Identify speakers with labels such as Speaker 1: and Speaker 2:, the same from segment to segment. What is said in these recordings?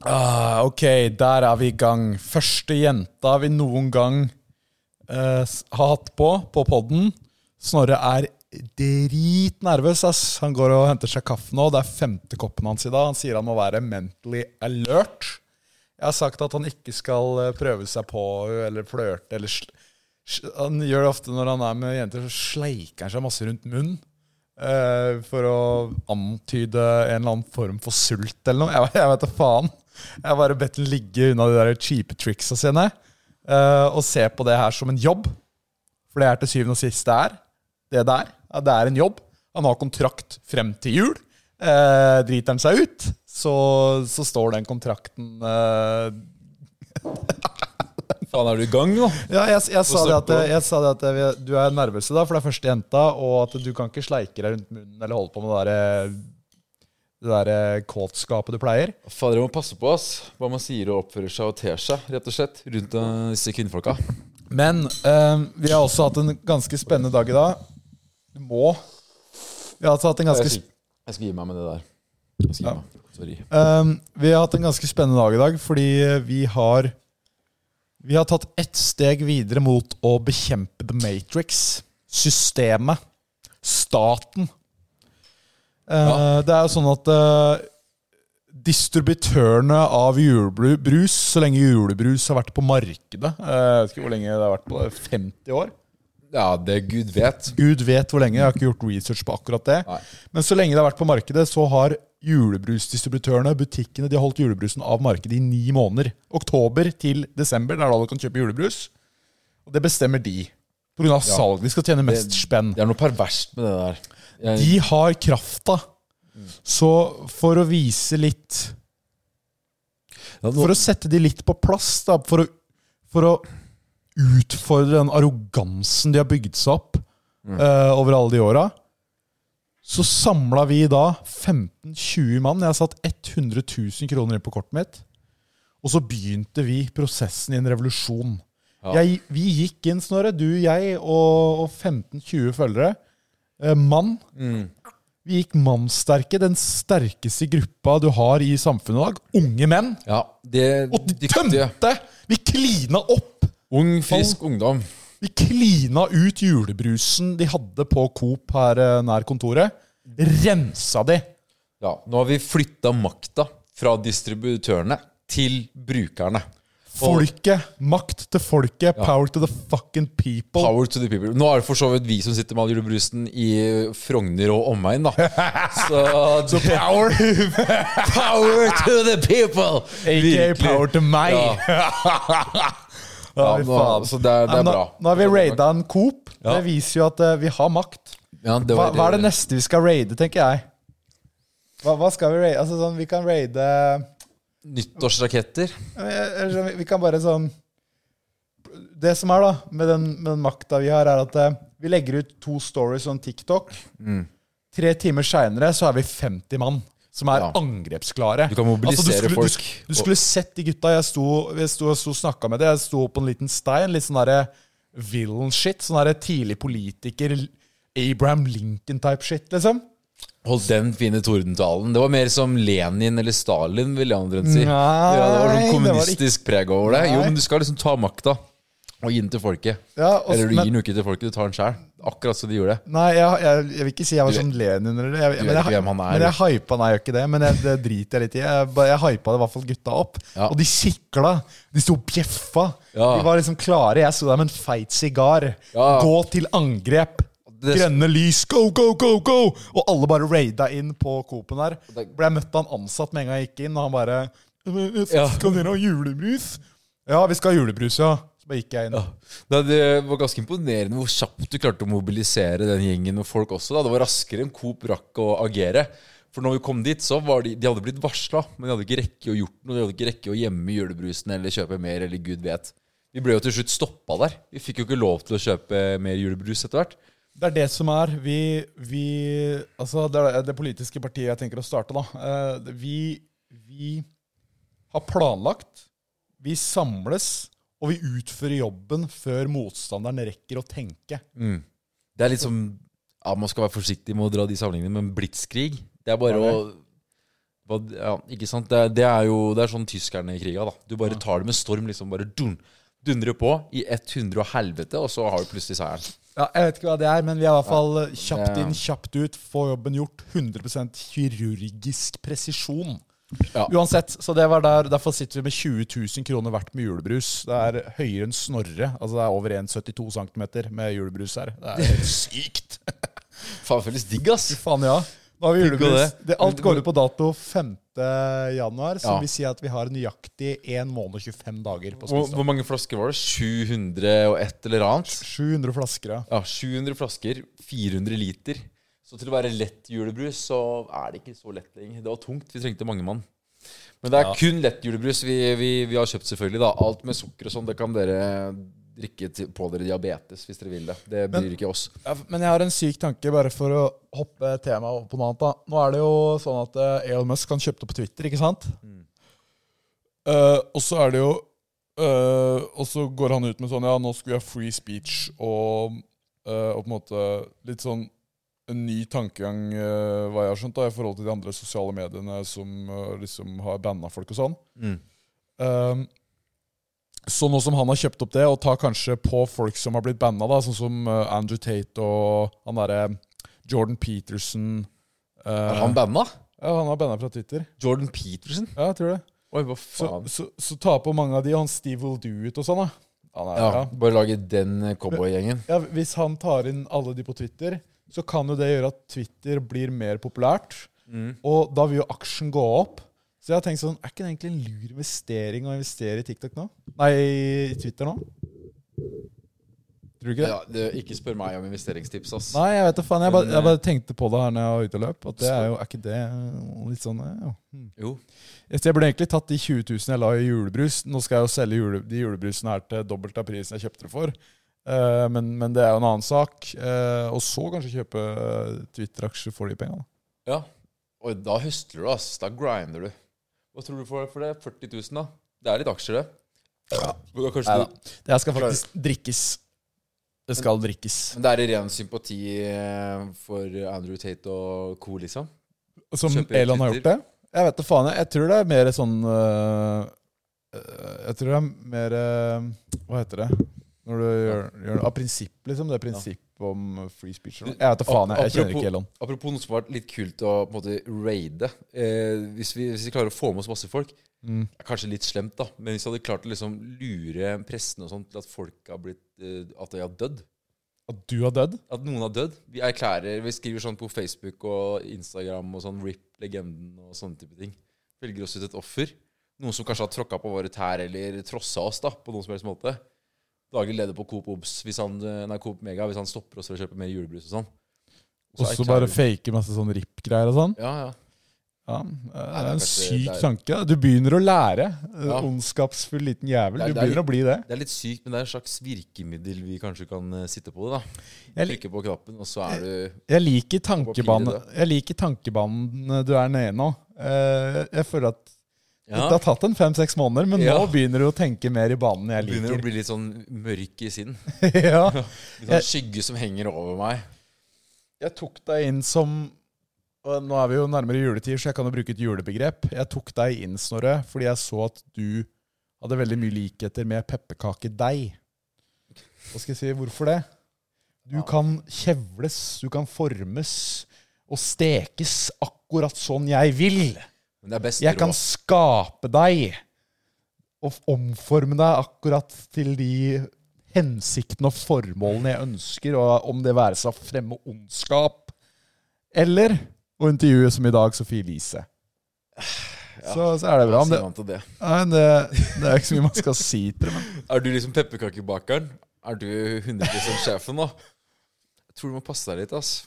Speaker 1: Ah, ok, der er vi i gang. Første jenta vi noen gang eh, s- har hatt på på podden. Snorre er dritnervøs. ass. Han går og henter seg kaffe nå. Det er femte koppen hans i dag. Han sier han må være mentally alert. Jeg har sagt at han ikke skal eh, prøve seg på henne eller flørte. Eller sl sl- han gjør det ofte når han er med jenter, så sleiker han seg masse rundt munnen. eh, for å antyde en eller annen form for sult eller noe. Jeg, jeg vet da faen. Jeg har bare bedt den ligge unna de der cheape tricksa sine. eh, og se på det her som en jobb. For det er til syvende og sist det er. Det der. Ja, det er en jobb. Han har kontrakt frem til jul. Eh, driter han seg ut, så, så står den kontrakten eh,
Speaker 2: Faen, er du i gang nå?
Speaker 1: Ja, jeg, jeg, sa det
Speaker 2: snakke
Speaker 1: at, jeg sa det at vi- du er nervøs i dag, for det er første jenta, og at du kan ikke sleike deg rundt munnen eller holde på med det der, eh, det der eh, kåtskapet du pleier.
Speaker 2: Faen, dere må passe på ass. hva man sier og oppfører seg og ter seg rett og slett, rundt eh, disse kvinnfolka.
Speaker 1: Men eh, vi har også hatt en ganske spennende dag i dag. Du må Vi har altså hatt en ganske
Speaker 2: Jeg
Speaker 1: sp-
Speaker 2: skal, jeg skal gi meg med det der. Jeg skal
Speaker 1: Ja.
Speaker 2: gi meg. Sorry.
Speaker 1: Um, vi har hatt en ganske spennende dag i dag, fordi vi har Vi har tatt ett steg videre mot å bekjempe The Matrix. Systemet. Staten. Uh, Det er jo sånn at uh, distributørene av julebrus, så lenge julebrus har vært på markedet uh, Jeg vet ikke hvor lenge det har vært på 50 år.
Speaker 2: Ja, det gud vet.
Speaker 1: Gud vet hvor lenge. Jeg har ikke gjort research på akkurat det.
Speaker 2: Nei.
Speaker 1: Men så lenge det har vært på markedet, så har julebrusdistributørene, butikkene, de har holdt julebrusen av markedet i ni måneder. Oktober til desember, det er da du kan kjøpe julebrus. Og det bestemmer de. På grunn av salg. De skal tjene mest spenn.
Speaker 2: Det er noe perverst med det der. Jeg,
Speaker 1: De har krafta. Så for å vise litt
Speaker 2: Ja, nå-
Speaker 1: For å sette de litt på plass, da, for å, for å utfordre den arrogansen de har bygd seg opp
Speaker 2: Mm.
Speaker 1: eh, over alle de åra, så samla vi da 15-20 mann. Jeg har satt 100 000 kroner inn på kortet mitt. Og så begynte vi prosessen i en revolusjon.
Speaker 2: Ja.
Speaker 1: Jeg, vi gikk inn, Snorre, du, jeg og, og 15-20 følgere. Eh, mann. Vi gikk mannssterke, den sterkeste gruppa du har i samfunnet i dag. Unge menn.
Speaker 2: ja, det
Speaker 1: Og de
Speaker 2: dyktige.
Speaker 1: tømte! Vi klina opp!
Speaker 2: Ung, frisk ungdom.
Speaker 1: Vi klina ut julebrusen de hadde på Coop her eh, nær kontoret. Rensa de.
Speaker 2: Ja, nå har vi flytta makta fra distributørene til brukerne. Og
Speaker 1: Folket. Makt til folket. Power to the fucking people.
Speaker 2: Power to the people. Nå er det for så vidt vi som sitter med all julebrusen i Frogner og omegn, da. Så, det-
Speaker 1: Power,
Speaker 2: power to the people!
Speaker 1: AKA
Speaker 2: Virkelig.
Speaker 1: power to meg.
Speaker 2: Ja.
Speaker 1: Ja,
Speaker 2: Ja,
Speaker 1: fy
Speaker 2: nå,
Speaker 1: faen.
Speaker 2: så det er, det
Speaker 1: Nei,
Speaker 2: er
Speaker 1: nå,
Speaker 2: bra.
Speaker 1: nå har vi raida en Coop.
Speaker 2: Ja.
Speaker 1: Det viser jo at eh, vi har makt.
Speaker 2: Ja, det
Speaker 1: Hva,
Speaker 2: var-
Speaker 1: hva er det neste vi skal raide, tenker jeg? Hva, hva skal vi raide? Altså, sånn, vi kan raide
Speaker 2: Nyttårsraketter.
Speaker 1: Ja, men jeg- jeg skjønner- Vi kan bare sånn Det som er da med den, med den makta vi har, er at eh, vi legger ut to stories om TikTok.
Speaker 2: Mm.
Speaker 1: Tre timer seinere så er vi 50 mann som er
Speaker 2: Ja.
Speaker 1: angrepsklare.
Speaker 2: Du kan mobilisere
Speaker 1: skulle,
Speaker 2: folk.
Speaker 1: Du, sk- du skulle sett de gutta. Jeg sto, jeg sto, jeg sto og snakka med dem. Jeg sto på en liten stein. Litt sånn derre villain shit. Sånn derre tidlig politiker, Abraham Lincoln-type shit, liksom.
Speaker 2: Hold den fine tordentalen. Det var mer som Lenin eller Stalin, vil andre enn si.
Speaker 1: Nei,
Speaker 2: ja, det var sånn
Speaker 1: det var
Speaker 2: kommunistisk preg over det. Jo,
Speaker 1: Nei.
Speaker 2: men du skal liksom ta makta og gi den til folket.
Speaker 1: Ja, og-
Speaker 2: eller du gir
Speaker 1: men-
Speaker 2: den jo ikke til folket, du tar den sjæl. Akkurat som de gjorde.
Speaker 1: Nei, jeg, jeg, jeg vil ikke si jeg var
Speaker 2: Du vet-
Speaker 1: som Lenin eller det. Jeg,
Speaker 2: vet
Speaker 1: men, jeg,
Speaker 2: ikke hvem han er.
Speaker 1: men jeg hypa Nei, jeg gjør ikke det, men jeg, det driter jeg litt i. Jeg, ba- jeg hypa det i hvert fall gutta opp.
Speaker 2: Ja.
Speaker 1: Og de sikla. De sto og bjeffa.
Speaker 2: Ja.
Speaker 1: De var liksom klare. Jeg sto der med en feit sigar.
Speaker 2: Ja.
Speaker 1: Gå til angrep.
Speaker 2: Det-
Speaker 1: Grønne lys, go, go, go, go! Og alle bare raida inn på Coop-en der.
Speaker 2: Det-
Speaker 1: Ble jeg møtt av en ansatt med en gang jeg gikk inn, og han bare «Men,
Speaker 2: Ja.
Speaker 1: Skal dere ha julebrus? Ja, vi skal ha julebrus, ja. Så bare gikk jeg inn.
Speaker 2: Ja. Nei, Det var ganske imponerende hvor kjapt du klarte å mobilisere den gjengen og folk også. da. Det var raskere enn Coop rakk å agere. For når vi kom dit, så var de, de hadde blitt varsla, men de hadde ikke rekke å gjort noe. De hadde ikke rekke å gjemme julebrusen eller kjøpe mer, eller gud vet. Vi ble jo til slutt stoppa der. Vi fikk jo ikke lov til å kjøpe mer julebrus etter hvert.
Speaker 1: Det er det som er vi, vi Altså, det er det politiske partiet jeg tenker å starte, da. Eh, det- Vi, vi har planlagt, vi samles, og vi utfører jobben før motstanderen rekker å tenke.
Speaker 2: Det er liksom, litt som ja, Man skal være forsiktig med å dra de sammenligningene, men blitskrig Det er bare å Hva- Ja, ikke sant? Det, det er jo det er sånn tyskerne i kriga. da Du bare tar det med storm. liksom Bare dun, dundrer på i 100 og helvete, og så har du plutselig seieren.
Speaker 1: Ja, jeg vet ikke hva det er, men vi er i hvert fall eh, kjapt
Speaker 2: Ja.
Speaker 1: inn, kjapt ut. Få jobben gjort. 100 kirurgisk presisjon.
Speaker 2: Ja.
Speaker 1: Uansett, så det var der, Derfor sitter vi med 20 000 kroner hvert med julebrus. Det er høyere enn Snorre. Altså Det er over 1,72 cm med julebrus her. Det er helt sykt!
Speaker 2: Faen, føles digg, ass.
Speaker 1: Fy Faen, ja. Nå har vi
Speaker 2: Tenk på
Speaker 1: julebrus.
Speaker 2: det.
Speaker 1: Det, alt går ut på dato 5. januar, som
Speaker 2: Ja.
Speaker 1: vil si at vi har nøyaktig 1 måned og 25 dager på
Speaker 2: Hvor,
Speaker 1: spisdag.
Speaker 2: hvor mange flasker var det? 700 og et eller annet?
Speaker 1: 700 flasker, ja.
Speaker 2: Ja, 700 flasker, 400 liter. Så til å være lett julebrus, så er det ikke så lett lenger. Det var tungt, vi trengte mange mann. Men det er
Speaker 1: Ja.
Speaker 2: kun lett julebrus vi, vi, vi har kjøpt, selvfølgelig. da Alt med sukker og sånn, det kan dere drikke til, på dere diabetes hvis dere vil det. Det bryr ikke oss.
Speaker 1: Ja, Men jeg har en syk tanke, bare for å hoppe temaet over på noe annet. da. Nå er det jo sånn at eh, Elon Musk kan kjøpe det på Twitter, ikke sant? Eh, og så er det jo eh, Og så går han ut med sånn Ja, nå skal vi ha free speech og, eh, og på en måte litt sånn en ny tankegang, eh, hva jeg har skjønt, da, i forhold til de andre sosiale mediene som eh, liksom har banna folk og sånn.
Speaker 2: Mm.
Speaker 1: Um, så nå som han har kjøpt opp det, og tar kanskje på folk som har blitt banna, da, sånn som eh, Andrew Tate og han derre Jordan Peterson eh,
Speaker 2: Er han banna?
Speaker 1: Ja, han har banna fra Twitter.
Speaker 2: Jordan Peterson?
Speaker 1: Ja, jeg tror det.
Speaker 2: Oi, hva
Speaker 1: Så,
Speaker 2: faen?
Speaker 1: så, så ta på mange av de, og han Steve Will Do It og sånn, da. Han er,
Speaker 2: ja,
Speaker 1: ja.
Speaker 2: bare lage den cowboygjengen.
Speaker 1: Ja, hvis han tar inn alle de på Twitter, så kan jo det gjøre at Twitter blir mer populært. Og da vil jo aksjen gå opp. Så jeg har tenkt sånn, er ikke det egentlig en lur investering å investere i TikTok nå? Nei, i Twitter nå? Tror du ikke det?
Speaker 2: Ja, det, ikke spør meg om investeringstips, ass.
Speaker 1: Nei, jeg vet da faen. Jeg bare, jeg bare tenkte på det her når jeg var ute og løp. At det er jo, er ikke det litt sånn ja.
Speaker 2: Jo.
Speaker 1: Så Jeg burde egentlig tatt de 20 000 jeg la i julebrus. Nå skal jeg jo selge jule, de julebrusene her til dobbelt av prisen jeg kjøpte det for. Eh, men, men det er jo en annen sak. Eh, og så kanskje kjøpe eh, Twitter-aksjer for de pengene.
Speaker 2: Ja. Og da høstler du, ass. Da grinder du. Hva tror du for, for det? 40 000, da? Det er litt aksjer, det. Men da kanskje du-
Speaker 1: Det her skal faktisk drikkes. Det skal drikkes.
Speaker 2: Men det er i ren sympati eh, for Andrew Tate og co., liksom?
Speaker 1: Som
Speaker 2: Kjøper
Speaker 1: Elon har
Speaker 2: Twitter.
Speaker 1: gjort det? Jeg vet da faen. Jeg, jeg tror det er mer sånn eh, eh, Jeg tror det er mer eh, Hva heter det? Når du gjør, gjør det av prinsipp, liksom. Det er prinsipp om free speech. eller noe. Jeg vet da faen. Jeg, jeg kjenner
Speaker 2: Apropos-
Speaker 1: ikke Elon.
Speaker 2: Apropos noe som har vært litt kult å på en måte raide. Eh, hvis, vi, hvis vi klarer å få med oss masse folk
Speaker 1: Mm.
Speaker 2: er Kanskje litt slemt, da. Men hvis vi hadde klart å liksom lure pressen og sånn til at folk har blitt eh, At de har dødd.
Speaker 1: At du har dødd?
Speaker 2: At noen har dødd. Vi erklærer, vi skriver sånn på Facebook og Instagram og sånn RIP legenden og sånne type ting. Velger oss ut et offer. Noen som kanskje har tråkka på våre tær eller trossa oss da, på noen som helst måte. Daglig leder på Coop Obs, hvis han, eh, nei, Coop Mega, hvis han stopper oss for å kjøpe mer julebrus og sånn.
Speaker 1: Og så bare fake masse sånn RIP-greier og sånn.
Speaker 2: Ja, ja.
Speaker 1: Ja, det er
Speaker 2: det er
Speaker 1: en
Speaker 2: kanskje-
Speaker 1: syk
Speaker 2: det er-
Speaker 1: tanke. Du begynner å lære. eh,
Speaker 2: Ja.
Speaker 1: Ondskapsfull liten jævel.
Speaker 2: Det er-
Speaker 1: Du
Speaker 2: det er
Speaker 1: begynner å bli det.
Speaker 2: Det er litt sykt, men det er et slags virkemiddel vi kanskje kan eh, sitte på det, da.
Speaker 1: Jeg lik-
Speaker 2: Trykke på knappen, og så er du
Speaker 1: Jeg liker
Speaker 2: Hva
Speaker 1: tankebanen
Speaker 2: blir
Speaker 1: Jeg liker tankebanen du er nede i nå. Eh, Jeg føler at
Speaker 2: ja,
Speaker 1: det har tatt en fem-seks måneder, men
Speaker 2: Ja.
Speaker 1: nå begynner du å tenke mer i banen jeg
Speaker 2: Begynner å
Speaker 1: liker.
Speaker 2: bli litt sånn mørk i sinn.
Speaker 1: ja.
Speaker 2: Litt sånn skygge som henger over meg.
Speaker 1: Jeg tok deg inn som og Nå er vi jo nærmere juletid, så jeg kan jo bruke et julebegrep. Jeg tok deg inn, Snorre, fordi jeg så at du hadde veldig mye likheter med pepperkakedeig. Hva skal jeg si? Hvorfor det? Du
Speaker 2: Ja.
Speaker 1: kan kjevles, du kan formes og stekes akkurat sånn jeg vil.
Speaker 2: Men det er best
Speaker 1: Jeg
Speaker 2: rå.
Speaker 1: kan skape deg og f- omforme deg akkurat til de hensiktene og formålene jeg ønsker, og om det være seg å fremme ondskap eller å intervjue som i dag Sofie Elise. Så, så er det bra. Men
Speaker 2: Hva
Speaker 1: det,
Speaker 2: sier man til det?
Speaker 1: nei, det, det er ikke så mye man skal si til det. men-
Speaker 2: Er du liksom pepperkakebakeren? Er du 100 sjefen nå? Jeg tror du må passe deg litt, ass.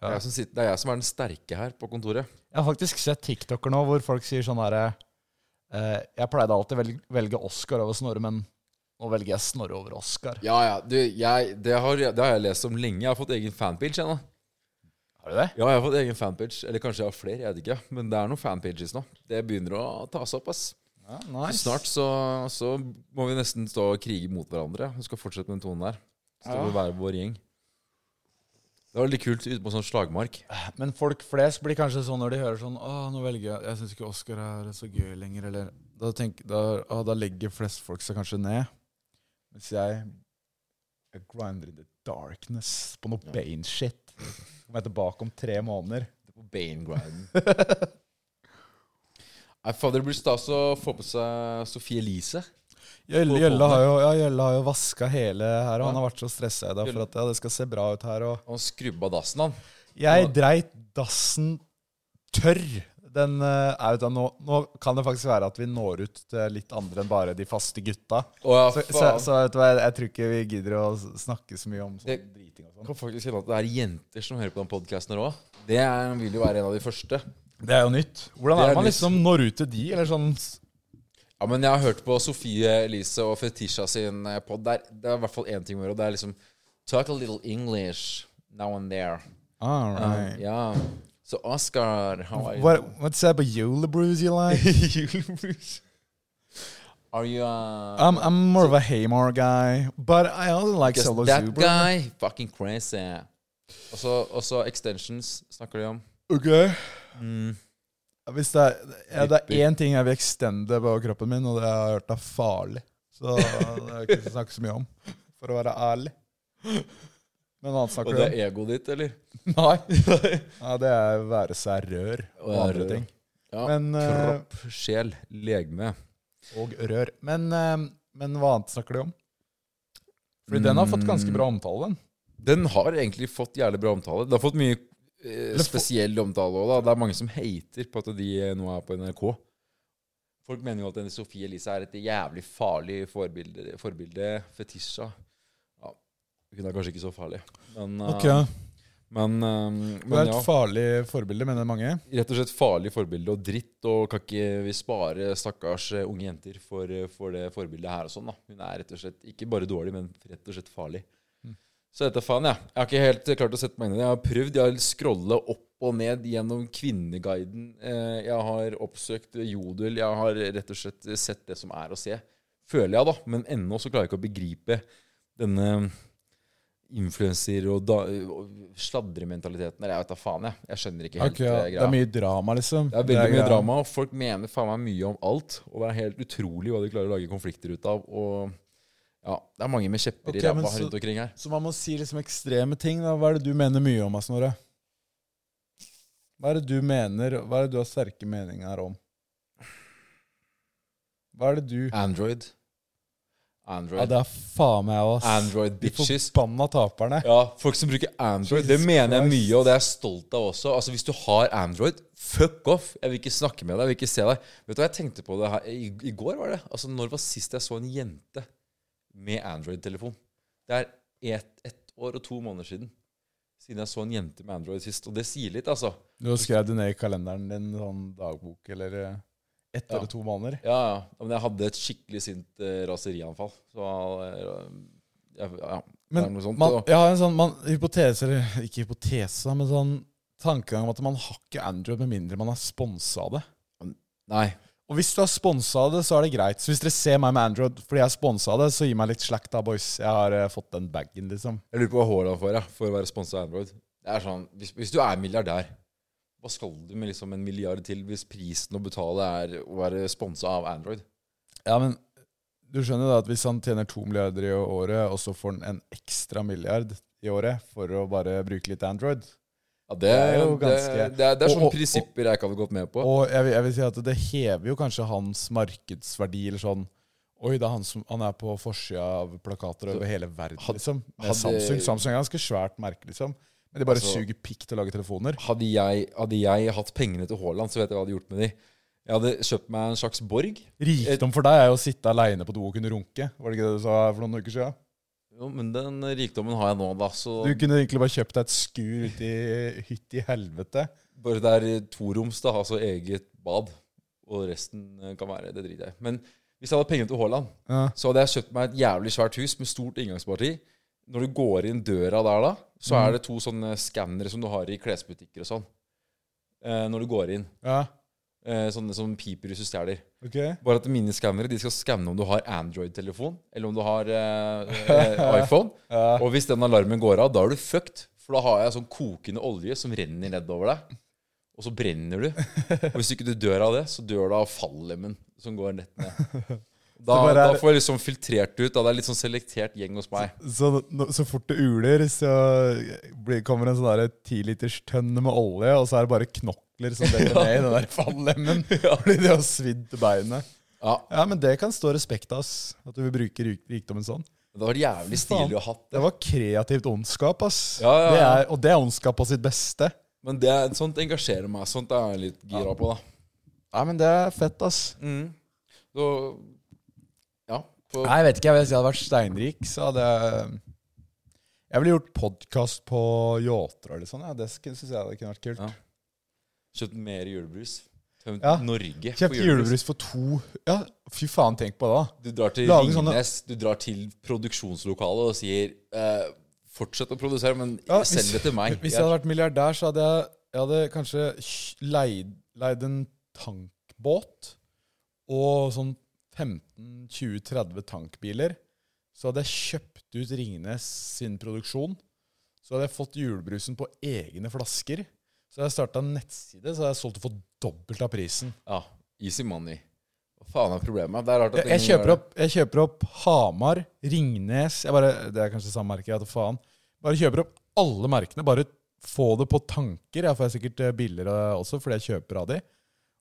Speaker 2: Det, er jeg som sitter, det er jeg som er den sterke her på kontoret.
Speaker 1: Jeg har faktisk sett TikToker nå hvor folk sier sånn herre eh, Jeg pleide alltid å velge, velge Oscar over Snorre, men nå velger jeg Snorre over Oscar.
Speaker 2: Ja, ja, du, jeg, det, har, det har jeg lest om lenge. Jeg har fått egen fanpage ennå.
Speaker 1: Har du det?
Speaker 2: Ja, jeg har fått egen fanpage. Eller kanskje jeg har flere, jeg vet ikke. Men det er noen fanpages nå. Det begynner å ta seg opp, ass.
Speaker 1: Ja,
Speaker 2: Så
Speaker 1: nice.
Speaker 2: Snart så, så må vi nesten stå og krige mot hverandre. Vi skal fortsette med den tonen der. Så det
Speaker 1: Ja.
Speaker 2: må være vår gjeng. Det var litt kult ute på en sånn slagmark.
Speaker 1: Men folk flest blir kanskje sånn når de hører sånn Å, nå velger jeg Jeg syns ikke Oscar er så gøy lenger, eller Da, tenk- da, å, da legger flest folk seg kanskje ned. Mens jeg Jeg grinder in the darkness på noe Bane-shit. Kommer jeg tilbake om tre måneder.
Speaker 2: På Bane-grinden. Nei, fader, det blir stas å få på seg Sophie Elise.
Speaker 1: Gjølle, Gjølle har jo, ja, Gjølle har jo vaska hele her, og han har vært så stressa i dag for
Speaker 2: Gjølle.
Speaker 1: at ja, det skal se bra ut her. Og
Speaker 2: Han skrubba dassen, han.
Speaker 1: Jeg dreit dassen tørr. Den eh, er ut av nå, nå kan det faktisk være at vi når ut til litt andre enn bare de faste gutta.
Speaker 2: Å, ja,
Speaker 1: Altså, Så, så,
Speaker 2: faen.
Speaker 1: så vet du hva, jeg, jeg tror ikke vi gidder å s- snakke så mye om sånn
Speaker 2: Det-
Speaker 1: driting og
Speaker 2: Jeg
Speaker 1: sånn.
Speaker 2: kan faktisk hende at det er jenter som hører på den podkasten her òg. Det er, vil jo være en av de første.
Speaker 1: Det er jo nytt. Hvordan
Speaker 2: Det
Speaker 1: er
Speaker 2: er
Speaker 1: det man
Speaker 2: nytt.
Speaker 1: liksom når ut til de, eller sånn s-
Speaker 2: Ja, men jeg har hørt på Sofie Elise og Fetisha sin pod. Det er, det er i hvert fall én ting å gjøre, og det er liksom Talk a little English now and there.
Speaker 1: All right.
Speaker 2: Ja. Så Oscar, how are you?
Speaker 1: What, what's that about Yola brews you like?
Speaker 2: Julebrusen. Are you uh,
Speaker 1: I'm, I'm more of a Haymar guy, but I also like
Speaker 2: Because
Speaker 1: Solo
Speaker 2: that
Speaker 1: Super.
Speaker 2: guy fucking crazy. Og så, og så extensions snakker de om.
Speaker 1: Okay.
Speaker 2: Mm.
Speaker 1: Hvis det er, ja, det er én ting jeg vil extende på kroppen min, og det har jeg hørt er farlig. Så det er ikke å snakke så mye om, for å være ærlig. Men hva annet
Speaker 2: Og
Speaker 1: snakker du
Speaker 2: det
Speaker 1: om?
Speaker 2: er egoet ditt, eller?
Speaker 1: Nei. Ja, det er være seg rør og
Speaker 2: Være
Speaker 1: andre
Speaker 2: rør.
Speaker 1: ting.
Speaker 2: Ja,
Speaker 1: Men, eh,
Speaker 2: Kropp, sjel, legeme.
Speaker 1: og rør. Men, eh, men hva annet snakker du om? Fordi den har fått ganske
Speaker 2: Mm.
Speaker 1: bra omtale, den.
Speaker 2: Den har egentlig fått jævlig bra omtale. Den har fått mye eh,
Speaker 1: få-
Speaker 2: spesiell omtale òg, da. Det er mange som hater på at de eh, nå er på NRK. Folk mener jo at denne Sophie Elise er et jævlig farlig forbilde. forbilde fetisja. Ja, hun er kanskje ikke så farlig, men eh, Men, eh,
Speaker 1: Det er
Speaker 2: men
Speaker 1: et
Speaker 2: ja.
Speaker 1: farlig forbilde, mener mange.
Speaker 2: Rett og slett farlig forbilde og dritt, og kan ikke vi spare stakkars eh, unge jenter for, eh, for det forbildet her og sånn, da. Hun er rett og slett ikke bare dårlig, men rett og slett farlig.
Speaker 1: Mm.
Speaker 2: Så dette faen, jeg. Jeg har ikke helt eh, klart å sette meg inn i det. Jeg har prøvd. Jeg har scrolla opp og ned gjennom Kvinneguiden. Eh, Jeg har oppsøkt Jodel. Jeg har rett og slett sett det som er å se. Føler jeg, da. Men ennå så klarer jeg ikke å begripe denne influenser- og, da- og sladrementaliteten. Eller jeg vet da faen, jeg. Jeg skjønner ikke helt
Speaker 1: Ok, ja.
Speaker 2: eh,
Speaker 1: Det
Speaker 2: greia.
Speaker 1: er mye drama, liksom.
Speaker 2: Det er veldig mye
Speaker 1: greia.
Speaker 2: drama, og folk mener faen meg mye om alt. Og det er helt utrolig hva de klarer å lage konflikter ut av. Og ja, det er mange med kjepper
Speaker 1: Ok,
Speaker 2: i ræva
Speaker 1: men så-
Speaker 2: rundt omkring her.
Speaker 1: Så man må si liksom ekstreme ting. da. Hva er det du mener mye om, da, Snorre? Hva er det du mener, hva er det du har sterke meninger om? Hva er det du
Speaker 2: Android.
Speaker 1: Ja,
Speaker 2: Android.
Speaker 1: det er faen meg oss.
Speaker 2: Android
Speaker 1: De
Speaker 2: bitches.
Speaker 1: forbanna taperne.
Speaker 2: Ja, folk som bruker Android, det
Speaker 1: Jesus
Speaker 2: mener jeg
Speaker 1: Christ.
Speaker 2: mye, og det er jeg stolt av også. Altså, Hvis du har Android, fuck off! Jeg vil ikke snakke med deg, jeg vil ikke se deg. Vet du hva, jeg tenkte på det her i, i går, var det. Altså, Når var sist jeg så en jente med Android-telefon? Det er ett et år og to måneder siden. Siden jeg så en jente med Android sist. Og det sier litt, altså.
Speaker 1: Du skrev det ned i kalenderen din, sånn dagbok eller eh, ett
Speaker 2: Ja.
Speaker 1: eller to måneder.
Speaker 2: Ja, ja. Ja, Men jeg hadde et skikkelig sint eh, raserianfall. Så eh, jeg, ja, det er
Speaker 1: Men
Speaker 2: noe sånt.
Speaker 1: man,
Speaker 2: og-
Speaker 1: jeg har en sånn man, hypotese, eller ikke hypotese, da, men sånn tankegang om at man har ikke Android med mindre man er sponsa av det.
Speaker 2: Nei.
Speaker 1: Og hvis du har sponsa det, så er det greit. Så hvis dere ser meg med Android fordi jeg sponsa det, så gi meg litt slack da, boys. Jeg har eh, fått den bagen, liksom.
Speaker 2: Jeg lurer på hva Haaland får ja, for å være sponsa av Android. Det er sånn, hvis, hvis du er milliardær, hva skal du med liksom en milliard til hvis prisen å betale er å være sponsa av Android?
Speaker 1: Ja, men du skjønner da at hvis han tjener to milliarder i året, og så får han en ekstra milliard i året for å bare bruke litt Android
Speaker 2: Ja, det,
Speaker 1: er jo
Speaker 2: det,
Speaker 1: ganske-
Speaker 2: det, er- det er
Speaker 1: og-
Speaker 2: sånne
Speaker 1: og-
Speaker 2: prinsipper jeg ikke hadde gått med på.
Speaker 1: Og jeg, vil- jeg vil si at det hever jo kanskje hans markedsverdi, eller sånn Oi, det er han som han er på forsida av plakater over hele verden,
Speaker 2: had-
Speaker 1: liksom. Med
Speaker 2: hadde-
Speaker 1: Samsung. Samsung er ganske svært merke, liksom. Men de bare
Speaker 2: Altså-
Speaker 1: suger pikk til å lage telefoner.
Speaker 2: Hadde jeg, hadde jeg hatt pengene til Haaland, så vet jeg hva jeg hadde gjort med de. Jeg hadde kjøpt meg en slags borg.
Speaker 1: Rikdom for deg er jo å sitte aleine på do og kunne runke. Var det ikke det du sa for noen uker siden?
Speaker 2: Jo, men den rikdommen har jeg nå, da. Så
Speaker 1: Du kunne egentlig bare kjøpt deg et skur ute i hytt i helvete.
Speaker 2: Bare det er toroms, da, altså eget bad. Og resten eh, kan være Det driter jeg i. Men hvis jeg hadde penger til Haaland,
Speaker 1: Ja.
Speaker 2: så hadde jeg kjøpt meg et jævlig svært hus med stort inngangsparti. Når du går inn døra der, da, så er det to sånne skannere som du har i klesbutikker og sånn. Eh, når du går inn.
Speaker 1: ja.
Speaker 2: Eh, sånne som piper hvis du stjeler.
Speaker 1: Ok.
Speaker 2: Bare at mine skannere de skal skanne om du har Android-telefon, eller om du har eh, eh, iPhone.
Speaker 1: Ja.
Speaker 2: Og hvis den alarmen går av, da er du fucked. For For da har jeg sånn kokende olje som renner nedover deg. Og så brenner du. Og hvis ikke du dør av det, så dør du av fallemmen som går rett ned. Da,
Speaker 1: bare er-
Speaker 2: da får jeg liksom filtrert ut. Da det er litt sånn selektert gjeng hos meg.
Speaker 1: Så, nå- så fort det uler, så blir, kommer en sånn derre tiliters tønne med olje, og så er det bare knokler som detter ned i den der fallemmen. Fordi de har svidd til beinet.
Speaker 2: Ja,
Speaker 1: Ja, men det kan stå respekt av, ass. At du vil bruke rik- rikdommen sånn.
Speaker 2: Det var jævlig stilig å ha hatt det.
Speaker 1: Det var kreativt ondskap, ass.
Speaker 2: Ja, ja,
Speaker 1: Det
Speaker 2: ja.
Speaker 1: er, og det er ondskap på sitt beste.
Speaker 2: Men det, er- sånt engasjerer meg. Sånt er jeg litt gira på, da.
Speaker 1: Nei, men det er fett, ass.
Speaker 2: Mm. Så, ja. På,
Speaker 1: Nei, jeg vet ikke. jeg- Hvis jeg hadde vært steinrik, så hadde jeg Jeg ville gjort podkast på yachter eller sånn. Ja. Det syns jeg det kunne vært kult.
Speaker 2: Ja. kjøpt mer julebrus. Tømt
Speaker 1: Ja.
Speaker 2: Norge
Speaker 1: Kjøpt julebrus for to Ja, fy faen, tenk på det, da.
Speaker 2: Du drar til
Speaker 1: Lage sånne-
Speaker 2: Ringnes, du drar til produksjonslokalet og sier eh, Fortsett å produsere, men
Speaker 1: Ja,
Speaker 2: send det til meg.
Speaker 1: Hvis jeg
Speaker 2: Jeg-
Speaker 1: hadde vært milliardær, så hadde jeg, jeg hadde kanskje kj- leid, leid en tankbåt og sånn 15-20-30 tankbiler. Så hadde jeg kjøpt ut Ringnes sin produksjon. Så hadde jeg fått julebrusen på egne flasker. Så hadde jeg starta en nettside, så hadde jeg solgt det for dobbelt av prisen.
Speaker 2: Ja, easy money. Hva faen er problemet? Det er rart at
Speaker 1: Jeg, jeg,
Speaker 2: ingen gjør
Speaker 1: kjøper
Speaker 2: det.
Speaker 1: opp, jeg kjøper opp Hamar, Ringnes jeg bare, Det er kanskje samme merke, jeg vet da faen. Bare kjøper opp alle merkene. Bare få det på tanker. Jeg får sikkert eh, billigere også, fordi jeg kjøper av de.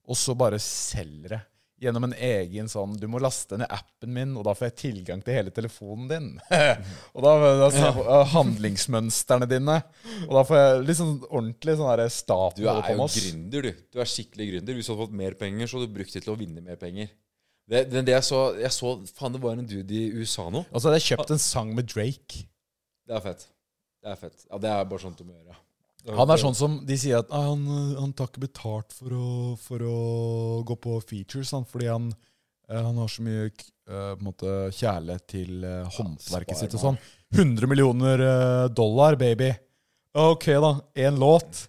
Speaker 1: Og så bare selger det. Gjennom en egen sånn Du må laste ned appen min, og da får jeg tilgang til hele telefonen din. og da, da så- handlingsmønstrene dine. Og da får jeg litt sånn ordentlig sånn derre
Speaker 2: Du
Speaker 1: staten
Speaker 2: er
Speaker 1: over
Speaker 2: jo
Speaker 1: Thomas.
Speaker 2: gründer, du. Du er skikkelig gründer. Hvis du hadde fått mer penger, så hadde du brukt det til å vinne mer penger. Det, det, det jeg så, jeg så Faen, det var en dude i USA nå.
Speaker 1: Og så hadde jeg kjøpt en sang med Drake.
Speaker 2: Det er fett. Det er fett. Ja, det er bare sånt du må gjøre. Det
Speaker 1: Han er sånn som de sier at «Nei, han, eh, han tar ikke betalt for å, for å gå på features, han, fordi han, eh, han har så mye k- eh, på en måte, kjærlighet til eh, håndverket sitt og sånn. 100 millioner eh, dollar, baby. Ok, da. Én låt.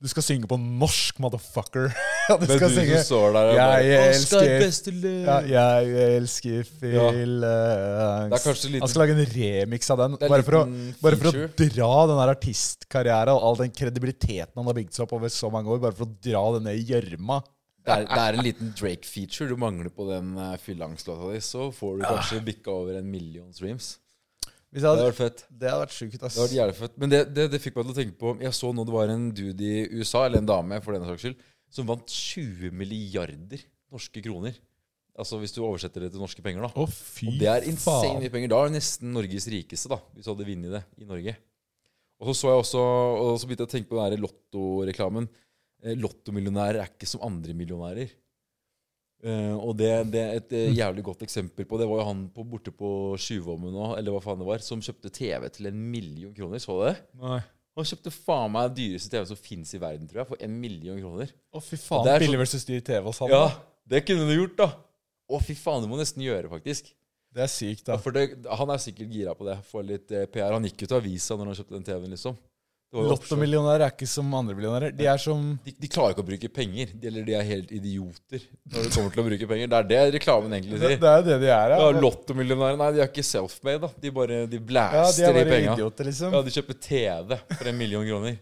Speaker 1: Du skal synge på norsk, motherfucker. Ja, du
Speaker 2: Men
Speaker 1: skal
Speaker 2: du som
Speaker 1: synge
Speaker 2: står der og
Speaker 1: Jeg
Speaker 2: bare,
Speaker 1: elsker-
Speaker 2: «Oscar Besteløv».
Speaker 1: ja, Jeg elsker Phil
Speaker 2: Det er kanskje litt-
Speaker 1: Han skal lage en remix av den.
Speaker 2: Det er
Speaker 1: Bare for, å,
Speaker 2: liten
Speaker 1: bare for å
Speaker 2: feature.
Speaker 1: dra den der artistkarrieren og all den kredibiliteten han har bygd seg opp over så mange år, bare for å dra den ned i gjørma.
Speaker 2: Det er, det er en liten Drake-feature du mangler på den uh, fyllangslåta di. Så får du kanskje bikka over en million streams.
Speaker 1: Hvis jeg
Speaker 2: Det hadde
Speaker 1: hadde,
Speaker 2: vært fett.
Speaker 1: det hadde vært sjukt, ass.
Speaker 2: Det hadde vært jævlig fett. Men det, det, det fikk meg til å tenke på Jeg så nå det var en dude i USA, eller en dame for denne saks skyld, som vant 20 milliarder norske kroner. Altså hvis du oversetter det til norske penger, da.
Speaker 1: Å, fy
Speaker 2: Og det er insane
Speaker 1: faen.
Speaker 2: mye penger. Da er det nesten Norges rikeste, da, hvis du hadde vunnet det i Norge. Og så så jeg også, og så begynte jeg å tenke på den der lottoreklamen. Eh, Lottomillionærer er ikke som andre millionærer. Eh, og det, det er et eh, jævlig godt eksempel på. Det var jo han på, borte på Tjuvholmen nå, eller hva faen det var, som kjøpte TV til en million kroner. Så du det?
Speaker 1: Nei.
Speaker 2: Han kjøpte faen meg den dyreste TV som fins i verden, tror jeg, for en million kroner.
Speaker 1: Å, fy
Speaker 2: Og
Speaker 1: faen.
Speaker 2: det er så-
Speaker 1: Billig versus dyr TV sånn. hos han.
Speaker 2: Ja,
Speaker 1: da.
Speaker 2: det kunne du gjort, da. Å, fy faen, det må du nesten gjøre, faktisk.
Speaker 1: Det er sykt, da.
Speaker 2: Ja, for det, han er sikkert gira på det. Få litt eh, PR. Han gikk jo til avisa når han kjøpte den TV-en, liksom. Det var jo oppslag.
Speaker 1: Lottomillionærer er ikke som andre millionærer. De er som
Speaker 2: de, de klarer ikke å bruke penger. De, eller de er helt idioter når det kommer til å bruke penger. Det er det reklamen
Speaker 1: Det,
Speaker 2: egentlig sier.
Speaker 1: det er jo det de er,
Speaker 2: Ja,
Speaker 1: ja.
Speaker 2: Lottomillionærer Nei, de er ikke self-made, da. De bare de
Speaker 1: ja de
Speaker 2: blæster
Speaker 1: er
Speaker 2: de
Speaker 1: bare
Speaker 2: penga.
Speaker 1: idioter, liksom.
Speaker 2: Ja, de kjøper TV for en million kroner.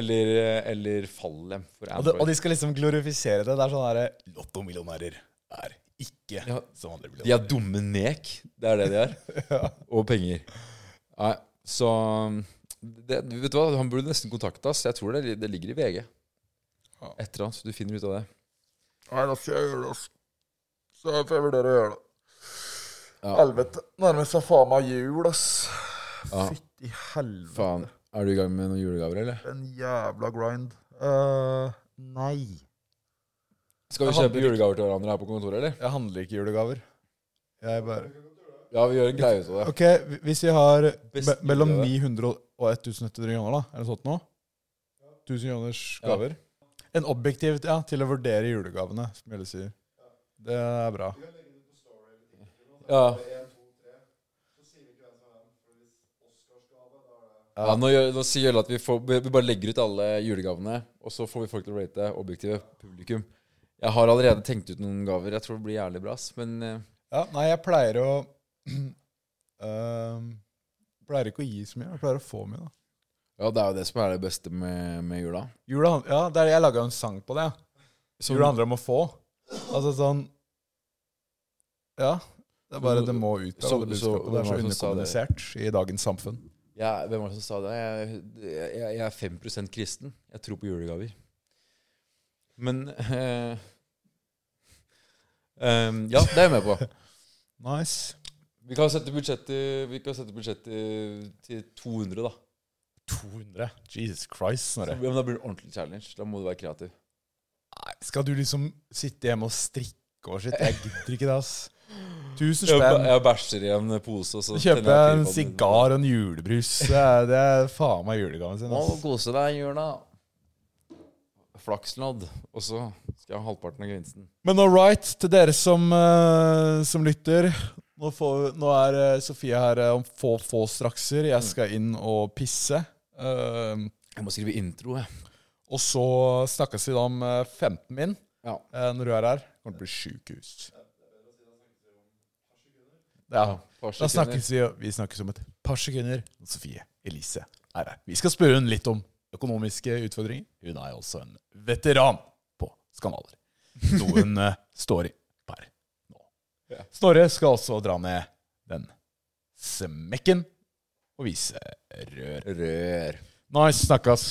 Speaker 2: Eller, eh, eller Fallem
Speaker 1: Og de,
Speaker 2: for
Speaker 1: og
Speaker 2: Android.
Speaker 1: de skal liksom glorifisere det. Det er sånn derre Lottomillionærer er ikke
Speaker 2: Ja.
Speaker 1: som andre
Speaker 2: De er dumme nek. Det er det de er. Og penger. Nei, så um, det, Vet du hva, han burde nesten kontakte oss. Jeg tror det, det ligger i VG.
Speaker 1: Ja.
Speaker 2: Et eller annet, så du finner ut av det.
Speaker 1: Nei, da skal jeg gjøre det, altså. Så får jeg vurdere å gjøre det.
Speaker 2: Ja.
Speaker 1: Helvete. Nærmer seg faen meg jul, ass.
Speaker 2: Ja.
Speaker 1: Fytti helvete.
Speaker 2: Faen. Er du i gang med noen julegaver, eller?
Speaker 1: En jævla grind. Eh, nei.
Speaker 2: Skal vi
Speaker 1: Jeg
Speaker 2: kjøpe julegaver til hverandre her på kontoret, eller?
Speaker 1: Jeg handler ikke julegaver. Jeg bare
Speaker 2: Ja, vi gjør en greie ut av det.
Speaker 1: Ok, hvis vi har me
Speaker 2: Best
Speaker 1: mellom
Speaker 2: julegave.
Speaker 1: 900 og 1100 kroner, da, er det sånt nå? 1000 kroners gaver. En objektiv ja, til å vurdere julegavene, som Jelle sier. Det er bra.
Speaker 2: Ja. Ja, nå, gjør, nå sier Jølle at vi, får, vi bare legger ut alle julegavene, og så får vi folk til å rate objektive publikum. Jeg har allerede tenkt ut noen gaver. Jeg tror det blir jævlig bra. ass, Men eh,
Speaker 1: Ja, nei, jeg pleier å Ehm, Øhm, Pleier ikke å gi så mye. Jeg pleier å få mye, da.
Speaker 2: Ja, det er jo det som er det beste med, med jula.
Speaker 1: Jula, hand- ja, det er, jeg laga en sang på det.
Speaker 2: Som-
Speaker 1: Som, jula handler om å få. Altså sånn Ja. Det er bare det må ut. av
Speaker 2: Så-
Speaker 1: alle budskapene. det
Speaker 2: så-
Speaker 1: er så
Speaker 2: hvem var det som sa
Speaker 1: underkommunisert i dagens samfunn.
Speaker 2: Ja, hvem var det som sa det? Jeg, jeg, jeg er 5 kristen. Jeg tror på julegaver. Men eh, ehm, Ja, det er jeg med på.
Speaker 1: Nice.
Speaker 2: Vi kan sette budsjettet, vi kan sette budsjettet til 200, da.
Speaker 1: 200. Jesus Christ,
Speaker 2: Så,
Speaker 1: Snorre.
Speaker 2: ja, men da blir det ordentlig challenge. Da må du være kreativ.
Speaker 1: Nei, Skal du liksom sitte hjemme og strikke og shit? Jeg gidder ikke det, ass. Tusen
Speaker 2: Jeg,
Speaker 1: spenn.
Speaker 2: jeg bæsjer i en pose, og så
Speaker 1: Så kjøper jeg en
Speaker 2: firkanten.
Speaker 1: sigar og en julebrus. Det er, det er faen meg julegaven sin.
Speaker 2: Må
Speaker 1: Ass.
Speaker 2: kose deg i jula. Flakslodd. Og så skal jeg ha halvparten av gevinsten.
Speaker 1: Men all right, til dere som, eh, som lytter. Nå, får, nå er eh, Sofie her eh, om få, få strakser. Jeg skal inn og pisse. Eh,
Speaker 2: Jeg må skrive intro, jeg.
Speaker 1: og så snakkes vi da om eh, 15 min
Speaker 2: Ja.
Speaker 1: eh, når du er her. Det kommer til å bli sjukehus. Ja.
Speaker 2: Par
Speaker 1: Da
Speaker 2: sekunder.
Speaker 1: snakkes vi, vi snakkes om et par sekunder. Sofie Elise er her. Vi skal spørre hun litt om økonomiske utfordringer. Hun er også en veteran på skandaler. Noe hun eh, står i per nå.
Speaker 2: Ja.
Speaker 1: Snorre skal også dra ned den smekken og vise rør.
Speaker 2: Rør.
Speaker 1: Nice, snakkes.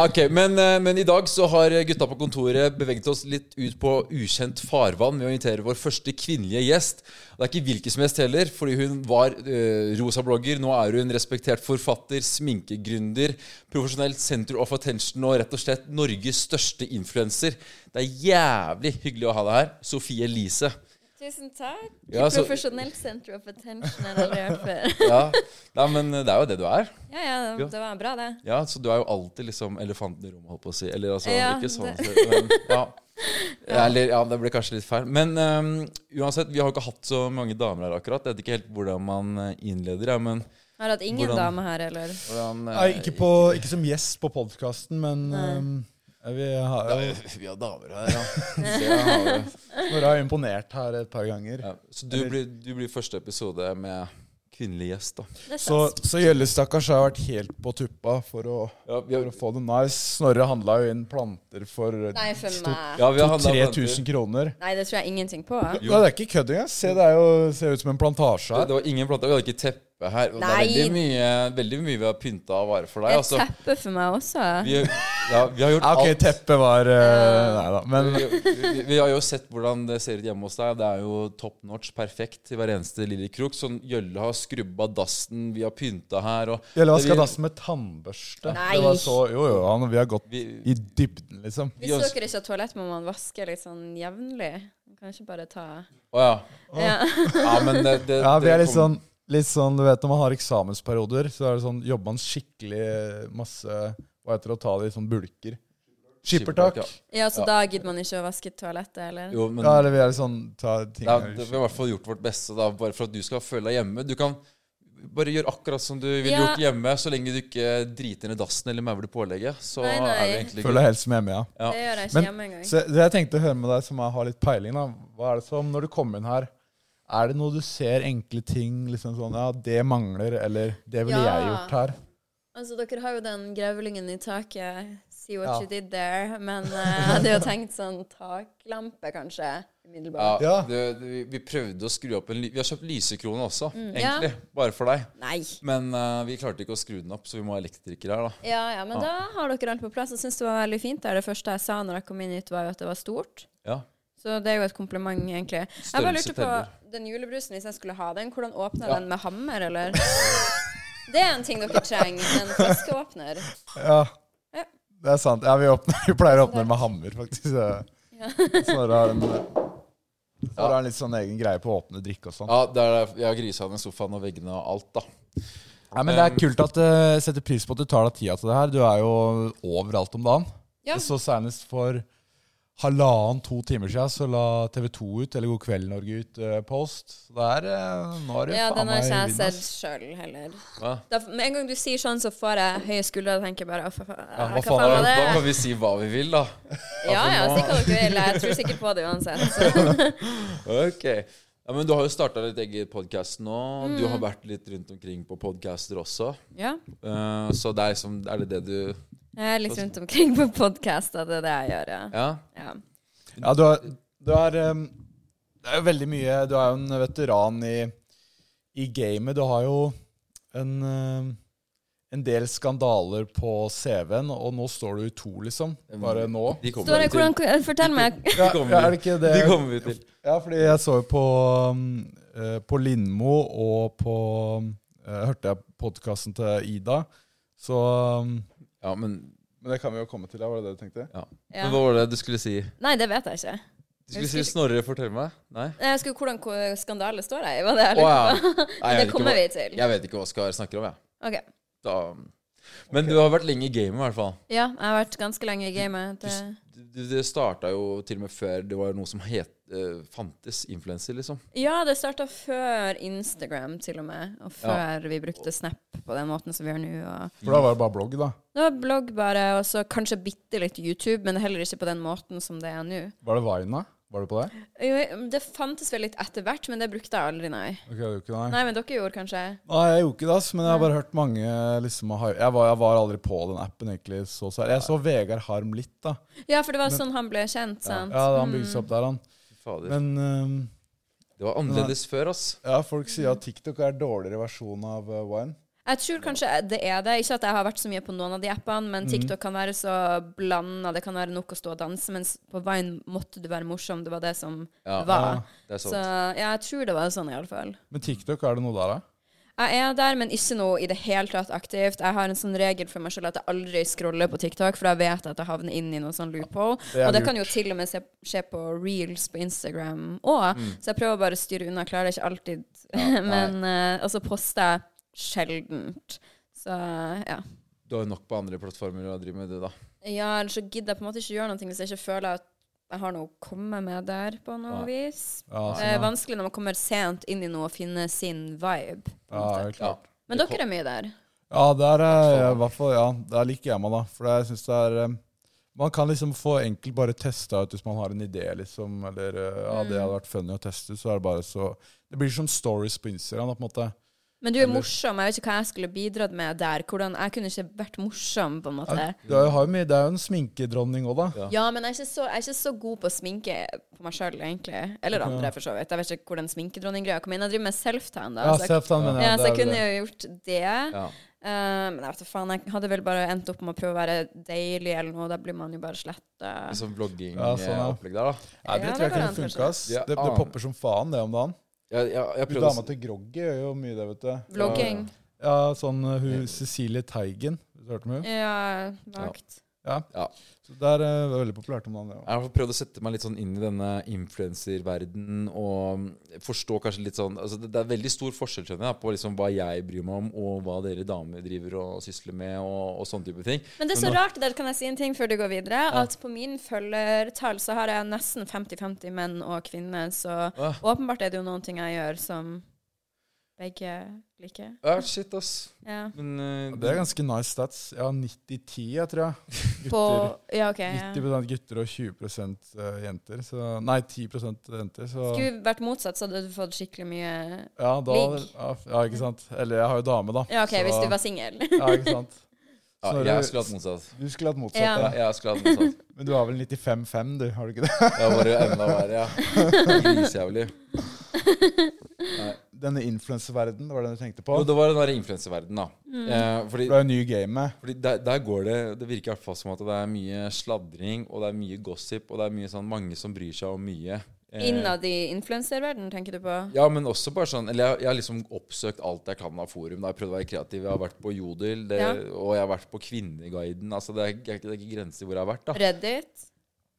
Speaker 2: Ok, men, eh, men i dag så har gutta på kontoret beveget oss litt ut på ukjent farvann med å invitere vår første kvinnelige gjest. Det er ikke hvilken som helst heller, fordi hun var eh, rosa-blogger. Nå er hun respektert forfatter, sminkegründer, profesjonelt center of attention og rett og slett Norges største influenser. Det er jævlig hyggelig å ha deg her, Sofie Elise.
Speaker 3: Tusen takk.
Speaker 2: Ja, altså- så-
Speaker 3: Profesjonelt center of attention har jeg aldri hørt før.
Speaker 2: Ja, Nei, men det er jo det du er.
Speaker 3: Ja, ja,
Speaker 2: Ja.
Speaker 3: det, det var bra, det.
Speaker 2: Ja, Så du er jo alltid liksom elefanten i rommet, holdt på å si. Eller altså,
Speaker 3: Ja,
Speaker 2: ikke sånn, men ja. Eller, ja, det ble kanskje litt feil. Men øhm, uansett, vi har jo ikke hatt så mange damer her akkurat. Jeg vet ikke helt hvordan man eh, innleder, ja, men
Speaker 3: Har du hatt ingen
Speaker 2: Hvordan-
Speaker 3: dame her, eller?
Speaker 2: hvordan, eh,
Speaker 1: Nei, ikke, på, ikke som gjest på podkasten, men
Speaker 3: Nei.
Speaker 1: um, vi har,
Speaker 2: Ja, Vi har damer her, ja. Det har vi.
Speaker 1: Snorre har imponert her et par ganger.
Speaker 2: ja. Så du blir, du blir første episode med kvinnelig gjest, da.
Speaker 3: Det er
Speaker 1: Så,
Speaker 3: sant.
Speaker 1: så Gjelle, stakkars, har vært helt på tuppa for å
Speaker 2: Ja, vi
Speaker 1: For å få det nice. Snorre handla jo inn planter for
Speaker 3: Nei, for meg.
Speaker 2: ja, vi har handlet
Speaker 1: 3000 kroner.
Speaker 3: Nei, det tror jeg ingenting på.
Speaker 1: Nei, det er ikke kødd engang. Se, det er jo, ser ut som en plantasje
Speaker 2: planter.
Speaker 1: her.
Speaker 2: Det var ingen planter. Vi hadde ikke teppe her. Og Det er
Speaker 3: Nei.
Speaker 2: veldig mye, veldig mye vi har pynta av varer for deg.
Speaker 3: Et
Speaker 2: Altså,
Speaker 3: teppe for meg også.
Speaker 2: vi, ja, vi har gjort
Speaker 1: Ja, ok,
Speaker 2: alt.
Speaker 1: teppet var eh, Nei da. Men
Speaker 2: vi, vi, vi har jo sett hvordan det ser ut hjemme hos deg. Det er jo top notch, perfekt til hver eneste lille krok. Sånn Gjølle har skrubba dassen, vi har pynta her og
Speaker 1: Gjelle vaska
Speaker 2: vi-
Speaker 1: dassen med tannbørste.
Speaker 3: Nei.
Speaker 1: Det var så, jo, jo, han, vi har gått
Speaker 2: vi-
Speaker 1: i dybden, liksom.
Speaker 2: vi
Speaker 3: Hvis
Speaker 2: ønsker-
Speaker 3: dere ikke har toalett, må man vaske litt sånn jevnlig. Man Kan ikke bare ta
Speaker 2: Å ja.
Speaker 3: Ja.
Speaker 2: ja. Men det, det,
Speaker 1: Ja, vi
Speaker 2: det
Speaker 1: er litt
Speaker 2: kom-
Speaker 1: sånn, litt sånn Du vet når man har eksamensperioder, så er det sånn, jobber man skikkelig masse Hva heter det å ta det i sånn bulker?
Speaker 2: Skippertak,
Speaker 1: Skippertak.
Speaker 2: ja.
Speaker 3: Ja, så da gidder man ikke å vaske toalettet, eller?
Speaker 2: Jo, men
Speaker 1: Ja, eller vi er litt sånn ta ting
Speaker 2: ja, det, vi har i hvert fall gjort vårt beste, da, bare for at du skal føle deg hjemme. Du kan bare gjøre akkurat som du ville
Speaker 3: Ja.
Speaker 2: gjort hjemme, så lenge du ikke driter ned dassen eller mauler pålegget. Så
Speaker 3: Nei, nei.
Speaker 2: er vi egentlig
Speaker 1: Føler deg helt som hjemme, ja.
Speaker 2: ja.
Speaker 3: Det gjør jeg
Speaker 1: Men-
Speaker 3: ikke hjemme engang.
Speaker 1: Så det jeg tenkte å høre med deg, som jeg har litt peiling, da. Hva er det som, når du kommer inn her, er det noe du ser enkle ting liksom sånn, ja, det mangler, eller det ville
Speaker 3: Ja.
Speaker 1: jeg gjort her?
Speaker 3: Altså, dere har jo den grevlingen i taket. See what
Speaker 1: Ja.
Speaker 3: you did there. Men eh, jeg hadde jo tenkt sånn taklampe, kanskje. Umiddelbart.
Speaker 2: Ja,
Speaker 1: Ja.
Speaker 2: det, det, vi prøvde å skru opp en ly- Vi har kjøpt lysekrone også,
Speaker 3: Mm. ja.
Speaker 2: egentlig. Bare for deg.
Speaker 3: Nei.
Speaker 2: Men eh, vi klarte ikke å skru den opp, så vi må ha elektriker her, da.
Speaker 3: Ja, ja, men da har dere alt på plass. Jeg syns det var veldig fint der. Det første jeg sa når jeg kom inn hit, var jo at det var stort.
Speaker 2: Ja.
Speaker 3: Så det er jo et kompliment, egentlig. Jeg bare
Speaker 2: Størrelse
Speaker 3: lurte på
Speaker 2: teller.
Speaker 3: den julebrusen, hvis jeg skulle ha den, hvordan åpner
Speaker 2: Ja.
Speaker 3: den med hammer, eller? Det er en ting dere trenger. En flaskeåpner.
Speaker 1: Ja.
Speaker 3: Ja.
Speaker 1: Det er sant. Ja, vi, åpner, vi pleier å åpne med hammer, faktisk.
Speaker 3: Ja.
Speaker 1: Snorre har en Snorre har en litt sånn egen greie på å åpne drikke og sånn.
Speaker 2: ja det er, jeg har grisa ned sofaen og veggene og alt, da.
Speaker 1: Nei, men det er kult at jeg setter pris på at du tar deg tida til det her. Du er jo overalt om dagen.
Speaker 3: Ja.
Speaker 1: Så senest for halvannen, to timer siden så la TV 2 ut, eller God kveld Norge ut, eh, post. Så det er eh, Nå er det
Speaker 3: Ja, den har ikke jeg
Speaker 1: vind,
Speaker 3: sett
Speaker 1: ass.
Speaker 3: sjøl heller.
Speaker 2: Hva?
Speaker 3: Da, med en gang du sier sånn, så får jeg høye skuldre og tenker bare «Å, fa- fa-
Speaker 1: Ja, hva
Speaker 3: hva
Speaker 1: faen
Speaker 3: faen
Speaker 1: er
Speaker 2: Da, da
Speaker 3: var det?
Speaker 2: kan vi si hva vi vil, da.
Speaker 3: Ja ja, si hva dere vil. Jeg tror sikkert på det uansett. Så.
Speaker 2: Ok. Ja, men Du har jo starta litt eget podkast nå. Du
Speaker 3: Mm.
Speaker 2: har vært litt rundt omkring på podcaster også.
Speaker 3: Ja.
Speaker 2: Eh, så det er, liksom, er det det du
Speaker 3: Jeg er litt rundt omkring på podkaster, det er det jeg gjør, ja.
Speaker 2: Ja?
Speaker 3: ja.
Speaker 1: Ja, du er, du er ehm, Det er jo veldig mye Du er jo en veteran i, i gamet. Du har jo en, ehm, en del skandaler på CV-en, og nå står du i to, liksom. Bare nå.
Speaker 2: De kommer
Speaker 3: Står det,
Speaker 2: vi til.
Speaker 3: hvordan, eh, fortell meg.
Speaker 2: De kommer,
Speaker 1: Ja, er
Speaker 2: vi-
Speaker 1: det ikke det?
Speaker 2: de kommer vi til.
Speaker 1: Ja, fordi jeg så jo på, um, eh, på Lindmo og på um, eh, Hørte jeg podkasten til Ida, så um,
Speaker 2: Ja, men,
Speaker 1: Men det kan vi jo komme til, da, var det det du tenkte?
Speaker 2: ja.
Speaker 3: Ja.
Speaker 2: men hva var det du skulle si?
Speaker 3: Nei, det vet jeg ikke.
Speaker 2: Du skulle si Snorre, fortell meg. Nei?
Speaker 3: Jeg skulle, hvordan ko- skandale står jeg i? Var det jeg
Speaker 2: Å,
Speaker 3: lurte
Speaker 2: ja.
Speaker 3: på?
Speaker 2: Nei, jeg
Speaker 3: Det
Speaker 2: vet ikke
Speaker 3: kommer
Speaker 2: hva-
Speaker 3: vi til.
Speaker 2: Jeg vet ikke hva Skar snakker om, jeg.
Speaker 3: Ok.
Speaker 2: Da- Men du har vært lenge i gamet, i hvert fall.
Speaker 3: Ja, jeg har vært ganske lenge i gamet.
Speaker 2: Du,
Speaker 3: Det,
Speaker 2: du, det starta jo til og med før det var noe som het, eh, fantes influenser, liksom.
Speaker 3: ja, det starta før Instagram, til og med. Og før vi brukte Snap på den måten som vi gjør nå. Og
Speaker 1: For da var det bare blogg, da.
Speaker 3: det var blogg bare, og så kanskje bitte litt YouTube, men heller ikke på den måten som det er nå.
Speaker 1: Var det Vine, da? Var du på det?
Speaker 3: Jo, Det fantes vel litt etter hvert, men det brukte jeg aldri, nei.
Speaker 1: Ok, det er jo ikke nei.
Speaker 3: Nei, men dere gjorde kanskje
Speaker 1: Nei, jeg gjorde ikke det, ass, men jeg har bare hørt mange liksom, ha- jeg, var, jeg var aldri på den appen, egentlig. Så, sær- jeg så Vegard Harm litt, da.
Speaker 3: Ja, for det var sånn han ble kjent, sant?
Speaker 1: Ja, Han bygde seg opp der, han.
Speaker 2: Fy Fader.
Speaker 1: Men um,
Speaker 2: det var annerledes før, ass.
Speaker 1: ja, folk sier at TikTok er en dårligere versjon av uh, Vine.
Speaker 3: Jeg tror kanskje det er det. Ikke at jeg har vært så mye på noen av de appene, men TikTok kan være så blanda. Det kan være nok å stå og danse, mens på Vine måtte du være morsom. Det var det som
Speaker 2: Ja,
Speaker 3: var.
Speaker 2: Det er
Speaker 3: så
Speaker 2: sant.
Speaker 3: ja, jeg tror det var sånn, iallfall.
Speaker 1: Men TikTok, er det noe der, da?
Speaker 3: Jeg er der, men ikke noe i det hele tatt aktivt. Jeg har en sånn regel for meg selv at jeg aldri scroller på TikTok, for da vet jeg at jeg havner inn i noe sånn loophole.
Speaker 1: Det er
Speaker 3: og det
Speaker 1: lurt.
Speaker 3: kan jo til og med se- skje på reels på Instagram òg, så jeg prøver bare å styre unna. Jeg klarer det ikke alltid. men eh, Og så poster jeg sjeldent. Så ja.
Speaker 2: Du har jo nok på andre plattformer å drive med det, da.
Speaker 3: Ja, ellers så gidder jeg på en måte ikke gjøre noe hvis jeg ikke føler at jeg har noe å komme med der på noe
Speaker 2: Nei.
Speaker 3: vis.
Speaker 1: Ja,
Speaker 3: Det er
Speaker 1: sånn,
Speaker 3: vanskelig når man kommer sent inn i noe og finner sin vibe. på en
Speaker 1: ja,
Speaker 3: måte.
Speaker 1: helt klart.
Speaker 3: Men dere er mye der.
Speaker 1: Ja, der er jeg i hvert fall Ja, der liker jeg meg, da. For jeg syns det er eh, Man kan liksom få enkelt bare testa ut hvis man har en idé, liksom. Eller eh, ja, det hadde vært funny å teste ut, så er det bare så Det blir som stories på Instagram, da, på en måte.
Speaker 3: Men du er morsom. Jeg vet ikke hva jeg skulle bidratt med der. Hvordan, jeg kunne ikke vært morsom, på en måte.
Speaker 1: Ja, Du har jo- har jo mye, det er jo en sminkedronning òg, da.
Speaker 2: Ja.
Speaker 3: Ja, men jeg er, ikke så, jeg er ikke så god på å sminke på meg sjøl, egentlig. Eller andre, for så vidt. Jeg vet ikke hvordan sminkedronninggreia kom inn. Jeg driver med self-tan, da.
Speaker 1: Ja,
Speaker 3: så jeg,
Speaker 1: Seftan, mener jeg.
Speaker 3: ja,
Speaker 1: det
Speaker 3: så
Speaker 1: er
Speaker 3: jeg
Speaker 1: jo
Speaker 3: kunne
Speaker 1: det.
Speaker 3: jo gjort det.
Speaker 2: Ja.
Speaker 3: Eh, men jeg vet da faen, jeg hadde vel bare endt opp med å prøve å være deilig eller noe, da blir man jo bare sletta.
Speaker 1: Ja,
Speaker 2: Sånn
Speaker 1: sånn, ja.
Speaker 2: vlogging-opplegg der, da.
Speaker 1: Nei, det tror jeg
Speaker 3: Ja, det går
Speaker 1: kunne
Speaker 3: an, kanskje.
Speaker 1: funka, ass.
Speaker 2: Ja,
Speaker 1: Det, det
Speaker 2: annen.
Speaker 1: popper som faen, det om dagen.
Speaker 2: Jeg, jeg, jeg
Speaker 1: Hun
Speaker 2: prøvde
Speaker 1: dama til Groggy gjør jo mye det, vet du.
Speaker 3: Vlogging.
Speaker 1: Ja, sånn eh, hun Cecilie Teigen. Hvis du hørte om hun?
Speaker 3: Ja, vagt.
Speaker 1: Ja.
Speaker 2: Ja.
Speaker 1: Så det er eh, veldig populært om dagen, det òg.
Speaker 2: Jeg har prøvd å sette meg litt sånn inn i denne influenserverdenen og mm, forstå kanskje litt sånn altså det, det er veldig stor forskjell skjønner jeg, på liksom hva jeg bryr meg om, og hva dere damer driver og sysler med, og, og sånne type ting.
Speaker 3: Men det er så rart, der kan jeg si en ting før du går videre, at på min følgertall så har jeg nesten 50-50 menn og kvinner, så
Speaker 2: Ja.
Speaker 3: åpenbart er det jo noen ting jeg gjør som begge liker.
Speaker 2: Ja, shit, ass.
Speaker 3: Ja.
Speaker 2: Men eh,
Speaker 1: Ja, Det er ganske nice stats. Jeg har 90-10, jeg tror jeg.
Speaker 3: På,
Speaker 1: Gutter.
Speaker 3: ja, ok. Ja.
Speaker 1: 90 gutter og 20 jenter. Så, nei, 10 jenter. Så
Speaker 3: Skulle vi vært motsatt, så hadde du fått skikkelig mye
Speaker 1: ja, da,
Speaker 3: ligg.
Speaker 1: ja, f- ja, ikke sant. Eller jeg har jo dame, da.
Speaker 3: Ja, OK,
Speaker 1: så,
Speaker 3: hvis du var singel.
Speaker 1: Ja, ikke sant.
Speaker 2: ja,
Speaker 1: Snorre-
Speaker 2: jeg skulle hatt motsatt.
Speaker 1: Du skulle hatt motsatt,
Speaker 3: Ja.
Speaker 2: Ja,
Speaker 1: ja.
Speaker 2: jeg skulle hatt motsatt.
Speaker 1: Men du har vel 95-5, du? Har du ikke det?
Speaker 2: Jeg var jo enda verre, ja. Grisejævlig.
Speaker 1: Denne influenserverdenen, det var den du tenkte på?
Speaker 2: Jo, det var den der influenserverdenen, da.
Speaker 3: Mm.
Speaker 2: Eh, fordi
Speaker 1: Du er jo ny i gamet.
Speaker 2: Fordi der, der går det Det virker i hvert fall som at det er mye sladring, og det er mye gossip, og det er mye sånn mange som bryr seg om mye. Eh,
Speaker 3: Innad i influenserverdenen, tenker du på?
Speaker 2: Ja, men også bare sånn Eller jeg, jeg har liksom oppsøkt alt jeg kan av forum. Da. Jeg har prøvd å være kreativ. Jeg har vært på Jodel, det,
Speaker 3: Ja.
Speaker 2: og jeg har vært på Kvinneguiden. Altså, det er, det er ikke- det er ikke grenser hvor jeg har vært, da.
Speaker 3: Reddit?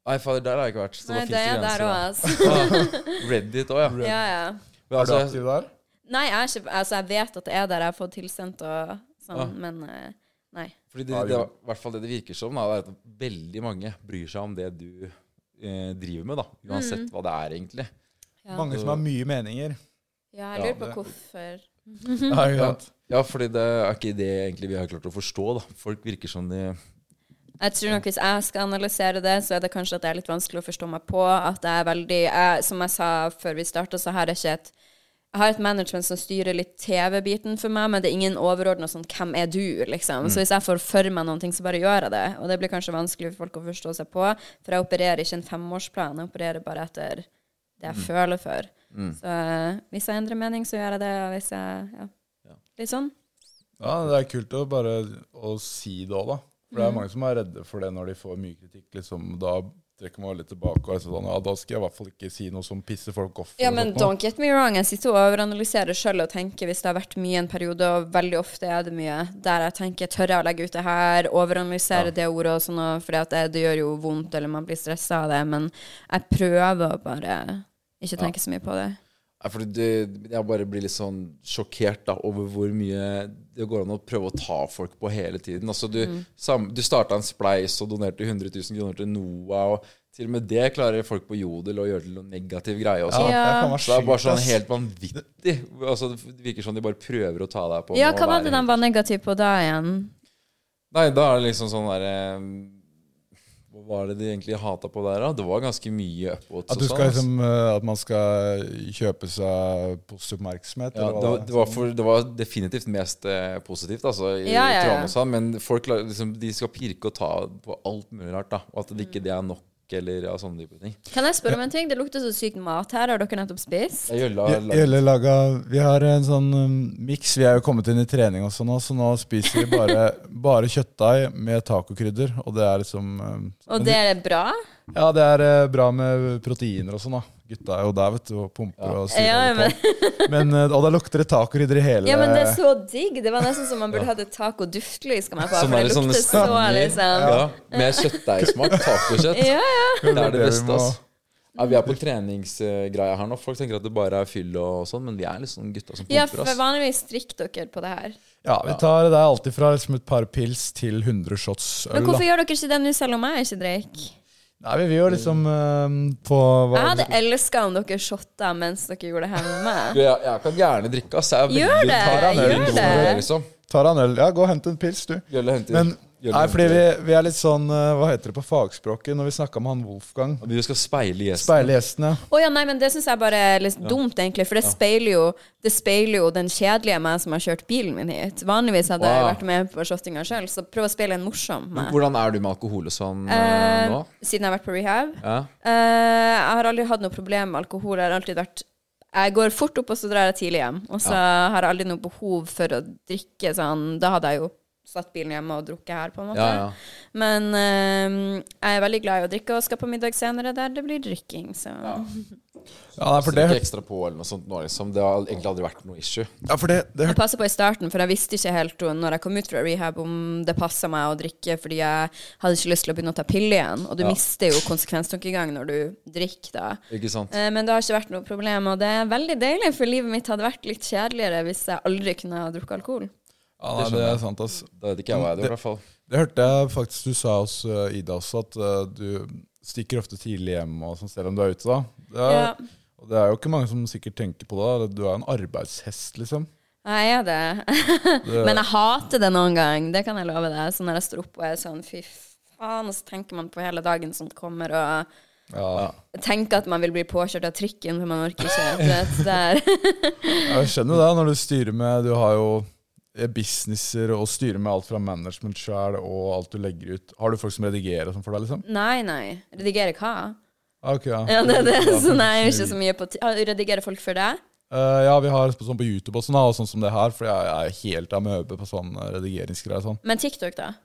Speaker 2: Nei, fader, der har jeg ikke vært. Så
Speaker 3: Nei,
Speaker 2: da
Speaker 3: det er jeg
Speaker 2: fins det
Speaker 3: der òg,
Speaker 2: grenser.
Speaker 3: altså.
Speaker 2: da. Ah, Reddit òg, ja.
Speaker 3: Ja, ja.
Speaker 2: Men
Speaker 1: Er du
Speaker 2: altså, jeg-
Speaker 1: aktiv der?
Speaker 3: Nei, jeg, er ikke, altså, jeg vet at det er der jeg har fått tilsendt og sånn, men eh, nei.
Speaker 2: Fordi det,
Speaker 1: Ja,
Speaker 2: det,
Speaker 1: jo.
Speaker 2: er i hvert fall det det virker som, da, det er at veldig mange bryr seg om det du eh, driver med, da. Uansett hva det er, egentlig.
Speaker 3: Ja.
Speaker 1: Mange som har mye meninger.
Speaker 3: Ja, jeg lurer
Speaker 2: Ja,
Speaker 3: på
Speaker 1: det-
Speaker 3: hvorfor. Mhm.
Speaker 1: Ja, ikke sant?
Speaker 2: Ja, fordi det er ikke det egentlig vi har klart å forstå, da. Folk virker som de
Speaker 3: Jeg tror nok hvis jeg skal analysere det, så er det kanskje at det er litt vanskelig å forstå meg på. At jeg er veldig jeg, Som jeg sa før vi starta, så har jeg ikke et jeg har et management som styrer litt TV-biten for meg, men det er ingen overordna sånn 'Hvem er du?' liksom. Så hvis jeg får for meg noen ting, så bare gjør jeg det. Og det blir kanskje vanskelig for folk å forstå seg på, for jeg opererer ikke en femårsplan. Jeg opererer bare etter det jeg føler for. Så eh, hvis jeg endrer mening, så gjør jeg det. Og hvis jeg Ja. Litt sånn.
Speaker 1: Ja, det er kult å bare å si det òg, da. For
Speaker 3: Mm.
Speaker 1: det er mange som er redde for det når de får mye kritikk. liksom, Da trekker man litt tilbake og er sånn Ja, da skal jeg i hvert fall ikke si noe som pisser folk off.
Speaker 3: Ja,
Speaker 1: eller
Speaker 3: men
Speaker 1: sånt noe.
Speaker 3: don't get me wrong. Jeg sitter og overanalyserer sjøl og tenker hvis det har vært mye en periode, og veldig ofte er det mye, der jeg tenker tør jeg å legge ut det her, overanalysere det ordet og sånn, og- fordi at det, det gjør jo vondt, eller man blir stressa av det, men jeg prøver å bare ikke tenke så mye på det.
Speaker 2: Nei, for det, jeg bare blir litt sånn sjokkert da, over hvor mye det går an å prøve å ta folk på hele tiden. Altså, du sam, du starta en spleis og donerte 100 000 kroner til NOAH. Og til og med det klarer folk på Jodel å gjøre til noen negativ greie også.
Speaker 1: Ja, det kan være
Speaker 2: Så det er bare
Speaker 1: sjukt,
Speaker 2: sånn
Speaker 1: ass.
Speaker 2: helt vanvittig. Altså, det virker som de bare prøver å ta deg på.
Speaker 3: Ja,
Speaker 2: med å
Speaker 3: hva var
Speaker 2: være
Speaker 3: det de var negative på da igjen?
Speaker 2: Nei, da er det liksom sånn derre Hva var det de egentlig hata på der, da? Det var ganske mye upvotes.
Speaker 1: At,
Speaker 2: og
Speaker 1: du
Speaker 2: sånn,
Speaker 1: skal,
Speaker 2: ass.
Speaker 1: liksom, eh, at man skal kjøpe seg positiv oppmerksomhet?
Speaker 2: Ja,
Speaker 1: eller hva
Speaker 2: det, var-
Speaker 1: det er.
Speaker 2: det, var for, det var definitivt mest eh, positivt, altså, i
Speaker 3: Ja, ja, ja.
Speaker 2: Trondheimsand. Men folk lar- liksom, de skal pirke og ta på alt mulig rart, da. Og at det
Speaker 3: Mm.
Speaker 2: ikke det er nok, eller ja, sånne type ting.
Speaker 3: Kan jeg spørre om en ting? Det lukter så sykt mat her. Har dere nettopp spist?
Speaker 2: Jeg gjør la,
Speaker 1: Vi-
Speaker 2: la,
Speaker 1: Gjelle laga Vi har en sånn um, miks. Vi er jo kommet inn i trening sånn også nå, så nå spiser vi bare, bare kjøttdeig med tacokrydder. Og det er liksom um,
Speaker 3: Og det er bra?
Speaker 1: Ja, det er eh, bra med proteiner og sånn, da. Gutta er jo der, vet du, og pumper og styrer
Speaker 3: Ja,
Speaker 1: og på. Men, eh, og da lukter det tacokrydder i hele
Speaker 3: Ja, men det er så digg. Det var nesten som man burde hatt et taco-duftlys. Kan man få,
Speaker 2: Sånn
Speaker 3: for
Speaker 2: er
Speaker 3: det
Speaker 2: det sånne
Speaker 3: lukter så,
Speaker 2: stanger.
Speaker 3: liksom.
Speaker 2: ja, Med kjøttdeigsmak, tacokjøtt.
Speaker 3: Ja, ja.
Speaker 2: Det er det
Speaker 1: vi
Speaker 2: beste,
Speaker 1: må-
Speaker 2: ass. Ja, vi er på treningsgreia her nå. Folk tenker at det bare er fyll og sånn, men vi er litt sånn gutta som
Speaker 3: Ja,
Speaker 2: pumper,
Speaker 3: for
Speaker 2: ass.
Speaker 3: vanligvis strikker dere på det her.
Speaker 1: Ja, vi tar det er alltid fra liksom et par pils til 100 shots øl.
Speaker 3: Men hvorfor
Speaker 1: Da.
Speaker 3: gjør dere ikke det nå, selv om jeg ikke drakk?
Speaker 1: Nei, vi vil jo liksom um, på hva,
Speaker 3: Jeg hadde elska om dere shotta mens dere gjorde det her med meg.
Speaker 2: Du, Jeg, jeg kan gjerne drikke, ass. Jeg er
Speaker 3: Gjør
Speaker 2: veldig-
Speaker 3: det,
Speaker 2: tar en øl
Speaker 3: gjør
Speaker 2: nå,
Speaker 3: det.
Speaker 2: Liksom.
Speaker 1: Tar han øl? Ja, gå og hent en pils, du.
Speaker 2: Gjølle henter.
Speaker 1: Men
Speaker 2: Gjølle
Speaker 1: nei, fordi vi,
Speaker 2: henter.
Speaker 1: vi er litt sånn eh, Hva heter det på fagspråket når vi snakka med han Wolfgang?
Speaker 2: Vi skal speile gjesten.
Speaker 1: Speile gjestene.
Speaker 3: Å ja, nei, men det syns jeg bare er litt dumt, egentlig. For det speiler jo, det speiler jo den kjedelige meg som har kjørt bilen min hit. Vanligvis hadde jeg
Speaker 2: Wow.
Speaker 3: vært med på shottinga sjøl, så prøv å speile en morsom meg.
Speaker 2: Hvordan er du med alkohol og sånn eh,
Speaker 3: Eh,
Speaker 2: nå?
Speaker 3: siden jeg har vært på rehab.
Speaker 2: Ja.
Speaker 3: Eh, jeg har aldri hatt noe problem med alkohol. Jeg har alltid vært Jeg går fort opp, og så drar jeg tidlig hjem. Og så har jeg aldri noe behov for å drikke sånn. Da hadde jeg jo satt bilen hjemme og drukket her, på en måte.
Speaker 2: Ja, ja.
Speaker 3: Men eh, jeg er veldig glad i å drikke og skal på middag senere der det blir drikking, så
Speaker 1: Ja, nei, for
Speaker 2: Så det
Speaker 1: det,
Speaker 2: er ikke ekstra på eller noe sånt nå, liksom. Det har egentlig aldri vært noe issue.
Speaker 1: ja, for det, det
Speaker 3: Jeg passet på i starten, for jeg visste ikke helt uh, når jeg kom ut fra rehab om det passa meg å drikke, fordi jeg hadde ikke lyst til å begynne å ta piller igjen. Og du mister jo konsekvenstankegang når du drikker, da.
Speaker 2: Ikke sant?
Speaker 3: Eh, Men det har ikke vært noe problem, og det er veldig deilig, for livet mitt hadde vært litt kjedeligere hvis jeg aldri kunne ha drukket alkohol.
Speaker 1: Ja, nei, det er sant, ass.
Speaker 2: Da vet ikke jeg hva jeg gjør, i hvert fall.
Speaker 1: Det hørte jeg faktisk du sa hos eh, Ida også, at eh, du stikker ofte tidlig hjem og sånn, selv om du er ute, da. Det er,
Speaker 3: Ja.
Speaker 1: Og det er jo ikke mange som sikkert tenker på det. da. Du er en arbeidshest, liksom.
Speaker 3: Jeg er det. Men jeg hater det noen gang, det kan jeg love deg. Så når jeg står opp og er sånn, fy faen, og så tenker man på hele dagen som kommer, og
Speaker 1: Ja.
Speaker 3: tenker at man vil bli påkjørt av trikken, for man orker ikke. du vet, Det er
Speaker 1: Jeg skjønner det, når du styrer med Du har jo eh, businesser og styrer med alt fra management sjøl og alt du legger ut. Har du folk som redigerer og sånn for deg, liksom?
Speaker 3: Nei, nei. Redigere hva?
Speaker 1: Ah, ok, ja.
Speaker 3: Ja, det er det. Så nei, jeg er
Speaker 1: sjukt.
Speaker 3: ikke så mye på ti- Redigere folk for deg?
Speaker 1: Eh, ja, vi har sånn på YouTube og sånn, da, og sånn som det her, for jeg er helt amøbe på sånn eh, redigeringsgreier. og Sånn.
Speaker 3: Men TikTok, da?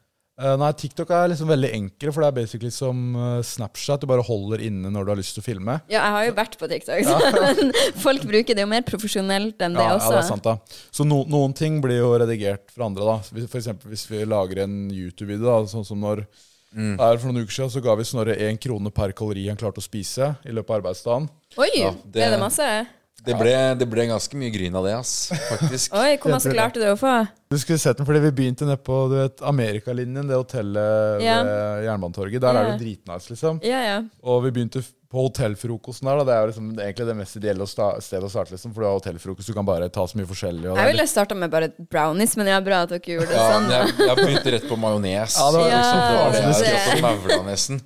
Speaker 1: Eh, nei, TikTok er liksom veldig enkel, for det er basically som eh, Snapchat. Du bare holder inne når du har lyst til å filme.
Speaker 3: Ja, jeg har jo vært på TikTok, men folk bruker det jo mer profesjonelt enn det
Speaker 1: ja,
Speaker 3: også.
Speaker 1: Ja, det er sant da. Så no, noen ting blir jo redigert for andre. da. Hvis- For eksempel hvis vi lager en YouTube-video, da, sånn som når her For noen uker siden så ga vi Snorre én krone per kalori han klarte å spise i løpet av arbeidsdagen.
Speaker 3: Oi,
Speaker 2: Ja,
Speaker 3: det...
Speaker 2: det-
Speaker 3: ble det masse?
Speaker 2: Det ble, det ble ganske mye gryn av det, ass. Faktisk.
Speaker 3: Oi, hvor masse klarte du å få?
Speaker 1: Du skulle sett den, fordi Vi begynte nede på du vet, Amerikalinjen, det hotellet
Speaker 3: Ja.
Speaker 1: ved Jernbanetorget. Der er det
Speaker 3: Ja.
Speaker 1: dritnice, liksom.
Speaker 3: Ja, ja.
Speaker 1: Og vi begynte f- på hotellfrokosten der, da, det er jo liksom egentlig det mest ideelle å sta- stedet å starte, liksom, for du har hotellfrokost, du kan bare ta så mye forskjellig. Og det er
Speaker 3: Jeg ville starta med bare brownies, men ja, bra at dere gjorde det
Speaker 2: Ja,
Speaker 3: sånn.
Speaker 2: men jeg, jeg begynte rett på majones.
Speaker 1: Ja, det var
Speaker 3: liksom
Speaker 2: det var det
Speaker 1: Ja,
Speaker 2: jeg
Speaker 1: det-
Speaker 2: skrev på maula nesten.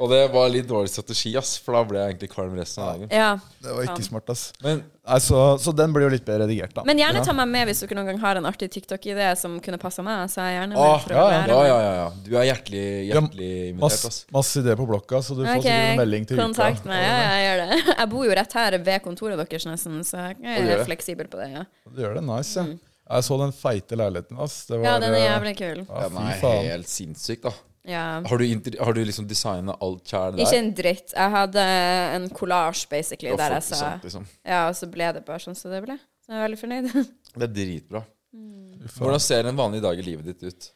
Speaker 2: Og det var litt dårlig strategi, ass, for da ble jeg egentlig kvalm resten av dagen.
Speaker 3: Ja.
Speaker 1: Det var ikke smart, ass.
Speaker 2: Men
Speaker 1: Nei, så, så den blir jo litt bedre redigert, da.
Speaker 3: Men gjerne ta meg med hvis dere noen gang har en artig TikTok-idé som kunne passa meg. Så er jeg gjerne med
Speaker 2: Åh,
Speaker 3: for å
Speaker 2: Ah, ja,
Speaker 3: lære
Speaker 2: ja,
Speaker 3: meg.
Speaker 2: ja, ja. Du er hjertelig, hjertelig
Speaker 1: Mass,
Speaker 2: invitert, ass.
Speaker 1: masse ideer på blokka, så du får
Speaker 3: Ok,
Speaker 1: sikkert en melding til
Speaker 3: kontakt meg. Ja, ja, jeg gjør det. Jeg bor jo rett her ved kontoret deres, nesten, så jeg
Speaker 2: du gjør
Speaker 3: er
Speaker 2: det?
Speaker 3: fleksibel på det. Ja,
Speaker 1: Du gjør det nice, ja. Jeg så den feite leiligheten, ass. Det var,
Speaker 3: Mm. ja den er
Speaker 1: eh,
Speaker 3: jævlig kul.
Speaker 1: Ja,
Speaker 2: Den
Speaker 1: fy
Speaker 2: er
Speaker 1: faen.
Speaker 2: helt sinnssyk, da.
Speaker 3: Ja.
Speaker 2: Har du, inter- har du liksom designa alt sjæl
Speaker 3: Ikke
Speaker 2: der?
Speaker 3: en dritt. Jeg hadde en kollasj, basically,
Speaker 2: Og
Speaker 3: der altså. jeg sa
Speaker 2: fokusant, liksom.
Speaker 3: Ja, og så ble det bare sånn som det ble. Så jeg er veldig fornøyd.
Speaker 2: Det er dritbra.
Speaker 1: Fy faen.
Speaker 2: Hvordan ser en vanlig dag i livet ditt ut?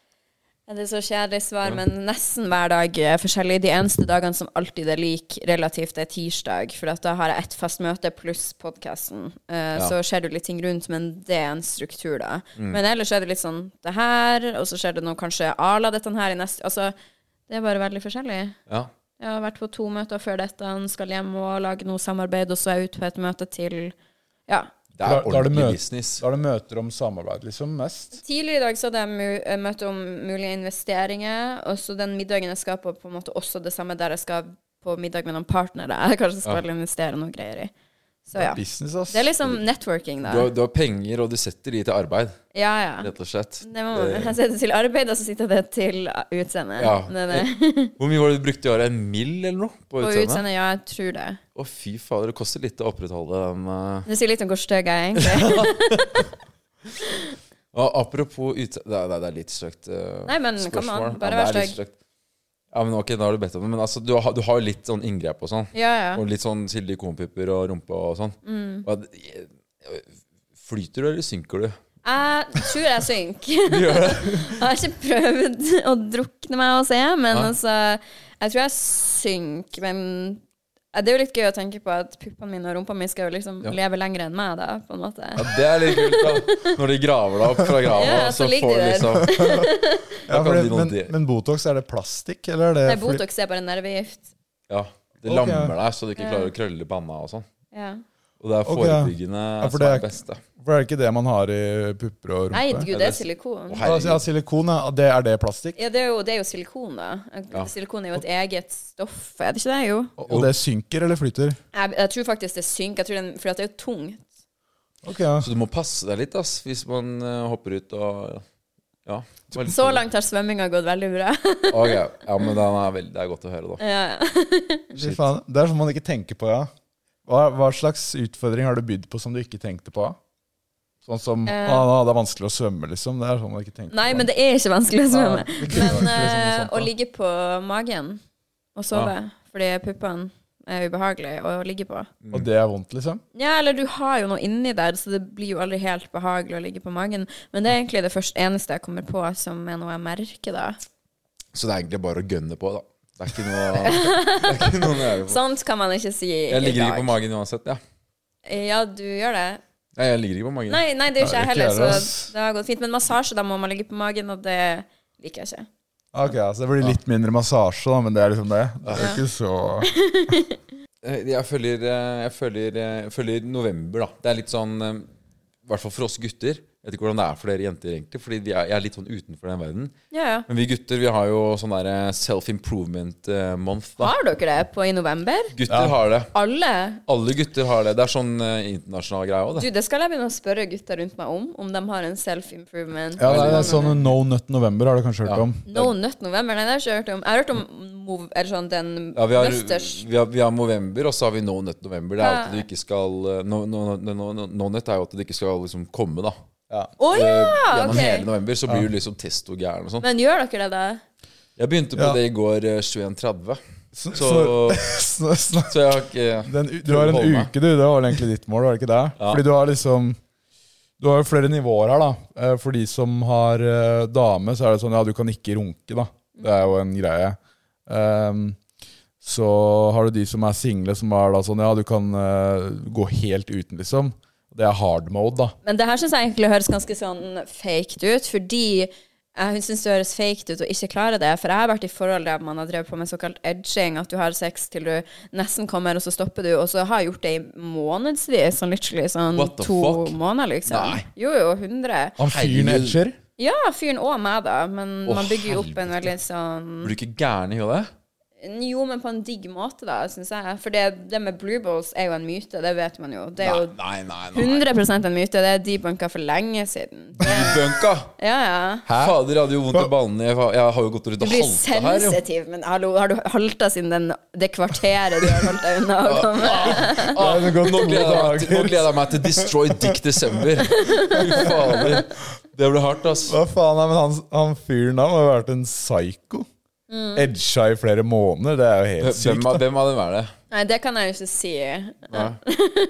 Speaker 3: Ja, Det er så kjedelig svar, men nesten hver dag er forskjellig. De eneste dagene som alltid er lik relativt, er tirsdag. For at da har jeg ett fast møte pluss podkasten. Så skjer det jo litt ting rundt, men det er en struktur, da. Men ellers er det litt sånn det her, og så skjer det noe kanskje à la dette her i neste Altså, det er bare veldig forskjellig.
Speaker 2: Ja.
Speaker 3: Jeg har vært på to møter før dette, skal hjem og lage noe samarbeid, og så er jeg ute på et møte til Ja.
Speaker 2: Det
Speaker 1: Da-
Speaker 2: er
Speaker 1: da er det
Speaker 2: ordentlig
Speaker 1: møte.
Speaker 2: business.
Speaker 1: Da er det møter om samarbeid, liksom, mest.
Speaker 3: Tidligere i dag så hadde jeg mu- eh, møte om mulige investeringer, og så den middagen jeg skal på, på en måte også det samme der jeg skal på middag med noen partnere. Jeg kanskje skal investere noe greier i. Så ja.
Speaker 1: Business, ass.
Speaker 3: Det er liksom networking,
Speaker 2: Du
Speaker 3: da.
Speaker 2: har, du har penger, og du setter de til arbeid,
Speaker 3: Ja, ja.
Speaker 2: rett og slett.
Speaker 3: Det må man. Jeg sitter til arbeid, og så sitter det til uh, utseende. uh,
Speaker 2: Ja.
Speaker 3: Det, er det.
Speaker 2: Hvor mye var det du brukte i året? En mill eller noe? På
Speaker 3: Og
Speaker 2: utseendet?
Speaker 3: utseende, ja, jeg tror det.
Speaker 2: Å, fy fader, det koster litt å opprettholde den eh.
Speaker 3: Det sier litt om hvor støg jeg er, egentlig.
Speaker 2: Og apropos utseende det, er- det er litt søkt eh,
Speaker 3: Nei, men come
Speaker 2: spørsmål.
Speaker 3: on,
Speaker 2: Ja,
Speaker 3: bare
Speaker 2: det
Speaker 3: vær
Speaker 2: er litt
Speaker 3: støg.
Speaker 2: søkt. Ja, men ok, da har du bedt om det. Men altså, du har, du har jo litt sånn inngrep og sånn.
Speaker 3: Ja, ja. Mm.
Speaker 2: Og litt sånn silikonpupper og rumpe og sånn. Og det- flyter du, eller synker du?
Speaker 3: Jeg tror jeg synker.
Speaker 2: Du gjør det.
Speaker 3: Jeg har ikke prøvd å drukne meg og se, men
Speaker 2: Nei.
Speaker 3: altså Jeg tror jeg synker, men eh, det er jo litt gøy å tenke på at puppene mine og rumpa mi skal jo liksom
Speaker 2: Ja.
Speaker 3: leve lenger enn meg, da, på en måte.
Speaker 2: Ja, det er litt kult, da. Når de graver deg opp fra grava,
Speaker 3: Ja,
Speaker 2: så,
Speaker 3: så ligger
Speaker 2: får du
Speaker 3: de
Speaker 2: liksom
Speaker 1: Ja,
Speaker 2: Da kan
Speaker 1: fordi,
Speaker 2: de noen
Speaker 1: men,
Speaker 2: de-
Speaker 1: men Botox, er det plastikk, eller er det
Speaker 3: Nei,
Speaker 1: fly-
Speaker 3: Botox er bare nervegift.
Speaker 2: Ja. Det
Speaker 1: Ok.
Speaker 2: lammer deg, så du ikke
Speaker 3: Ja.
Speaker 2: klarer å krølle panna og sånn.
Speaker 3: Ja.
Speaker 2: Og det er
Speaker 1: Ok.
Speaker 2: forebyggende
Speaker 1: for
Speaker 2: som er
Speaker 1: det
Speaker 2: det beste.
Speaker 1: For er det ikke det man har i pupper og rumpe?
Speaker 3: Nei, gud, det er silikon.
Speaker 2: Å,
Speaker 1: Ja,
Speaker 2: herregud.
Speaker 1: Altså, ja, silikon, ja. Det, er det plastikk?
Speaker 3: Ja, det er jo, det er jo silikon, da.
Speaker 2: Ja.
Speaker 3: Silikon er jo et eget stoff, er det ikke det? Jo.
Speaker 1: Og, og det synker eller flyter?
Speaker 3: Jeg, jeg tror faktisk det synker, jeg tror den, for at det er jo tungt.
Speaker 1: Ok, ja.
Speaker 2: Så du må passe deg litt ass, hvis man eh, hopper ut og Ja. vær litt
Speaker 3: Så
Speaker 2: forsiktig.
Speaker 3: langt har svømminga gått veldig bra.
Speaker 2: Ok, Ja, men den er veldig, det er godt å høre, da.
Speaker 3: ja, ja.
Speaker 1: Fy faen, Det er sånn man ikke tenker på, ja. Hva, hva slags utfordring har du bydd på som du ikke tenkte på? Sånn som
Speaker 3: Eh.
Speaker 1: ah, 'Det er vanskelig å svømme', liksom. Det er sånn man ikke tenker
Speaker 3: Nei,
Speaker 1: på.
Speaker 3: men det er ikke vanskelig å svømme.
Speaker 1: Nei, det kunne vært
Speaker 3: Men
Speaker 1: liksom
Speaker 3: eh,
Speaker 1: sånt,
Speaker 3: å
Speaker 1: da.
Speaker 3: ligge på magen og sove fordi puppene er ubehagelig å ligge på.
Speaker 1: Og det er vondt, liksom?
Speaker 3: Ja, eller du har jo noe inni der, så det blir jo aldri helt behagelig å ligge på magen. Men det er egentlig det første eneste jeg kommer på som er noe jeg merker, da.
Speaker 2: Så det er egentlig bare å gønne på, da. Det er ikke noe, det er ikke noe å gjøre på.
Speaker 3: Sånt kan man ikke si i
Speaker 2: Jeg ligger ikke på
Speaker 3: dag.
Speaker 2: magen uansett, jeg. Ja.
Speaker 3: Ja, du gjør det.
Speaker 2: Nei, jeg ligger ikke på magen.
Speaker 3: Nei, nei det gjør
Speaker 1: Nei,
Speaker 3: ikke
Speaker 1: ikke
Speaker 3: jeg heller,
Speaker 1: jeg heller, ass.
Speaker 3: så det har gått fint. Men massasje, da må man ligge på magen, og det liker jeg ikke.
Speaker 1: Ok, ja, Så det blir litt mindre massasje, da, men det er liksom det. Det er jo ikke så
Speaker 2: Eh, Jeg følger, eh, jeg følger, eh, jeg følger november, da. Det er litt sånn eh, I hvert fall for oss gutter. Jeg vet ikke hvordan det er for dere jenter, egentlig. Fordi vi er, jeg er litt sånn utenfor den verden.
Speaker 3: Ja, ja.
Speaker 2: Men vi gutter vi har jo sånn der eh, self-improvement eh, month, da.
Speaker 3: Har dere det på i november?
Speaker 2: Gutter har det.
Speaker 3: Alle?
Speaker 2: Alle gutter har det. Det er sånn eh, internasjonal greie òg, det.
Speaker 3: Du, det skal jeg begynne å spørre gutter rundt meg om, om de har en self-improvement.
Speaker 1: Ja, det er sånn No Nut November har du kanskje hørt om?
Speaker 3: No Nut November, nei, det har jeg ikke hørt om. Jeg har hørt om mov, eller sånn den
Speaker 2: Ja, vi har, eh,
Speaker 3: Musters.
Speaker 2: vi, har, vi har Movember, og så har vi No Nut November. Det er jo at
Speaker 3: Ja.
Speaker 2: du ikke skal eh, No, no, no, no, no, no Nut er jo at du ikke skal liksom komme, da. Eh,
Speaker 3: Å ja!
Speaker 2: Gjennom hele
Speaker 3: Ok.
Speaker 2: november så blir du liksom testogæren og sånn.
Speaker 3: Men gjør dere det, da?
Speaker 2: Jeg begynte på
Speaker 1: Ja.
Speaker 2: det i går eh, 21.30,
Speaker 1: Så,
Speaker 2: så,
Speaker 1: så, så,
Speaker 2: så jeg har ikke
Speaker 1: Den, u- du har en
Speaker 2: Holde meg.
Speaker 1: uke, du. Det var vel egentlig ditt mål, var det ikke det? Fordi du har liksom Du har jo flere nivåer her, da. Eh, For de som har eh, dame, så er det sånn ja, du kan ikke runke, da. Det er jo en greie. Ehm, så har du de som er single, som er da sånn ja, du kan eh, gå helt uten, liksom. Det er hard mode, da.
Speaker 3: Men det her syns jeg egentlig høres ganske sånn faked ut, fordi Eh, Hun syns det høres fake ut å ikke klare det. For jeg har vært i forhold der man har drevet på med såkalt edging, at du har sex til du nesten kommer, og så stopper du. Og så har jeg gjort det i månedsvis, sånn literally sånn
Speaker 2: What the
Speaker 3: to
Speaker 2: fuck?
Speaker 3: måneder, liksom.
Speaker 2: Nei.
Speaker 3: Jo, jo, 100.
Speaker 1: Han fyren
Speaker 2: Herregud.
Speaker 1: edger.
Speaker 3: Ja, fyren og meg, da. Men
Speaker 2: Å,
Speaker 3: man bygger jo opp en
Speaker 2: helvete.
Speaker 3: veldig sånn
Speaker 2: Blir du ikke gæren i hodet?
Speaker 3: Jo, men på en digg måte, da, syns jeg. For det, det med blue balls er jo en myte, det vet man jo. Det er jo
Speaker 2: nei, nei.
Speaker 3: 100 en myte. Det er debunka for lenge siden.
Speaker 2: Bunka!
Speaker 3: Ja, ja.
Speaker 2: Fader, jeg hadde jo vondt i ballene. Jeg, fa- jeg har jo gått rundt
Speaker 3: Du
Speaker 2: og
Speaker 3: blir
Speaker 2: halta her. jo.
Speaker 3: sensitiv, men hallo, har du halta siden den, det kvarteret du har holdt deg unna? å komme?
Speaker 2: Ah,
Speaker 1: Det er gått
Speaker 2: nå,
Speaker 1: to
Speaker 2: gleder jeg meg til, nå
Speaker 1: dager.
Speaker 2: gleder jeg meg til Destroy Dick December. Fy fader. Det ble hardt, ass.
Speaker 1: Hva faen er men han, han fyren da må ha vært en psyko. Edga i flere måneder, det er jo helt
Speaker 2: Hvem
Speaker 1: sykt.
Speaker 2: av,
Speaker 1: da.
Speaker 2: hvem av dem er det?
Speaker 3: Nei, det kan jeg jo ikke si.
Speaker 2: Ja.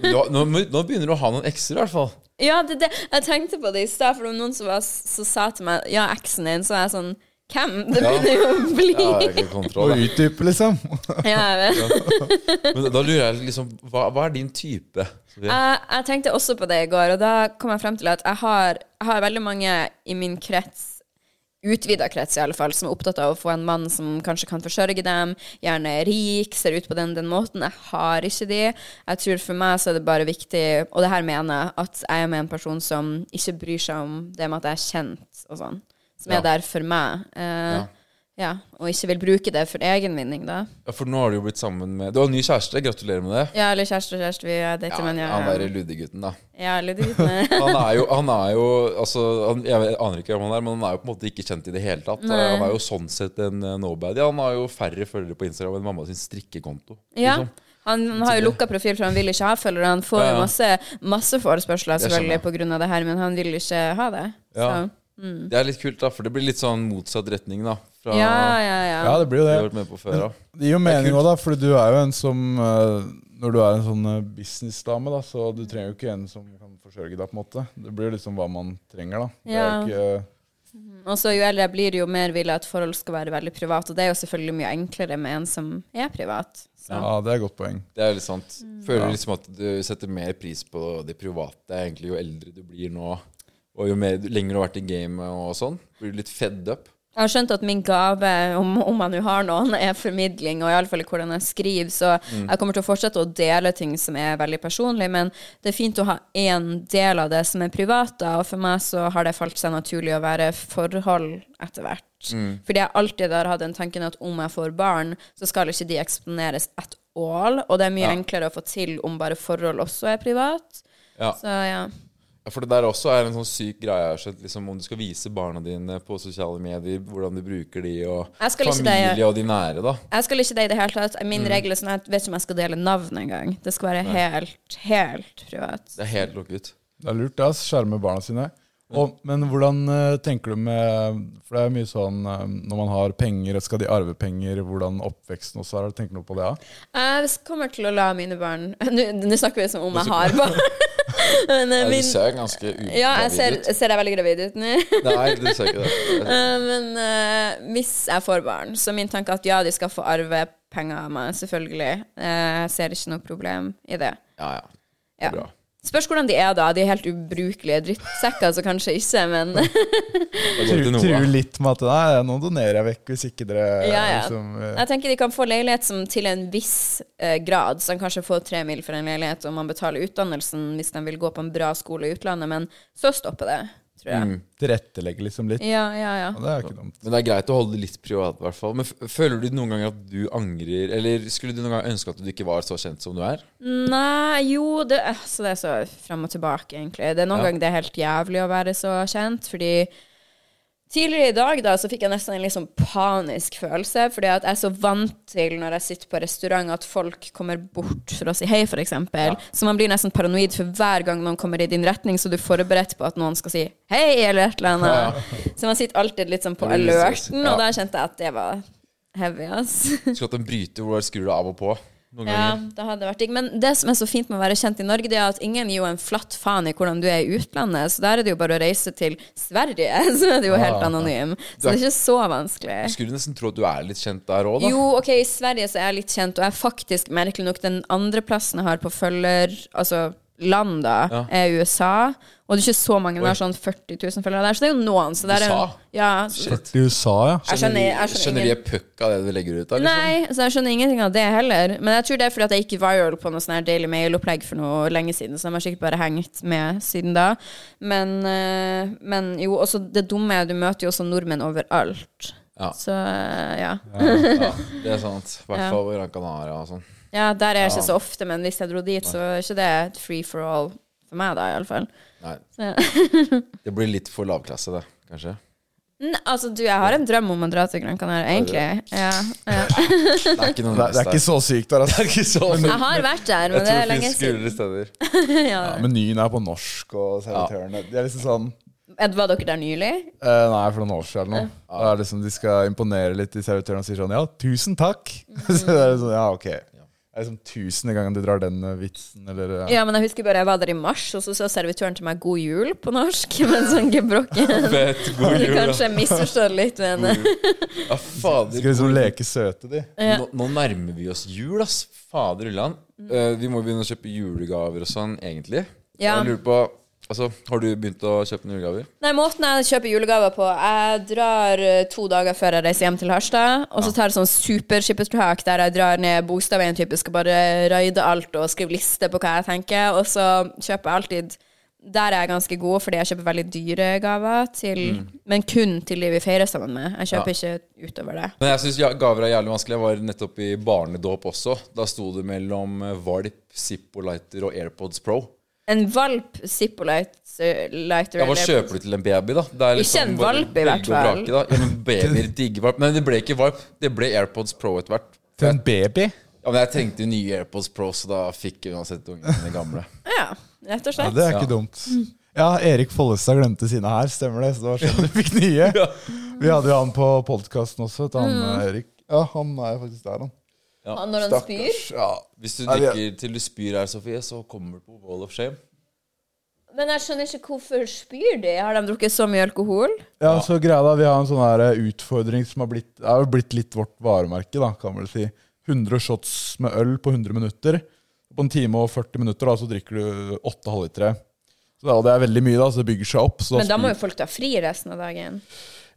Speaker 2: Du har- Nå, må- nå begynner du å ha noen ekser, i hvert fall.
Speaker 3: Ja, det, det, jeg tenkte på det i stad, for det var noen som, var, som sa til meg Ja, eksen din, så er jeg sånn Hvem? Det begynner jo å bli
Speaker 2: Ja, jeg har ikke kontroll,
Speaker 1: Å
Speaker 2: jeg.
Speaker 1: utdype, liksom.
Speaker 3: ja, jeg vet.
Speaker 2: Men da lurer jeg liksom, hva, hva er din type? Sofie?
Speaker 3: jeg, Eh, jeg tenkte også på det i går, og da kom jeg frem til at jeg har, jeg har veldig mange i min krets, utvida krets i alle fall, som er opptatt av å få en mann som kanskje kan forsørge dem, gjerne er rik, ser ut på den, den måten. Jeg har ikke de. Jeg tror for meg så er det bare viktig, og det her mener jeg, at jeg er med en person som ikke bryr seg om det med at jeg er kjent og sånn, som
Speaker 2: Ja.
Speaker 3: er der for meg. Eh,
Speaker 2: Ja.
Speaker 3: ja, og ikke vil bruke det for egen vinning, da.
Speaker 2: Ja, for nå har du jo blitt sammen med Du har en ny kjæreste, gratulerer med det.
Speaker 3: Ja, eller kjæreste og kjæreste, vi er dater, men
Speaker 2: han
Speaker 3: ja.
Speaker 2: derre ludegutten, da.
Speaker 3: Ja, litt vitne.
Speaker 2: Han er jo, han er jo altså, han, Jeg aner ikke hvem han er, men han er jo på en måte ikke kjent i det hele tatt.
Speaker 3: Nei.
Speaker 2: Han er jo sånn sett en eh, nobody. Han har jo færre følgere på Instagram enn mamma sin strikkekonto.
Speaker 3: Ja.
Speaker 2: liksom.
Speaker 3: Han har jo lukka profil, for han vil ikke ha følgere. Han får
Speaker 2: Ja, ja.
Speaker 3: jo masse, masse forespørsler
Speaker 2: Det skjønner
Speaker 3: selvfølgelig
Speaker 2: jeg.
Speaker 3: pga. det her, men han vil ikke ha det. Så. mm.
Speaker 2: Ja. Det er litt kult, da, for det blir litt sånn motsatt retning, da. Fra
Speaker 3: Ja,
Speaker 2: det
Speaker 3: ja, ja.
Speaker 1: Ja, det blir jo
Speaker 2: du
Speaker 1: det.
Speaker 2: har vært med på før av.
Speaker 1: Det gir jo mening òg, da, for du er jo en som eh, Når du er en sånn eh, businessdame, da, så du trenger jo ikke en som kan forsørge deg, på en måte. Det blir jo liksom hva man trenger, da. Det er
Speaker 3: Ja.
Speaker 1: jo ikke
Speaker 3: Og så jo eldre jeg blir, jo mer vil jeg at forhold skal være veldig privat. Og det er jo selvfølgelig mye enklere med en som er privat. Så.
Speaker 1: Ja, det er et godt poeng.
Speaker 2: Det er litt sant.
Speaker 3: Mm.
Speaker 2: Føler
Speaker 1: Ja.
Speaker 2: liksom at du setter mer pris på det private egentlig jo eldre du blir nå, og jo mer, lenger du har vært i gamet og sånn. Blir du litt fed up.
Speaker 3: Jeg har skjønt at min gave, om, om jeg nå har noen, er formidling, og iallfall hvordan jeg skriver. Så jeg kommer til å fortsette å dele ting som er veldig personlig, men det er fint å ha én del av det som er privat, da. Og for meg så har det falt seg naturlig å være forhold etter hvert. Fordi jeg alltid har hatt den tanken at om jeg får barn, så skal ikke de eksponeres at all. Og det er mye enklere å få til om bare forhold også er privat.
Speaker 2: Ja.
Speaker 3: Så ja.
Speaker 2: Ja, For det der også er en sånn syk greie. jeg har skjønt, liksom, om du skal vise barna dine på sosiale medier, hvordan du bruker de, og
Speaker 3: Jeg skal ikke
Speaker 2: familie
Speaker 3: det.
Speaker 2: og de nære, da.
Speaker 3: Jeg skal ikke det i det hele tatt. Min
Speaker 2: Mm.
Speaker 3: regel er sånn at jeg vet ikke om jeg skal dele navn engang. Det skal være helt, helt privat.
Speaker 2: Det er helt lukket.
Speaker 1: Det er lurt, det. ass. Skjerme barna sine. Og, men hvordan eh, tenker du med For det er mye sånn eh, når man har penger, skal de arve penger, hvordan oppveksten også er? Tenker du på det? Ja?
Speaker 3: Jeg kommer til å la mine barn Nå nå snakker vi som om jeg har barn. Men eh,
Speaker 2: Nei, du
Speaker 3: min
Speaker 2: ser ganske ugravid
Speaker 3: Ja, jeg ser,
Speaker 2: ut.
Speaker 3: ser jeg veldig gravid ut nå.
Speaker 2: Nei, du ser ikke det.
Speaker 3: Eh, Men eh, hvis jeg får barn, så er min tanke at ja, de skal få arve penger av meg, selvfølgelig. Eh, Jeg ser ikke noe problem i det.
Speaker 2: Ja, ja.
Speaker 3: Ja.
Speaker 2: Bra.
Speaker 3: Spørs hvordan de er, da. De er helt ubrukelige drittsekker, så kanskje ikke, men
Speaker 2: Da går det til
Speaker 1: Tru-
Speaker 2: Noah.
Speaker 1: Truer litt med at nei, nå donerer jeg vekk hvis ikke dere
Speaker 3: Ja, ja.
Speaker 1: Liksom, eh,
Speaker 3: Jeg tenker de kan få leilighet som til en viss eh, grad, så de kanskje får tre mil for en leilighet, og man betaler utdannelsen hvis de vil gå på en bra skole i utlandet, men så stopper det, tror
Speaker 2: Mm.
Speaker 3: jeg.
Speaker 1: tilrettelegger liksom litt.
Speaker 3: Ja, ja, ja.
Speaker 1: Ja, det er ikke dumt.
Speaker 2: Men det er greit å holde det litt privat, i hvert fall. Men f- føler du noen ganger at du angrer, eller skulle du noen gang ønske at du ikke var så kjent som du er?
Speaker 3: Nei, jo det, øh, Så det er så fram og tilbake, egentlig. Det er noen
Speaker 2: Ja.
Speaker 3: ganger det er helt jævlig å være så kjent, fordi Tidligere i dag da, så fikk jeg nesten en litt sånn panisk følelse, fordi at jeg er så vant til når jeg sitter på restaurant at folk kommer bort for å si hei, for eksempel. Så man blir nesten paranoid for hver gang noen kommer i din retning, så du er forberedt på at noen skal si hei, eller et eller annet. Så man sitter alltid litt sånn på
Speaker 2: Det blir litt stress.
Speaker 3: alerten,
Speaker 2: Ja.
Speaker 3: og da kjente jeg at det var heavy, ass.
Speaker 2: Skulle hatt en bryter hvor du skrur deg av og på. Noen
Speaker 3: Ja,
Speaker 2: ganger.
Speaker 3: det hadde vært digg. Men det som er så fint med å være kjent i Norge, det er at ingen gir jo en flatt faen i hvordan du er i utlandet. Så der er det jo bare å reise til Sverige, så er du jo
Speaker 2: Ah,
Speaker 3: helt anonym. Så det er ikke så vanskelig.
Speaker 2: Skulle nesten tro at du er litt kjent der òg, da.
Speaker 3: Jo, ok, i Sverige så er jeg litt kjent, og jeg er faktisk merkelig nok den andre plassen jeg har på følger, altså land, da,
Speaker 2: Ja.
Speaker 3: er USA. Og det er ikke så mange. Det er sånn 40 000 følgere der, så det er jo noen. Så det er jo,
Speaker 2: USA?
Speaker 3: ja, så,
Speaker 2: Shit.
Speaker 1: I USA, ja.
Speaker 3: jeg skjønner, jeg skjønner
Speaker 2: Skjønner de puck av det du legger ut? da? Liksom?
Speaker 3: Nei, så jeg skjønner ingenting av det heller. Men jeg tror det er fordi at jeg gikk viral på noe sånn her Daily Mail-opplegg for noe lenge siden, så de har sikkert bare hengt med siden da. Men, eh, men jo, også det dumme er du møter jo også nordmenn overalt.
Speaker 2: Ja.
Speaker 3: Så eh, ja.
Speaker 2: Ja, det er sant. I hvert fall på Gran Canaria og sånn.
Speaker 3: Ja, der er jeg ikke så ofte, men hvis jeg dro dit, så er ikke det et free for all for meg, da, iallfall.
Speaker 2: Nei,
Speaker 3: Ja.
Speaker 2: det blir litt for lavklasse, det, kanskje.
Speaker 3: Altså, du, jeg har en drøm om å dra til Gran Canaria, egentlig. Ja, ja.
Speaker 2: Det er ikke noe
Speaker 1: Det, det er ikke så sykt der, altså.
Speaker 2: ikke så
Speaker 3: Jeg har vært der,
Speaker 2: Jeg
Speaker 3: men det
Speaker 2: tror
Speaker 3: er
Speaker 2: det
Speaker 3: lenge
Speaker 2: finnes
Speaker 3: siden.
Speaker 2: skulere steder.
Speaker 3: Ja.
Speaker 1: Ja, menyen er på norsk, og servitørene De er liksom sånn
Speaker 3: Ed, Var dere der nylig?
Speaker 1: eh, Nei, for noen år siden eller noe. Da er det liksom, de skal imponere litt, de servitørene, og sier sånn Ja, tusen takk! Så det er sånn, ja, ok. Det er liksom tusende gangen du drar den eh, vitsen, eller eh,
Speaker 3: Ja, men jeg husker bare jeg var der i mars, og så sa servitøren til meg 'god jul' på norsk. Men sånn gebrokken.
Speaker 2: Vet, god
Speaker 3: Eller
Speaker 2: jul, da.
Speaker 3: kanskje jeg misforstår litt, men
Speaker 2: Ja, fader.
Speaker 1: Skal liksom leke søte, de.
Speaker 3: Eh,
Speaker 2: Nå, nå nærmer vi oss jul, ass. Fader ulland.
Speaker 3: Mm.
Speaker 2: Eh, vi må begynne å kjøpe julegaver og sånn, egentlig.
Speaker 3: Ja.
Speaker 2: Jeg lurer på Altså, har du begynt å kjøpe noen julegaver?
Speaker 3: Nei, måten jeg kjøper julegaver på Jeg drar eh, to dager før jeg reiser hjem til Harstad, og så tar jeg sånn superskippertak der jeg drar ned bokstaven type, skal bare raide alt og skrive liste på hva jeg tenker, og så kjøper jeg alltid Der er jeg ganske god, fordi jeg kjøper veldig dyre gaver, til,
Speaker 2: Mm.
Speaker 3: men kun til de vi feirer sammen med. Jeg kjøper ikke utover det.
Speaker 2: Men jeg syns gaver er jævlig vanskelig. Jeg var nettopp i barnedåp også. Da sto det mellom eh, valp, Zippo-lighter og AirPods Pro.
Speaker 3: En valp Zippolite lighter
Speaker 2: Ja, Hva
Speaker 3: eller-
Speaker 2: kjøper du til en baby, da? Det er liksom
Speaker 3: Ikke en
Speaker 2: bare
Speaker 3: valp, i hvert
Speaker 2: velge og
Speaker 3: fall.
Speaker 2: vrake, da. Ja, men babyer digger valp. Men det ble ikke valp. Det ble AirPods Pro etter hvert.
Speaker 1: Til en baby?
Speaker 2: Ja, men jeg trengte jo nye AirPods Pro, så da fikk jeg uansett ungene mine gamle.
Speaker 3: Ja, rett og
Speaker 1: Ja,
Speaker 3: slett.
Speaker 1: det er ikke dumt. Ja, Erik Follestad glemte sine her, stemmer det? Så det var sånn du fikk nye. Vi hadde jo han på podkasten også, vet du, han eh, Erik. Ja, han er jo faktisk der, han.
Speaker 3: Han når han spyr.
Speaker 1: Ja.
Speaker 2: Hvis du
Speaker 1: Nei, vi-
Speaker 2: drikker til du spyr her, Sofie, så kommer du på Wall of Shame.
Speaker 3: Men jeg skjønner ikke hvorfor spyr de? Har de drukket så mye alkohol?
Speaker 1: Ja, så greia da, Vi har en sånn her eh, utfordring som har blitt, er jo blitt litt vårt varemerke. da, kan man vel si. 100 shots med øl på 100 minutter. På en time og 40 minutter da, så drikker du 8 halvlitere. Så da, Det er veldig mye, da, så det bygger seg opp. Så
Speaker 3: Men da må jo folk ta fri resten av dagen.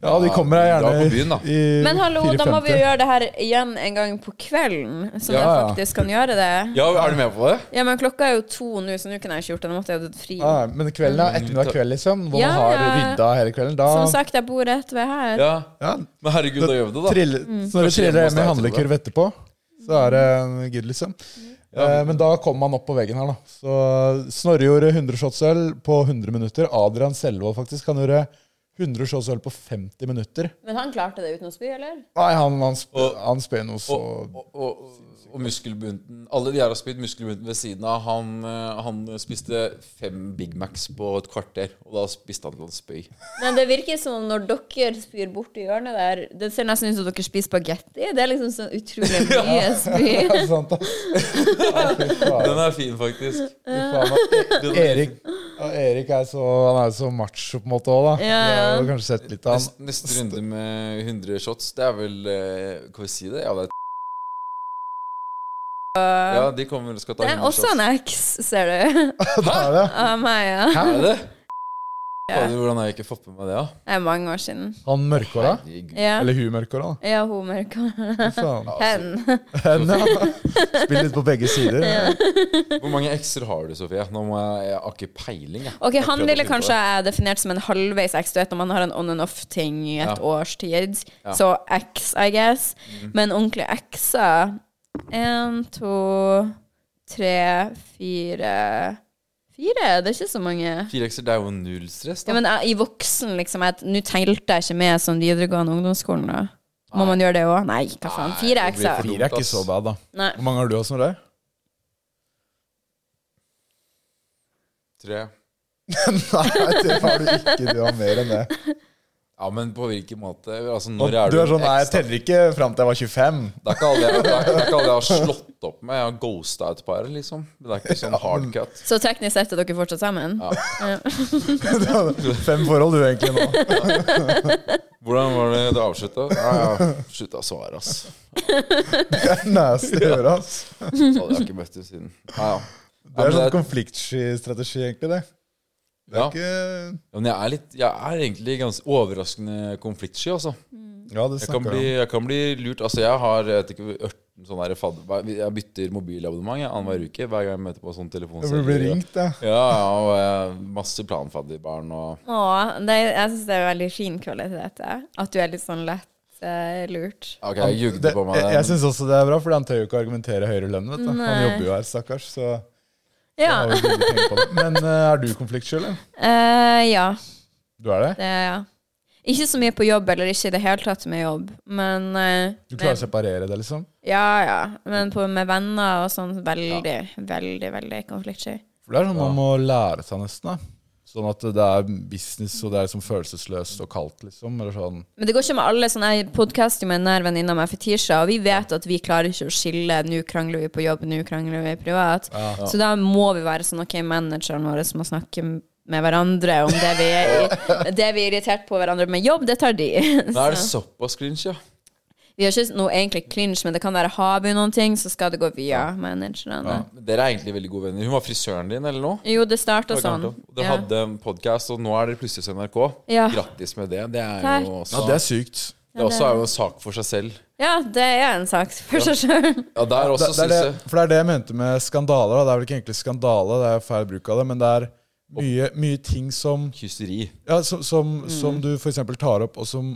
Speaker 1: ja, De kommer her gjerne
Speaker 2: Ja, da på byen, da.
Speaker 1: i
Speaker 3: Men hallo, da må vi jo
Speaker 1: 4.50.
Speaker 3: gjøre det her igjen en gang på kvelden, så
Speaker 2: Ja,
Speaker 3: jeg
Speaker 1: ja.
Speaker 3: faktisk kan gjøre det.
Speaker 2: Ja, er du med på det?
Speaker 3: Ja, men klokka er jo to nå, så nå kunne jeg ikke gjort det. Nå måtte jeg hatt fri.
Speaker 1: ja, Men kvelden er ettermiddag kveld, liksom. Hvor
Speaker 3: Ja,
Speaker 1: man har
Speaker 3: ja.
Speaker 1: rydda hele kvelden. Da
Speaker 3: Som sagt, jeg bor rett ved her.
Speaker 2: Ja.
Speaker 1: ja,
Speaker 2: Men herregud, da gjør vi det, da.
Speaker 1: trille,
Speaker 3: Mm.
Speaker 1: Så når du
Speaker 2: Kanskje
Speaker 1: triller
Speaker 2: hjemme hos
Speaker 1: hjem i
Speaker 2: deg etterpå,
Speaker 1: handlekurv etterpå, så er det eh, good, liksom. Eh, men da kommer man opp på veggen her, da. Så Snorre gjorde 100 shots øl på 100 minutter. Adrian Selvold faktisk han gjorde 100 shots øl på 50 minutter.
Speaker 3: Men han klarte det uten å spy, eller?
Speaker 1: Nei, han, han, sp
Speaker 2: Og-
Speaker 1: han spør noe så
Speaker 2: Og, og, og muskelbunten Alle de her har spist muskelbunten ved siden av. Han, eh, han spiste fem Big Macs på et kvarter, og da spiste han til han spøy.
Speaker 3: Men det virker som om når dere spyr borti hjørnet der Det ser nesten ut som dere spiser spagetti. Det er liksom så utrolig mye spy.
Speaker 1: Er det sant, da? Ja, fy faen,
Speaker 2: Den er fin, faktisk.
Speaker 1: fy faen, da.
Speaker 2: Den-
Speaker 1: Erik, ja, Erik er så, han er jo så macho på en måte òg, da.
Speaker 3: Ja, ja.
Speaker 1: Du har jo kanskje sett litt av han.
Speaker 2: Neste, neste runde med 100 shots, det er vel eh, Kan vi si det? Ja, det er Ja, de kommer og skal ta
Speaker 3: Det er
Speaker 2: 100
Speaker 3: også en
Speaker 2: shots.
Speaker 3: eks, ser du.
Speaker 1: Da er det.
Speaker 3: Av meg, ja.
Speaker 2: Er det?
Speaker 3: Ja.
Speaker 2: Fader, Hvordan har jeg ikke fått med meg det, da?
Speaker 3: Det er mange år siden.
Speaker 1: Han mørkhåra.
Speaker 2: Herregud.
Speaker 3: Ja,
Speaker 1: Eller hun mørkhåra, da.
Speaker 3: ja hun merka
Speaker 1: Fy faen.
Speaker 2: Altså,
Speaker 3: hen.
Speaker 1: Hen, ja. Spill litt på begge sider.
Speaker 2: Hvor mange ekser har du, Sofie? Nå må jeg, jeg har ikke peiling. Jeg.
Speaker 3: Ok,
Speaker 2: Jeg
Speaker 3: Han
Speaker 2: prøvde å
Speaker 3: ville
Speaker 2: finne på
Speaker 3: kanskje jeg definert som en halvveis X. Du vet når man har en on and off-ting i et
Speaker 2: Ja.
Speaker 3: års tid.
Speaker 2: Ja. Mm.
Speaker 3: Så X, I guess. Men ordentlige X-er Én, to, tre, fire Fire? Det er ikke så mange.
Speaker 2: det. Fire ekser, det er jo null stress,
Speaker 3: Ja,
Speaker 2: da.
Speaker 3: men jeg- I voksen, liksom jeg- Nå telte jeg ikke med som videregående ungdomsskolen, da. Må man gjøre det òg? Nei, hva faen. Fire
Speaker 2: Nei, det blir
Speaker 3: X-er.
Speaker 2: for dumt.
Speaker 1: Fire er ikke så bad, da.
Speaker 3: Nei.
Speaker 1: Hvor mange har du også med deg?
Speaker 2: Tre.
Speaker 1: Nei, det har du ikke. Du har mer enn det.
Speaker 2: Ja, men på hvilken måte? Altså,
Speaker 1: Og
Speaker 2: når
Speaker 1: du
Speaker 2: er du,
Speaker 1: er sånn, nei, jeg
Speaker 2: eks? da?
Speaker 1: teller ikke fram til jeg var 25.
Speaker 2: Det er ikke alle jeg, det er, det er ikke alle jeg har slått opp med. Jeg har ghosta et par, liksom. Men det er ikke sånn hardcut.
Speaker 3: Så teknisk sett er dere fortsatt sammen?
Speaker 1: Du hadde Fem forhold du egentlig nå.
Speaker 2: Hvordan var det du avslutta? Ja, ja. Slutta å svare, ass.
Speaker 1: Det er nasty å gjøre, ass.
Speaker 2: Så hadde jeg ikke møtt henne siden. Ja, ja.
Speaker 1: Det
Speaker 2: men
Speaker 1: er sånn
Speaker 2: det er-
Speaker 1: konfliktstrategi, egentlig, det. Det er
Speaker 2: Ja.
Speaker 1: ikke
Speaker 2: Ja, men jeg er, litt, jeg er egentlig ganske overraskende konfliktsky, altså.
Speaker 1: Ja, det
Speaker 2: Jeg kan,
Speaker 1: snakker
Speaker 2: bli,
Speaker 1: jeg om.
Speaker 2: jeg kan bli lurt. Altså, jeg har jeg vet ikke, ørten sånn der fad- hva- Jeg bytter mobilabonnement jeg, annenhver uke hver gang jeg møter på sånn
Speaker 1: Jeg
Speaker 2: telefonserie.
Speaker 1: blir- blir ringt, ja.
Speaker 2: Ja, ja, og eh, masse planfadderbarn og
Speaker 3: Å, det, jeg syns det er veldig fin kvalitet, det. At du er litt sånn lett eh, lurt.
Speaker 2: Ok,
Speaker 1: Han-
Speaker 2: jeg jugde
Speaker 1: det-
Speaker 2: på meg
Speaker 1: jeg,
Speaker 2: det.
Speaker 1: jeg syns også det er bra, fordi han tør jo ikke å argumentere høyere lønn. vet du. Han
Speaker 3: Nei.
Speaker 1: jobber jo her, stakkars. Så
Speaker 3: Ja.
Speaker 1: han har jo ikke mye penger på det. Men eh, er du konfliktsky, eller?
Speaker 3: Eh, ja.
Speaker 1: Du er det?
Speaker 3: Det er ja. Ikke så mye på jobb, eller ikke i det hele tatt med jobb, men eh,
Speaker 1: Du klarer å
Speaker 3: med,
Speaker 1: separere det, liksom?
Speaker 3: Ja, ja. Men på, med venner og sånn, veldig, veldig, veldig konfliktsky.
Speaker 1: For det er sånn man må lære seg nesten. da. Sånn at det er business, og det er liksom følelsesløst og kaldt, liksom. Eller sånn.
Speaker 3: Men det går ikke med alle sånne Jeg podcaster jo med en nær venninne av meg, Fetisha, og vi vet at vi klarer ikke å skille nå krangler vi på jobb, nå krangler vi privat. Så da må vi være sånn OK, manageren vår må snakke med hverandre om det vi er, det vi er irritert på hverandre med jobb, det tar de.
Speaker 2: Men er det såpass cringe, ja?
Speaker 3: Vi har ikke noe egentlig clinch, men det kan være har vi noen ting, så skal det gå via managerne.
Speaker 2: Men Dere er egentlig veldig gode venner. Hun var frisøren din, eller noe?
Speaker 3: Jo, det starta sånn.
Speaker 2: Dere
Speaker 3: Ja.
Speaker 2: hadde en podkast, og nå er dere plutselig hos NRK.
Speaker 3: Ja.
Speaker 2: Grattis med det. Det er
Speaker 3: Takk.
Speaker 2: jo også,
Speaker 1: Ja, det er sykt.
Speaker 2: det også er jo en sak for seg selv.
Speaker 3: ja, det er en sak for seg sjøl.
Speaker 2: Ja, der også,
Speaker 1: Det, det er
Speaker 2: synes
Speaker 1: det,
Speaker 2: jeg.
Speaker 1: for det er det jeg mente med skandaler. Da. Det er vel ikke egentlig skandale, det er feil bruk av det, men det er mye, mye ting som
Speaker 2: Kyseri.
Speaker 1: ja, som, som, som du for eksempel tar opp, og som,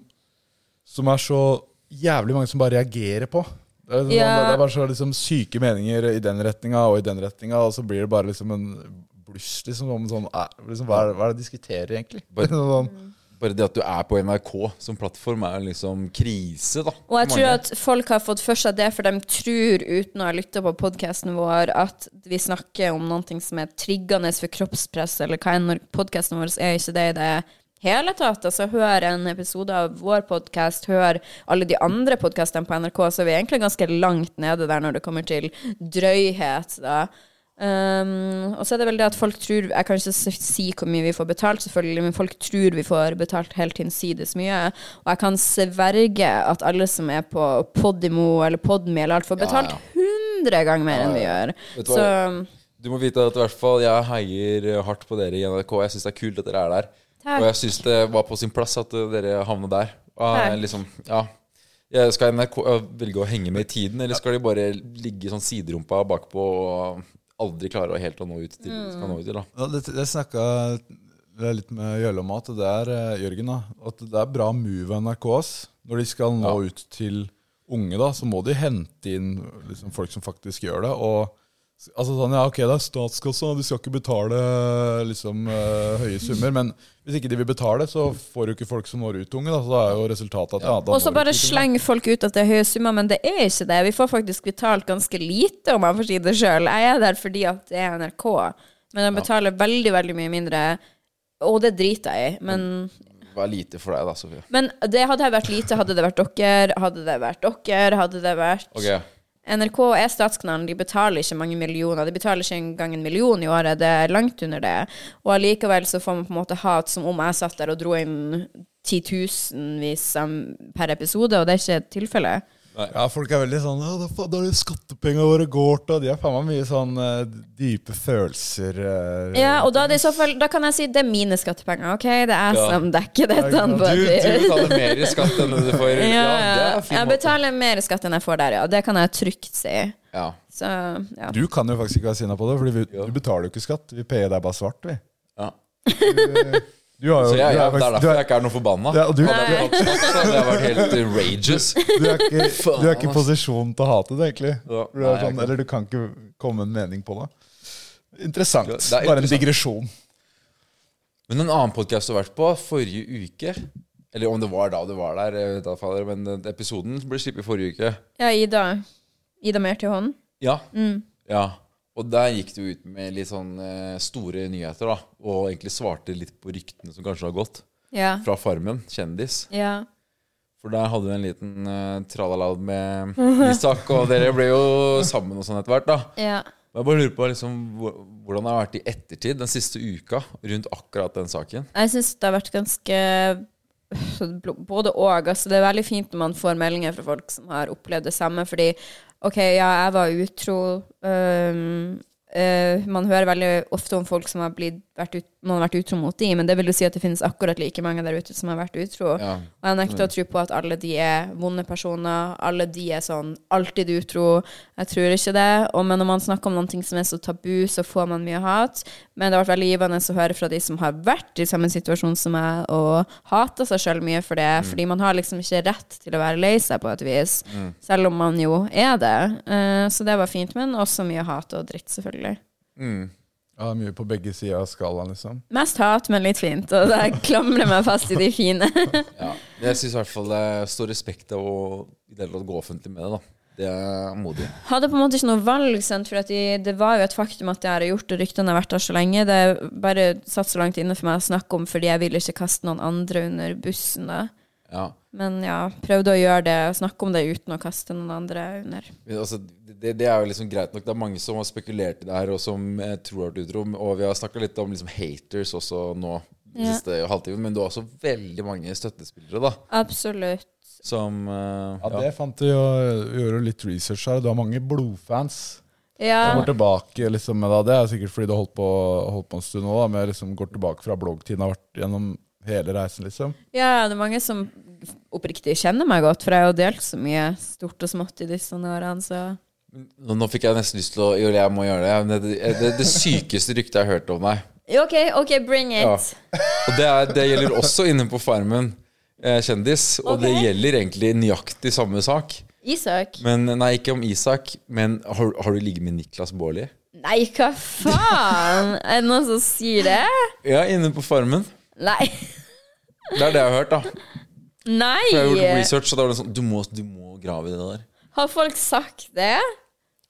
Speaker 1: som er så jævlig mange som bare reagerer på. Det er, sånn,
Speaker 3: Ja.
Speaker 1: det er bare så liksom, syke meninger i den retninga og i den retninga, og så blir det bare liksom en bluss. Liksom, om sånn, eh, liksom, hva, er, hva er det de diskuterer, egentlig?
Speaker 2: Bare-
Speaker 1: sånn,
Speaker 2: Bare det at du er på NRK som plattform, er liksom krise, da.
Speaker 3: Og jeg
Speaker 2: For
Speaker 3: tror
Speaker 2: mange.
Speaker 3: at folk har fått for seg det, for de tror, uten å ha lytta på podkasten vår, at vi snakker om noe som er triggende for kroppspress, eller hva enn. Podkasten vår er ikke det i det hele tatt. Altså, hør en episode av vår podkast, hør alle de andre podkastene på NRK, så vi er egentlig ganske langt nede der når det kommer til drøyhet, da. Um, og så er det vel det at folk tror Jeg kan ikke s- si hvor mye vi får betalt, selvfølgelig, men folk tror vi får betalt helt hinsides mye. Og jeg kan sverge at alle som er på Podimo eller Podme eller alt, får betalt
Speaker 2: ja.
Speaker 3: 100 ganger mer enn vi gjør.
Speaker 2: Vet du
Speaker 3: Så
Speaker 2: Du må vite at i hvert fall jeg heier eh, hardt på dere i NRK. Jeg syns det er kult at dere er der.
Speaker 3: Takk.
Speaker 2: Og jeg syns det var på sin plass at eh, dere havna der. Og, eh,
Speaker 3: Takk.
Speaker 2: liksom, ja. Jeg- Skal NRK eh, velge å henge med i tiden, eller skal de bare ligge sånn siderumpa bakpå og aldri klare å helt å nå ut til
Speaker 3: Mm.
Speaker 2: det de skal nå ut til? da?
Speaker 1: Ja, det, det snakka jeg litt med Jølle om, at det er eh, Jørgen, da, at det er bra move av NRK. ass. Når de skal nå ut til unge, da, så må de hente inn liksom, folk som faktisk gjør det. og Altså sånn, ja, ok, Det er statskassa, de skal ikke betale liksom, eh, høye summer. Men hvis ikke de vil betale, så får du ikke folk som når ut til unge. Da, så da er jo resultatet at ja, da
Speaker 3: Og så
Speaker 1: når du
Speaker 3: bare
Speaker 1: ikke til
Speaker 3: slenger folk ut at det er høye summer, men det er ikke det. Vi får faktisk betalt ganske lite, om jeg får si det sjøl. Jeg er der fordi at det er NRK, men de betaler veldig, veldig mye mindre. Og det driter jeg i, men
Speaker 2: Mm. Vær lite for deg, da, Sofie.
Speaker 3: Men det hadde her vært lite, hadde det vært dere, hadde det vært dere, hadde det vært
Speaker 2: Ok,
Speaker 3: NRK er statskanalen, de betaler ikke mange millioner. De betaler ikke engang en million i året, det er langt under det. Og allikevel så får man på en måte hat som om jeg satt der og dro inn titusenvis av- per episode, og det er ikke tilfellet.
Speaker 1: Ja, folk er veldig sånn «Å, da fa- Da er det skattepengene våre går til og De har faen meg mye sånn eh, dype følelser eh,
Speaker 3: Ja, og da, er det i så fall, da kan jeg si det er mine skattepenger, OK? Det er jeg
Speaker 2: Ja.
Speaker 3: som dekker dette.
Speaker 1: Du-
Speaker 2: Du, du betaler mer i skatt enn du får.
Speaker 3: ja,
Speaker 2: Ja, det
Speaker 3: ja.
Speaker 2: er en fin
Speaker 3: Jeg
Speaker 2: måte.
Speaker 3: betaler mer skatt enn jeg får der, ja. Det kan jeg trygt si.
Speaker 2: Ja.
Speaker 3: Så, ja.
Speaker 1: Du kan jo faktisk ikke være sinna på det, Fordi vi, du betaler jo ikke skatt. Vi payer deg bare svart, vi.
Speaker 2: Ja.
Speaker 1: Du har jo
Speaker 2: Så jeg,
Speaker 1: du
Speaker 2: ja,
Speaker 1: er
Speaker 2: det
Speaker 1: faktisk-
Speaker 2: er
Speaker 1: du
Speaker 2: derfor jeg
Speaker 1: er-
Speaker 2: ikke er noe forbanna.
Speaker 1: Ja, og du-
Speaker 2: Hadde jeg hatt skatt, så hadde jeg vært helt eh, rageous.
Speaker 1: du er ikke
Speaker 2: Faen,
Speaker 1: du er ikke i
Speaker 2: ass.
Speaker 1: posisjon til å hate det, egentlig.
Speaker 2: Ja,
Speaker 1: For Du er
Speaker 2: nei, jeg er
Speaker 1: sånn,
Speaker 2: ikke
Speaker 1: eller du kan ikke komme med en mening på det. Interessant.
Speaker 2: Ja, det er
Speaker 1: Bare en
Speaker 2: interessant.
Speaker 1: digresjon.
Speaker 2: Men en annen podkast du har vært på forrige uke Eller om det var da du var der, jeg vet da, fader, men den episoden ble sluppet forrige uke.
Speaker 3: Ja, Ida. Ida mer til hånden.
Speaker 2: Ja. ja. Og der gikk du ut med litt sånn eh, store nyheter, da. Og egentlig svarte litt på ryktene som kanskje har gått.
Speaker 3: Ja.
Speaker 2: Fra Farmen, kjendis.
Speaker 3: ja.
Speaker 2: For der hadde du en liten eh, tralala med Isak, og dere ble jo sammen og sånn etter hvert, da.
Speaker 3: ja.
Speaker 2: Men Jeg bare lurer på liksom, hvor- hvordan det har vært i ettertid, den siste uka, rundt akkurat den saken.
Speaker 3: Jeg syns det har vært ganske Både og. Altså, det er veldig fint når man får meldinger fra folk som har opplevd det samme, fordi OK, ja, jeg var utro. øhm, eh, Man hører veldig ofte om folk som har blitt, vært ut, man har vært utro mot de, men det vil jo si at det finnes akkurat like mange der ute som har vært utro.
Speaker 2: Ja.
Speaker 3: Og jeg nekter å tro på at alle de er vonde personer. Alle de er sånn alltid utro. Jeg tror ikke det. Og, men når man snakker om noe som er så tabu, så får man mye hat. Men det har vært veldig givende å høre fra de som har vært i samme situasjon som meg, og hater seg sjøl mye for det. Fordi man har liksom ikke rett til å være lei seg på et vis. Selv om man jo er det. Eh, så det var fint, men også mye hat og dritt, selvfølgelig.
Speaker 1: Ja, mye på begge sider av skalaen, liksom.
Speaker 3: Mest hat, men litt fint. Og jeg klamrer meg fast i de fine.
Speaker 2: Ja. Men Jeg syns i hvert fall det står respekt av å i det hele tatt gå offentlig med det. da Det er modig.
Speaker 3: hadde på en måte ikke noe valg, sant? for at de, det var jo et faktum at det her er gjort, og ryktene har vært der så lenge. Det er bare satt så langt inne for meg å snakke om, fordi jeg vil ikke kaste noen andre under bussen. da.
Speaker 2: Ja.
Speaker 3: Men ja, prøvde å gjøre det, snakke om det uten å kaste noen andre under.
Speaker 2: Men altså, det, det er jo liksom greit nok. Det er mange som har spekulert i det her, og som eh, tror har vært utro. Og vi har snakka litt om liksom, haters også nå, den
Speaker 3: Ja.
Speaker 2: siste halvtimen. Men du har også veldig mange støttespillere, da.
Speaker 3: Absolutt.
Speaker 2: Som eh,
Speaker 1: Ja, det fant jeg jo, gjorde litt research her. Du har mange blodfans.
Speaker 3: Ja,
Speaker 1: Som går tilbake liksom, med da, Det er sikkert fordi du har holdt på, holdt på en stund nå, da, men jeg liksom går tilbake fra bloggtiden har vært gjennom hele reisen, liksom.
Speaker 3: ja, det er mange som oppriktig kjenner meg godt, for jeg har jo delt så mye stort og smått i disse årene, så
Speaker 2: Nå, nå fikk jeg nesten lyst til å Jo, jeg må gjøre det. Men Det, det, det, det sykeste ryktet jeg har hørt om deg.
Speaker 3: Ja, OK, OK, bring it.
Speaker 2: Ja. Og det, er, det gjelder også inne på Farmen eh, kjendis. Og
Speaker 3: Ok.
Speaker 2: det gjelder egentlig nøyaktig samme sak.
Speaker 3: Isak.
Speaker 2: Men Nei, ikke om Isak, men har, har du ligget med Niklas Baarli?
Speaker 3: Nei, hva faen? Er det noen som sier det?
Speaker 2: Ja, inne på Farmen.
Speaker 3: Nei.
Speaker 2: Det er det jeg har hørt, da.
Speaker 3: Nei!
Speaker 2: For jeg har gjort research, og da var det sånn Du må, du må grave i det der.
Speaker 3: Har folk sagt det?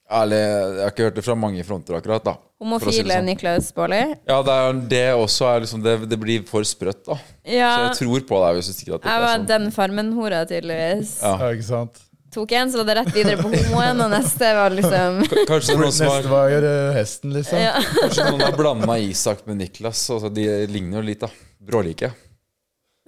Speaker 2: Ærlig, jeg har ikke hørt det fra mange fronter akkurat, da. for å si det
Speaker 3: Homofile
Speaker 2: sånn.
Speaker 3: Niklas Baarli?
Speaker 2: Ja, det, er, det også er liksom det, det blir for sprøtt, da. Så
Speaker 3: Ja.
Speaker 2: jeg tror på deg hvis du stikker at det
Speaker 3: Jeg
Speaker 2: ikke
Speaker 3: var
Speaker 2: er sånn.
Speaker 3: den farmen-hora, tydeligvis.
Speaker 2: Ja.
Speaker 1: Ja, ikke sant?
Speaker 3: Tok en, så var det rett videre på homoen, og neste var liksom
Speaker 2: K- Kanskje noen som
Speaker 1: Neste
Speaker 2: har,
Speaker 1: var å gjøre hesten, liksom.
Speaker 3: ja.
Speaker 2: kanskje noen har blanda Isak med Niklas. Altså, de ligner jo litt, da. Brålike.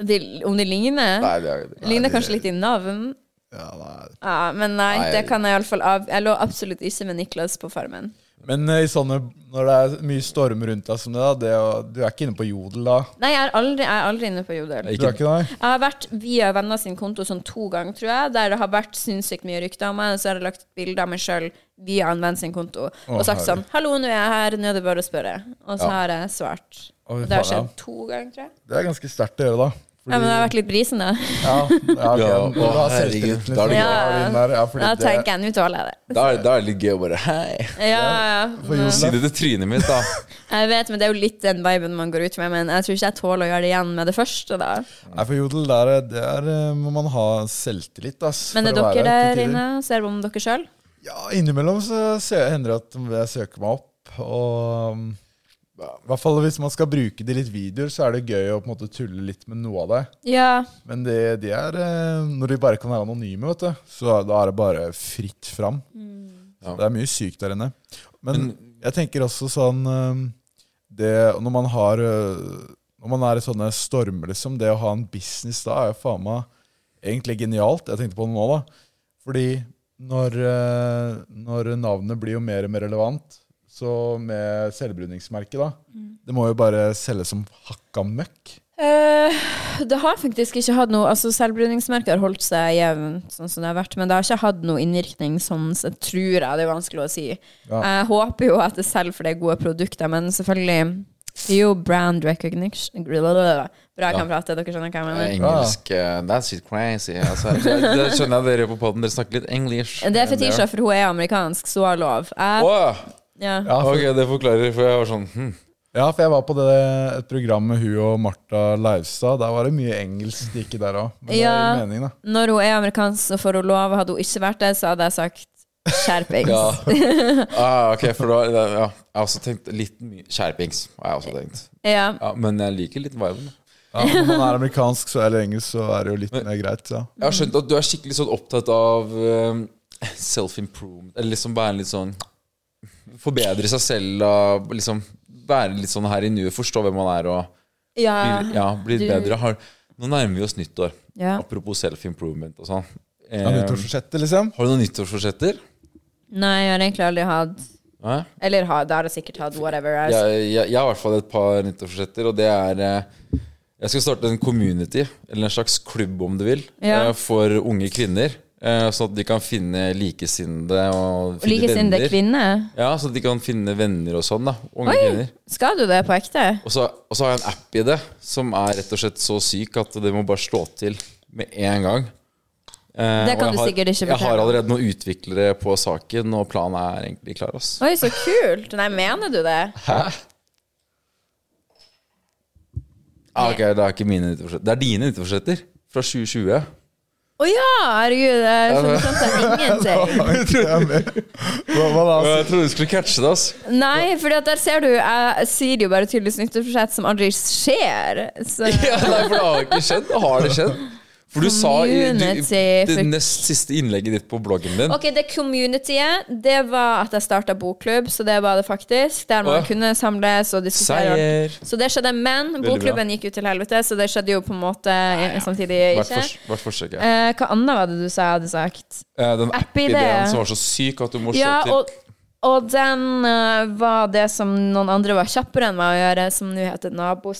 Speaker 3: de, Om de ligner?
Speaker 2: Nei, det er, nei,
Speaker 3: ligner
Speaker 2: det-
Speaker 3: kanskje litt i navn.
Speaker 1: Ja, nei.
Speaker 3: Ja, men nei,
Speaker 2: Nei.
Speaker 3: det kan jeg iallfall av. Jeg lå absolutt ikke med Niklas på Farmen.
Speaker 1: Men eh, i sånne, når det er mye storm rundt deg som det, da, det å, du er ikke inne på jodel da?
Speaker 3: Nei, jeg er aldri, jeg er aldri inne på Jodel.
Speaker 1: Du er ikke der?
Speaker 3: Jeg har vært via venner sin konto sånn to ganger, tror jeg, der det har vært sinnssykt mye rykter om meg, og så har jeg lagt bilder av meg sjøl via en venn sin konto og sagt sånn 'Hallo, nå er jeg her, nå er det bare å spørre', og så har jeg svart.
Speaker 1: Å, fy
Speaker 3: Og det har
Speaker 1: faen,
Speaker 3: skjedd to ganger, tror jeg.
Speaker 1: Det er ganske sterkt å gjøre, da.
Speaker 3: Ja, men jeg har vært litt brisen, da.
Speaker 1: Ja, ja, ok,
Speaker 2: Ja,
Speaker 1: men du
Speaker 2: å,
Speaker 1: har
Speaker 2: herregud,
Speaker 1: selvtilliten,
Speaker 2: da er
Speaker 1: liksom.
Speaker 2: det
Speaker 1: Ja,
Speaker 3: gøy.
Speaker 1: den der, ja, fordi
Speaker 3: Da
Speaker 1: det-
Speaker 3: tenker jeg nå tåler jeg det.
Speaker 2: Da er, da er det litt gøy å bare Hei!
Speaker 3: Ja, ja.
Speaker 1: for
Speaker 3: Men-
Speaker 2: Si
Speaker 1: jodel,
Speaker 2: det til trynet mitt, da.
Speaker 3: Jeg vet, men det er jo litt den viben man går ut med, men jeg tror ikke jeg tåler å gjøre det igjen med det første, da.
Speaker 1: Nei, for jodel der, er- der eh, må man ha selvtillit, ass.
Speaker 3: Men
Speaker 1: for
Speaker 3: er
Speaker 1: å
Speaker 3: dere
Speaker 1: være til
Speaker 3: der
Speaker 1: tider.
Speaker 3: inne? Ser om dere sjøl?
Speaker 1: Ja, innimellom så sø- hender det at jeg søker meg opp, og um, i hvert fall hvis man skal bruke det i litt videoer, så er det gøy å på en måte tulle litt med noe av det.
Speaker 3: Ja.
Speaker 1: Men det, det er eh, når de bare kan være anonyme, vet du, så er- da er det bare fritt fram.
Speaker 2: Ja.
Speaker 1: Det er mye sykt der inne. Men jeg tenker også sånn eh, det, Når man har eh, Når man er i sånne stormer, liksom, det å ha en business da er jo faen meg egentlig genialt. Jeg tenkte på det nå, da. Fordi når, eh, når navnet blir jo mer og mer relevant, så med selvbruningsmerket, da Det må jo bare selges som hakka møkk.
Speaker 3: Eh, det har faktisk ikke hatt noe Altså Selvbruningsmerket har holdt seg jevnt, sånn som det har vært, men det har ikke hatt noe innvirkning, sånn sett, tror jeg. Det er vanskelig å si.
Speaker 1: Ja.
Speaker 3: Jeg håper jo at det selger for det er gode produkter, men selvfølgelig det er jo brand recognition Bra, jeg kan prate. Dere skjønner hva jeg mener.
Speaker 2: Engelsk eh, That's it crazy. Altså, det, det skjønner jeg dere gjør på poden. Dere snakker litt engelsk.
Speaker 3: Det er fetisja, for hun er amerikansk, så har lov. Jeg,
Speaker 2: Åh,
Speaker 3: ja.
Speaker 1: Ja, for,
Speaker 2: ok, det forklarer, for jeg var sånn hm.
Speaker 1: ja, for jeg var på det, et program med hun og Martha Leivstad. Der var det mye engelsk det gikk i der òg. Men det
Speaker 3: Ja.
Speaker 1: gir mening, da.
Speaker 3: Når hun er amerikansk, så får hun lov. Hadde hun ikke vært det, så hadde jeg sagt skjerpings.
Speaker 2: Ja. Ah, ok, for da da- ja. Jeg har også tenkt litt mye Skjerpings. har jeg også tenkt.
Speaker 3: ja.
Speaker 2: Ja, men jeg liker litt viben.
Speaker 1: Ja, når man er amerikansk så, eller engelsk, så er det jo litt mer greit. Ja.
Speaker 2: Jeg har skjønt at du er skikkelig sånn opptatt av eh, self-improvement. Eller liksom være litt sånn Forbedre seg selv og liksom være litt sånn her i nuet. Forstå hvem man er og
Speaker 3: Ja.
Speaker 2: bli, ja, bli litt
Speaker 3: Du-
Speaker 2: bedre. Har, nå nærmer vi oss nyttår.
Speaker 3: Ja.
Speaker 2: Apropos self-improvement og sånn. Eh,
Speaker 1: Ja, nyttårsforsettet, liksom.
Speaker 2: har du noen nyttårsforsetter?
Speaker 3: Nei, jeg har egentlig aldri hatt
Speaker 2: Hæ?
Speaker 3: Eller ha, da har jeg sikkert hatt whatever. altså.
Speaker 2: Jeg, jeg, jeg har i hvert fall et par nyttårsforsetter, og det er eh, Jeg skal starte en community, eller en slags klubb om du vil,
Speaker 3: Ja.
Speaker 2: eh, for unge kvinner. eh, Sånn at de kan finne likesinnede og
Speaker 3: Og
Speaker 2: finne venner.
Speaker 3: Likesinnede kvinner.
Speaker 2: Ja, så at de kan finne venner og sånn, da. Unge
Speaker 3: Oi,
Speaker 2: kvinner.
Speaker 3: skal du det på ekte?
Speaker 2: Og så, og så har jeg en app i det som er rett og slett så syk at det må bare slå til med en gang. Eh,
Speaker 3: Det kan
Speaker 2: og jeg
Speaker 3: du sikkert ikke
Speaker 2: Jeg har
Speaker 3: fortelle.
Speaker 2: allerede noen utviklere på saken, og planen er egentlig klar. ass.
Speaker 3: Oi, så kult! Nei, mener du det?
Speaker 2: Ah, ok, det er ikke mine nyttårsforsetter. Det er dine nyttårsforsetter fra 2020.
Speaker 3: Å ja! Herregud, jeg skjønner sånn ingenting.
Speaker 1: Jeg trodde jeg- Hva, hva da?
Speaker 2: Jeg trodde du skulle catche det, ass.
Speaker 3: Nei, for der ser du, jeg sier jo bare tydeligvis nyttårsforsett som aldri skjer. Så
Speaker 2: Ja, nei, for det har ikke skjedd. Det har det skjedd. For du sa i du,
Speaker 3: Community
Speaker 2: det
Speaker 3: for-
Speaker 2: nest siste innlegget ditt på bloggen din
Speaker 3: Ok, det communityet, det var at jeg starta bokklubb, så det var det faktisk. Der man
Speaker 2: Å ja.
Speaker 3: kunne samles og diskutere.
Speaker 2: Seier.
Speaker 3: Så det skjedde, men
Speaker 2: bra.
Speaker 3: bokklubben gikk jo til helvete, så det skjedde jo på en måte samtidig
Speaker 2: Hvert,
Speaker 3: ikke.
Speaker 2: fors hvert forsøk, ja.
Speaker 3: Eh, hva annet var det du sa jeg hadde sagt?
Speaker 2: Eh, Den
Speaker 3: app-ideen.
Speaker 2: app-ideen som var så syk at du må slå
Speaker 3: Ja,
Speaker 2: til.
Speaker 3: og, og den eh, var det som noen andre var kjappere enn meg å gjøre, som nå heter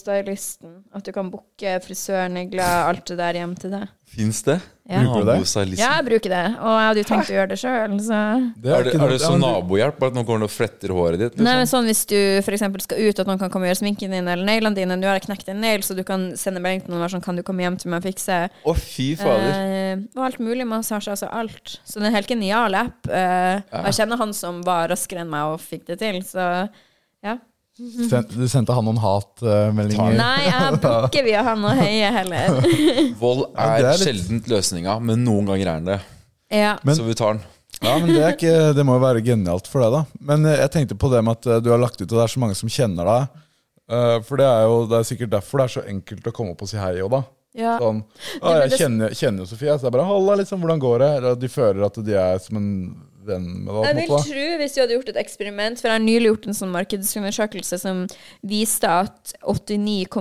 Speaker 3: nabostylisten. At du kan booke frisør, negler, alt det der hjem til deg.
Speaker 2: Fins det?
Speaker 3: Ja.
Speaker 1: Bruker du det?
Speaker 2: Nabostylisten.
Speaker 3: Ja, jeg bruker det, og jeg hadde jo
Speaker 2: Ah.
Speaker 3: tenkt å gjøre det sjøl, så
Speaker 1: er
Speaker 2: liksom- Er det,
Speaker 1: ikke noe-
Speaker 2: er det
Speaker 1: Ja,
Speaker 2: som
Speaker 1: men du-
Speaker 2: nabohjelp? Bare at nå går han og fletter håret ditt?
Speaker 3: Nei,
Speaker 2: Liksom?
Speaker 3: men sånn Hvis du for eksempel skal ut, at noen kan komme og gjøre sminken din eller neglene dine Nå har jeg knekt en negl, så du kan sende melding til noen og være sånn Kan du komme hjem til meg og fikse?
Speaker 2: Å, fy fader.
Speaker 3: Eh, og alt mulig massasje, altså alt. Så det er en helt genial app. Eh, og Jeg kjenner han som var raskere enn meg og fikk det til, så ja.
Speaker 1: Sen- Du sendte han noen hatmeldinger?
Speaker 3: Nei, jeg booker via han og heier heller.
Speaker 2: Vold
Speaker 1: Ja,
Speaker 2: er,
Speaker 1: det er litt-
Speaker 2: sjeldent løsninga, men noen ganger er den det.
Speaker 3: Ja.
Speaker 1: Men-
Speaker 2: Så vi tar den.
Speaker 1: Ja, men det, er ikke, det må jo være genialt for deg, da. Men eh, jeg tenkte på det med at eh, du har lagt ut, og det er så mange som kjenner deg. Eh, For det er jo det er sikkert derfor det er så enkelt å komme opp og si hei òg, da.
Speaker 3: Ja.
Speaker 1: Sånn, å, jeg
Speaker 3: men det-
Speaker 1: kjenner, kjenner jo Sofie, så det er bare 'halla, liksom, hvordan går det?' Eller at de føler at de er som en venn med deg. på
Speaker 3: Jeg
Speaker 1: en
Speaker 3: vil
Speaker 1: måte, da.
Speaker 3: tro, hvis du hadde gjort et eksperiment For jeg har nylig gjort en sånn markedsundersøkelse som viste at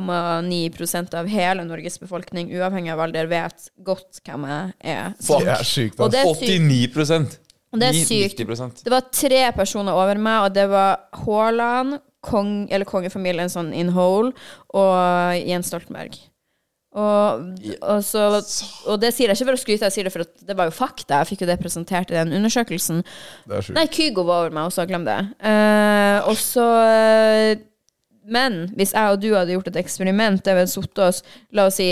Speaker 3: 89,9 av hele Norges befolkning, uavhengig av alder, vet godt hvem jeg er.
Speaker 2: Fuck.
Speaker 1: Det er sykt,
Speaker 3: Og
Speaker 1: ass.
Speaker 3: det er sykt.
Speaker 2: 89
Speaker 3: Og det er sykt.
Speaker 2: 90%.
Speaker 3: Det var tre personer over meg, og det var Haaland, kong, eller kongefamilien sånn in whole, og Jens Stoltenberg. Og, og, så, og det sier jeg ikke for å skryte, jeg sier det for at det var jo fakta. Jeg fikk jo det presentert i den undersøkelsen.
Speaker 1: Det er sykt.
Speaker 3: Nei, Kygo var over meg også, glem det. Eh, og så eh, Men hvis jeg og du hadde gjort et eksperiment der vi hadde sittet oss, la oss si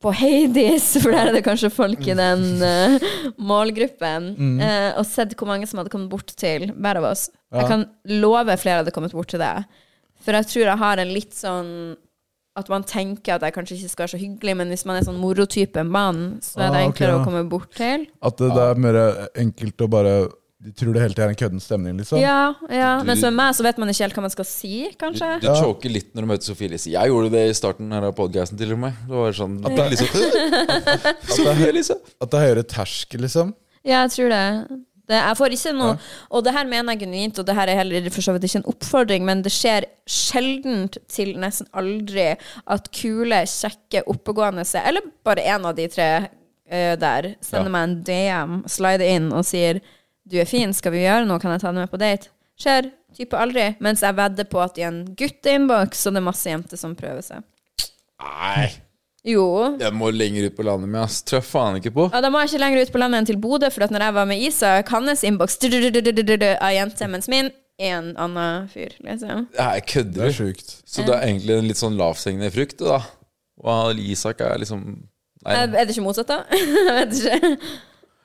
Speaker 3: på Hades, for der er det kanskje folk i den eh, målgruppen,
Speaker 1: Mm.
Speaker 3: eh, og sett hvor mange som hadde kommet bort til hver av oss. Jeg kan love flere hadde kommet bort til deg. For jeg tror jeg har en litt sånn at man tenker at jeg kanskje ikke skal være så hyggelig, men hvis man er sånn morotype mann, så er det
Speaker 1: Ah, ok,
Speaker 3: enklere
Speaker 1: ja.
Speaker 3: å komme bort til.
Speaker 1: At det, det er mer enkelt å bare De tror det hele tiden er en kødden stemning, liksom.
Speaker 3: Ja, ja.
Speaker 2: Du-
Speaker 3: men som meg så vet man ikke helt hva man skal si,
Speaker 2: Du,
Speaker 3: kanskje.
Speaker 2: du choker litt når du møter Sofie Elise. Jeg gjorde det i starten her av podcasten til og med. Det var sånn Lise- Sofie Elise!
Speaker 1: At det er høyere terskel, liksom.
Speaker 3: Ja, jeg tror det. det jeg får ikke noe Og det her mener jeg genuint, og det her er heller for så vidt ikke en oppfordring, men det skjer sjeldent til nesten aldri at kule, kjekke, oppegående eller bare én av de tre eh, der sender meg en DM, slider inn og sier 'Du er fin, skal vi gjøre noe? Kan jeg ta deg med på date?' Skjer type aldri. Mens jeg vedder på at i en gutteinnboks, så det er masse jenter som prøver seg.
Speaker 2: Nei,
Speaker 3: Jo.
Speaker 2: jeg må lenger ut på landet med, ass. Tror jeg faen ikke på.
Speaker 3: Ja, da må jeg ikke lenger ut på landet enn til Bodø, for at når jeg var med Isak, hans innboks av jente, mens min er en annen fyr, liksom.
Speaker 2: Jeg
Speaker 1: Det
Speaker 2: kødder.
Speaker 1: er sykt.
Speaker 2: Så det er egentlig en litt sånn lavthengende frukt, da. Og Isak er liksom Nei.
Speaker 3: Er er det ikke motsatt, da? Jeg vet ikke.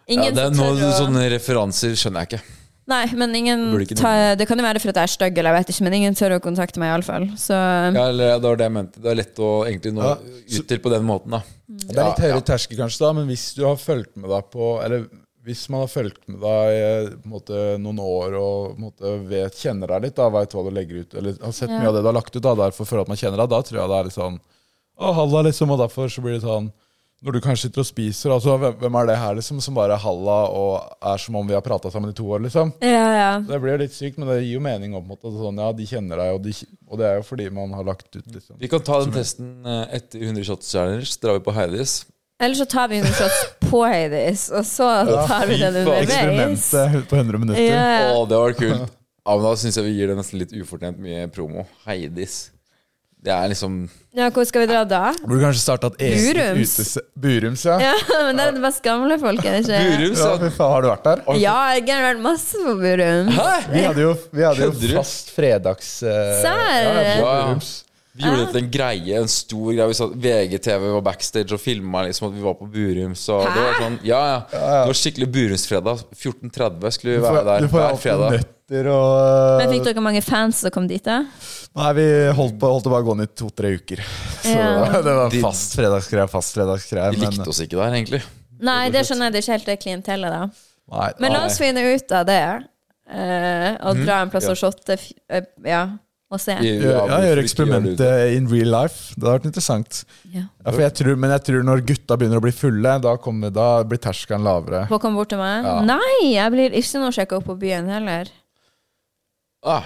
Speaker 2: Ja,
Speaker 3: Ingen
Speaker 2: det er
Speaker 3: som
Speaker 2: noen
Speaker 3: tør å
Speaker 2: sånne referanser skjønner jeg ikke.
Speaker 3: Nei, men ingen
Speaker 2: Burde ikke
Speaker 3: ta, Det kan jo være for at jeg er stygg, eller jeg vet ikke, men ingen tør å kontakte meg, iallfall. Så
Speaker 2: Ja, eller, det var det jeg mente. Det er lett å egentlig nå
Speaker 1: Ja,
Speaker 2: ut til på den måten, da.
Speaker 1: Det er litt
Speaker 2: Ja,
Speaker 1: høyere terskel kanskje da, men hvis du har fulgt med deg på Eller hvis man har fulgt med deg eh, på en måte, noen år og på en måte, vet, kjenner deg litt, da, vet hva du legger ut, eller har sett mye av det du har lagt ut, da, derfor føler at man kjenner deg, da tror jeg det er litt sånn Å, halla, liksom, og derfor så blir det sånn Når du kanskje sitter og spiser, altså hvem, hvem er det her, liksom, som bare er halla og er som om vi har prata sammen i to år, liksom?
Speaker 3: ja, ja.
Speaker 1: Det blir jo litt sykt, men det gir jo mening. Om, på en måte, sånn, ja, de kjenner deg, og, de, og det er jo fordi man har lagt ut, liksom.
Speaker 2: Vi kan ta den testen eh, etter 100 shots challenge. Drar vi på Heidis.
Speaker 3: Eller så tar vi noen shots på Hades, og så tar vi
Speaker 2: fy
Speaker 3: den
Speaker 2: faen.
Speaker 3: underveis.
Speaker 1: Eksperimentet på 100 minutter.
Speaker 3: Ja, ja.
Speaker 2: Å, det var kult. Ja, men da syns jeg vi gir det nesten litt ufortjent mye promo. Heidis. Det er liksom
Speaker 3: Ja, hvor skal vi dra da?
Speaker 1: Burde kanskje starta et eget
Speaker 3: Burums.
Speaker 1: utese- Burums, ja.
Speaker 3: Ja, men det er det best gamle folk, er det ikke?
Speaker 2: Burum,
Speaker 1: ja
Speaker 2: sa
Speaker 1: fy faen, har du vært der?
Speaker 3: Ja, jeg har vært masse på Burum.
Speaker 1: Vi hadde jo, vi hadde
Speaker 2: Kødder
Speaker 1: jo
Speaker 2: du?
Speaker 1: fast fredags... eh,
Speaker 3: Serr?
Speaker 1: ja,
Speaker 2: Wow.
Speaker 1: Burums.
Speaker 2: Vi gjorde det til en greie, en stor greie. Vi satt, VGTV var backstage og filma liksom at vi var på Burums. Og det var sånn, ja, ja. Det var skikkelig Burumsfredag. 14.30 skulle vi
Speaker 1: Du får,
Speaker 2: være der
Speaker 1: du får
Speaker 2: hver
Speaker 1: alltid
Speaker 2: fredag.
Speaker 1: nøtter og
Speaker 3: eh, Men fikk dere mange fans som kom dit, da?
Speaker 1: Nei, vi holdt, på, holdt det bare gående i to-tre uker. Så
Speaker 3: Ja.
Speaker 1: det var en fast fredagsgreie, fast fredagsgreie.
Speaker 2: De likte oss ikke der, egentlig.
Speaker 3: Nei, det skjønner jeg. Det er ikke helt det klientellet, da.
Speaker 1: Nei,
Speaker 3: Men la
Speaker 1: nei.
Speaker 3: oss finne ut av det. eh, og dra en plass og shotte. f- eh, Ja, og se.
Speaker 2: Vi- vi
Speaker 1: Gjør, ja, gjør
Speaker 2: avbryter ikke, gjør det.
Speaker 1: eksperimentet in real life. Det hadde vært interessant.
Speaker 3: Ja.
Speaker 1: Ja, for jeg tror, men jeg tror når gutta begynner å bli fulle, da, kommer, da blir terskelen lavere.
Speaker 3: Få komme bort til meg.
Speaker 1: Ja.
Speaker 3: Nei, jeg blir ikke noe sjekka opp på byen heller.
Speaker 2: Ah,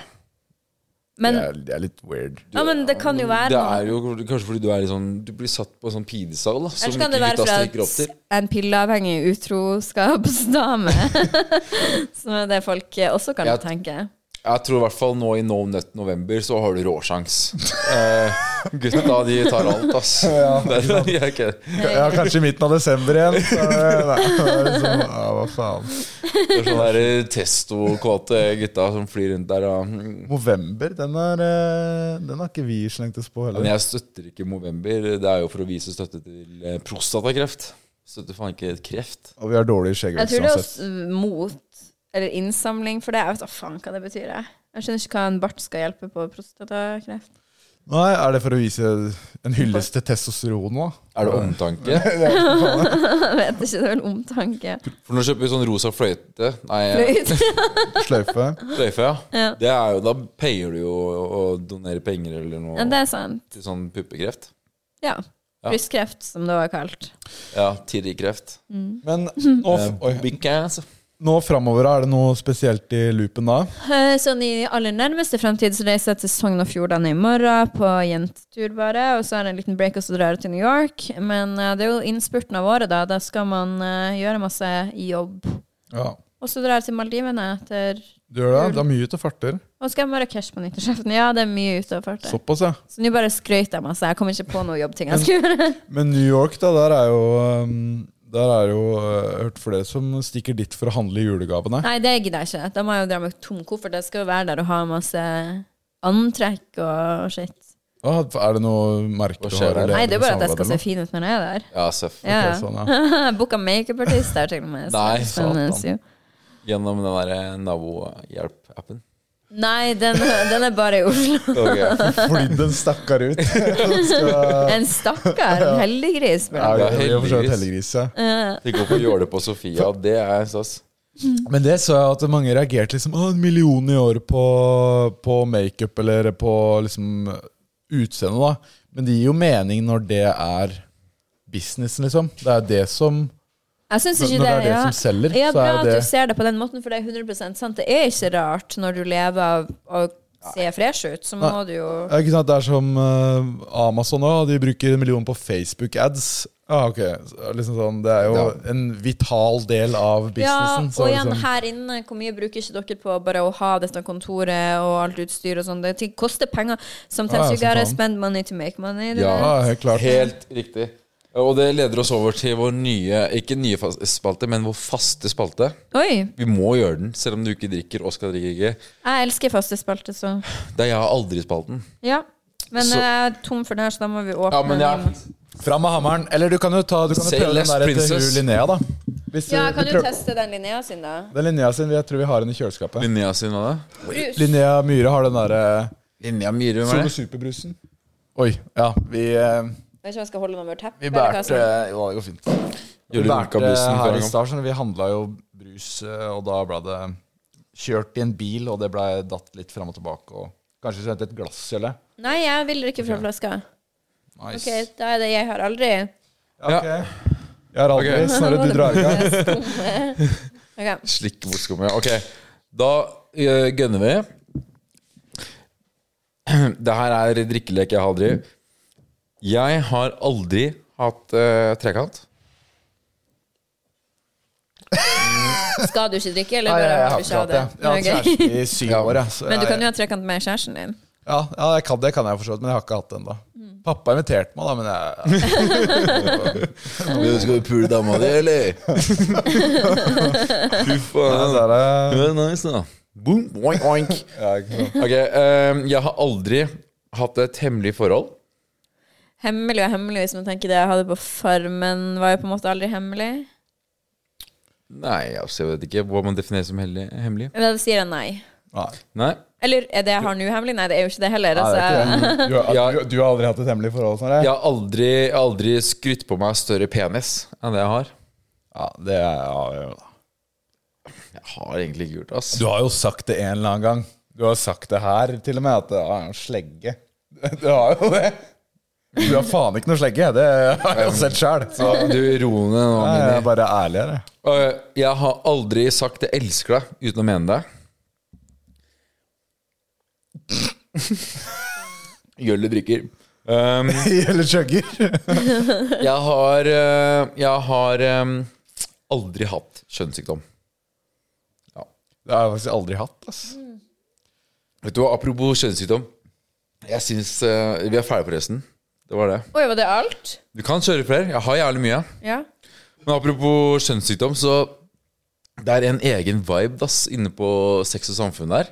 Speaker 1: Det
Speaker 3: Men,
Speaker 1: er, det er litt weird.
Speaker 3: ja, men det kan jo være
Speaker 2: det
Speaker 3: noe.
Speaker 2: er jo kanskje fordi du er i sånn Du blir satt på en sånn pidesal da, som
Speaker 3: Ellers kan det
Speaker 2: ikke
Speaker 3: være
Speaker 2: gutta stikker
Speaker 3: fra
Speaker 2: opp til.
Speaker 3: et- en pilleavhengig utroskapsdame. Som er det folk eh, også kan
Speaker 2: Ja.
Speaker 3: tenke.
Speaker 2: Jeg tror i hvert fall nå i No Nut November så har du råsjans. eh, gutta, de tar alt, ass. det, er- de er ikke,
Speaker 1: Ja, kanskje i midten av desember igjen. Så, eh, nei, det er liksom, ja, hva faen.
Speaker 2: det er sånne der eh, testokåte gutta som flyr rundt der. Og, mm.
Speaker 1: November, den, er, eh, den har ikke vi slengt oss på
Speaker 2: men
Speaker 1: heller.
Speaker 2: jeg støtter ikke Movember. Det er jo for å vise støtte til eh, prostatakreft. Støtter faen ikke kreft.
Speaker 1: Og vi har dårlig
Speaker 3: Jeg
Speaker 1: skjeggvekst
Speaker 3: tror det er
Speaker 1: uansett.
Speaker 3: også uh, mot eller innsamling for det. Jeg vet da faen hva det betyr. Jeg Jeg skjønner ikke hva en bart skal hjelpe på prostatakreft.
Speaker 1: Nei, er det for å vise en hyllest til testosteron nå?
Speaker 2: Er det omtanke?
Speaker 3: Jeg vet ikke, det er vel omtanke.
Speaker 2: For nå kjøper vi sånn rosa fløyte. Nei, eh,
Speaker 3: Fløyt.
Speaker 1: Sløyfe?
Speaker 2: fløyfe, ja.
Speaker 3: Ja.
Speaker 2: Det er jo, da payer du jo å donere penger eller noe
Speaker 3: Ja, det er sant.
Speaker 2: til sånn puppekreft.
Speaker 3: Ja.
Speaker 2: Ja.
Speaker 3: Brystkreft, som det var kalt.
Speaker 2: Ja, tidligkreft.
Speaker 1: Men nå,
Speaker 2: Eh,
Speaker 1: oi,
Speaker 2: big ass.
Speaker 1: nå framover, er det noe spesielt i loopen da?
Speaker 3: Eh, Sånn i aller nærmeste fremtid så reiser jeg til Sogn og Fjordane i morgen på jentetur, bare. Og så er det en liten break, og så drar jeg til New York. Men eh, det er jo innspurten av året, da. Da skal man eh, gjøre masse jobb.
Speaker 1: Ja.
Speaker 3: Og så drar jeg til Maldivene etter
Speaker 1: Du gjør det? Det er mye ute og farter.
Speaker 3: Og så skal jeg Marrakech på nyttårsaften. Ja, det er mye ute og farter.
Speaker 1: Såpass, ja.
Speaker 3: Så nå bare skrøt jeg masse. Jeg kommer ikke på noe jobbting jeg skal gjøre.
Speaker 1: Men New York, da, der er jo um, Der er jo uh, hørt flere som stikker dit for å handle julegavene.
Speaker 3: Nei, det gidder jeg ikke. Da må jeg jo dra med tom koffert. Jeg skal jo være der og ha masse antrekk og shit.
Speaker 1: Ah, er det noe merke
Speaker 2: Hva
Speaker 1: du
Speaker 2: skjer
Speaker 1: har?
Speaker 2: der?
Speaker 1: eller
Speaker 3: Nei, det er bare at jeg
Speaker 1: samarbeid
Speaker 3: skal se
Speaker 1: med?
Speaker 3: fin ut når jeg er der.
Speaker 2: Ja, seff.
Speaker 3: Ja.
Speaker 1: Ok, sånn, ja.
Speaker 3: Jeg Booka makeupartist der, til og med. Så
Speaker 2: Nei,
Speaker 3: det spennes jo.
Speaker 2: Gjennom den der eh, Navo-hjelp-appen.
Speaker 3: Nei, den, den er bare i Oslo.
Speaker 1: Fordi den stakkar ut.
Speaker 3: En stakkar. En heldiggris.
Speaker 1: Ja,
Speaker 3: vel.
Speaker 1: det er jo for så vidt
Speaker 2: heldiggris.
Speaker 1: heldiggris, ja.
Speaker 2: De går på jåle på Sofia, det er stas.
Speaker 3: Mm.
Speaker 1: Men det så jeg at mange reagerte liksom Å, en million i året på, på makeup eller på liksom utseende, da. Men det gir jo mening når det er businessen, liksom. Det er det som
Speaker 3: Jeg syns ikke
Speaker 1: Når det er det
Speaker 3: ja.
Speaker 1: som selger,
Speaker 3: ja,
Speaker 1: så
Speaker 3: bra
Speaker 1: er
Speaker 3: at
Speaker 1: det-
Speaker 3: du ser det på den måten, for det er 100 sant. Det er ikke rart når du lever av å se fresh ut, så må
Speaker 1: Nei.
Speaker 3: du jo
Speaker 1: Ja, ikke sant? Det er som eh, Amazon òg. De bruker en million på Facebook-ads. Ah, ok. Så, Liksom sånn, det er jo
Speaker 2: Ja.
Speaker 1: en vital del av
Speaker 3: Ja,
Speaker 1: businessen. så
Speaker 3: og igjen,
Speaker 1: liksom,
Speaker 3: her inne, hvor mye bruker ikke dere på bare å ha dette kontoret og alt utstyr og sånn? Det ting koster penger.
Speaker 1: Ja,
Speaker 3: Sometimes
Speaker 1: ja,
Speaker 3: you
Speaker 1: som
Speaker 3: gotta
Speaker 1: faen.
Speaker 3: spend money to make money. det
Speaker 2: Ja.
Speaker 1: ja,
Speaker 3: der.
Speaker 1: helt klart.
Speaker 2: Helt riktig. Og det leder oss over til vår nye, ikke nye fas- spalte, men vår faste spalte.
Speaker 3: Oi!
Speaker 2: Vi må gjøre den, selv om du ikke drikker. Oskar drikker ikke.
Speaker 3: Jeg elsker faste spalter, så
Speaker 2: Det er jeg har aldri spalten.
Speaker 3: Ja. Men
Speaker 2: Så-
Speaker 3: jeg er tom for det her, så da må vi åpne
Speaker 2: Ja, men jeg,
Speaker 3: den.
Speaker 1: Fram med hammeren. Eller du kan jo ta Du kan jo
Speaker 2: Say
Speaker 1: prøve den
Speaker 2: less,
Speaker 1: der til
Speaker 2: princess.
Speaker 1: hun Linnea, da. Hvis
Speaker 3: Ja,
Speaker 1: du- vi
Speaker 3: kan du
Speaker 1: prøver-
Speaker 3: teste den Linnea sin, da?
Speaker 1: Den Linnea sin, jeg tror vi har den i kjøleskapet.
Speaker 2: Linnea sin hva da?
Speaker 1: Linnea Myhre har den derre
Speaker 2: Linnea Myhre, hvem er
Speaker 1: Solo
Speaker 2: det?
Speaker 1: Superbrusen. Oi. Ja, vi eh,
Speaker 3: Jeg vet ikke om jeg skal holde den over teppet.
Speaker 1: Vi
Speaker 3: eller hva
Speaker 1: bærte
Speaker 3: som-
Speaker 1: Jo, det går fint. Vi
Speaker 2: Gjør du
Speaker 1: bærte
Speaker 2: runka bussen for
Speaker 1: her i
Speaker 2: en gang?
Speaker 1: stad, så vi handla jo brus, eh, og da ble det kjørt i en bil, og det ble datt litt fram og tilbake, og kanskje så hentet et glass eller
Speaker 3: Nei, jeg vil ikke fra flaska.
Speaker 1: Nice.
Speaker 3: Ok, da er det jeg har aldri.
Speaker 1: Ja, ok. Jeg har aldri
Speaker 2: Ok.
Speaker 1: Snorre, du drar i gang.
Speaker 3: Ok.
Speaker 2: Slikk bort skummet. Ok, da uh, gønner vi. Det her er drikkelek jeg har aldri. Jeg har aldri hatt eh, trekant.
Speaker 3: Skal du ikke drikke, eller
Speaker 1: Nei,
Speaker 3: bare
Speaker 1: jeg, jeg har
Speaker 3: du
Speaker 1: ikke hatt det. Jeg
Speaker 3: Nei,
Speaker 1: har
Speaker 3: ok.
Speaker 1: hatt kjæreste i syv
Speaker 2: Ja.
Speaker 1: år. jeg, så
Speaker 3: Men du
Speaker 1: jeg-
Speaker 3: kan jo ha trekant med kjæresten din.
Speaker 1: Ja, ja jeg kan, det kan jeg for så vidt, men jeg har ikke hatt det ennå. Pappa inviterte meg, da, men jeg,
Speaker 2: Skal du pule dama di, eller? Fy
Speaker 1: jeg,
Speaker 2: faen.
Speaker 1: der er,
Speaker 2: Det er nice, da. Boom, oink, oink.
Speaker 1: ja, ikke sant.
Speaker 2: Ok, ehm, jeg har aldri hatt et hemmelig forhold.
Speaker 3: Hemmelig og hemmelig, hvis man tenker det jeg hadde på Farmen, var jo på en måte aldri hemmelig.
Speaker 2: Nei, altså, jeg vet ikke hva man definerer som hellig- hemmelig.
Speaker 3: Men da sier jeg nei.
Speaker 1: Nei.
Speaker 2: Nei.
Speaker 3: Eller er det jeg har nå hemmelig? Nei, det er jo ikke det heller.
Speaker 1: Nei, det
Speaker 3: Altså.
Speaker 1: er ikke det. Du, har-
Speaker 2: Ja.
Speaker 1: du, du har aldri hatt et hemmelig forhold? Sånn,
Speaker 2: Jeg har aldri, jeg har aldri skrytt på meg større penis enn det jeg har.
Speaker 1: ja, det er, ja, jo da.
Speaker 2: Jeg har egentlig ikke gjort det, ass.
Speaker 1: Du har jo sagt det en eller annen gang. Du har sagt det her til og med, at det er en slegge. Du har jo det. Du har faen ikke noe slegge, det har jeg jo sett sjøl. Så
Speaker 2: Du roer ned
Speaker 1: jeg
Speaker 2: nå, Mini.
Speaker 1: er bare ærlig her, jeg.
Speaker 2: Øh, Jeg har aldri sagt 'jeg elsker deg' uten å mene det. Gjølle drikker. Um,
Speaker 1: Eller chugger.
Speaker 2: jeg har, øh, jeg har øhm, aldri hatt kjønnssykdom.
Speaker 1: Det har jeg faktisk aldri hatt. ass.
Speaker 2: Vet du hva, Apropos kjønnssykdom. Jeg syns øh, Vi er ferdige, forresten. Det var det.
Speaker 3: Oi, var det alt?
Speaker 2: Du kan kjøre flere. Jeg har jævlig mye.
Speaker 3: Ja.
Speaker 2: Men apropos kjønnssykdom, så det er en egen vibe ass, inne på Sex og samfunn der.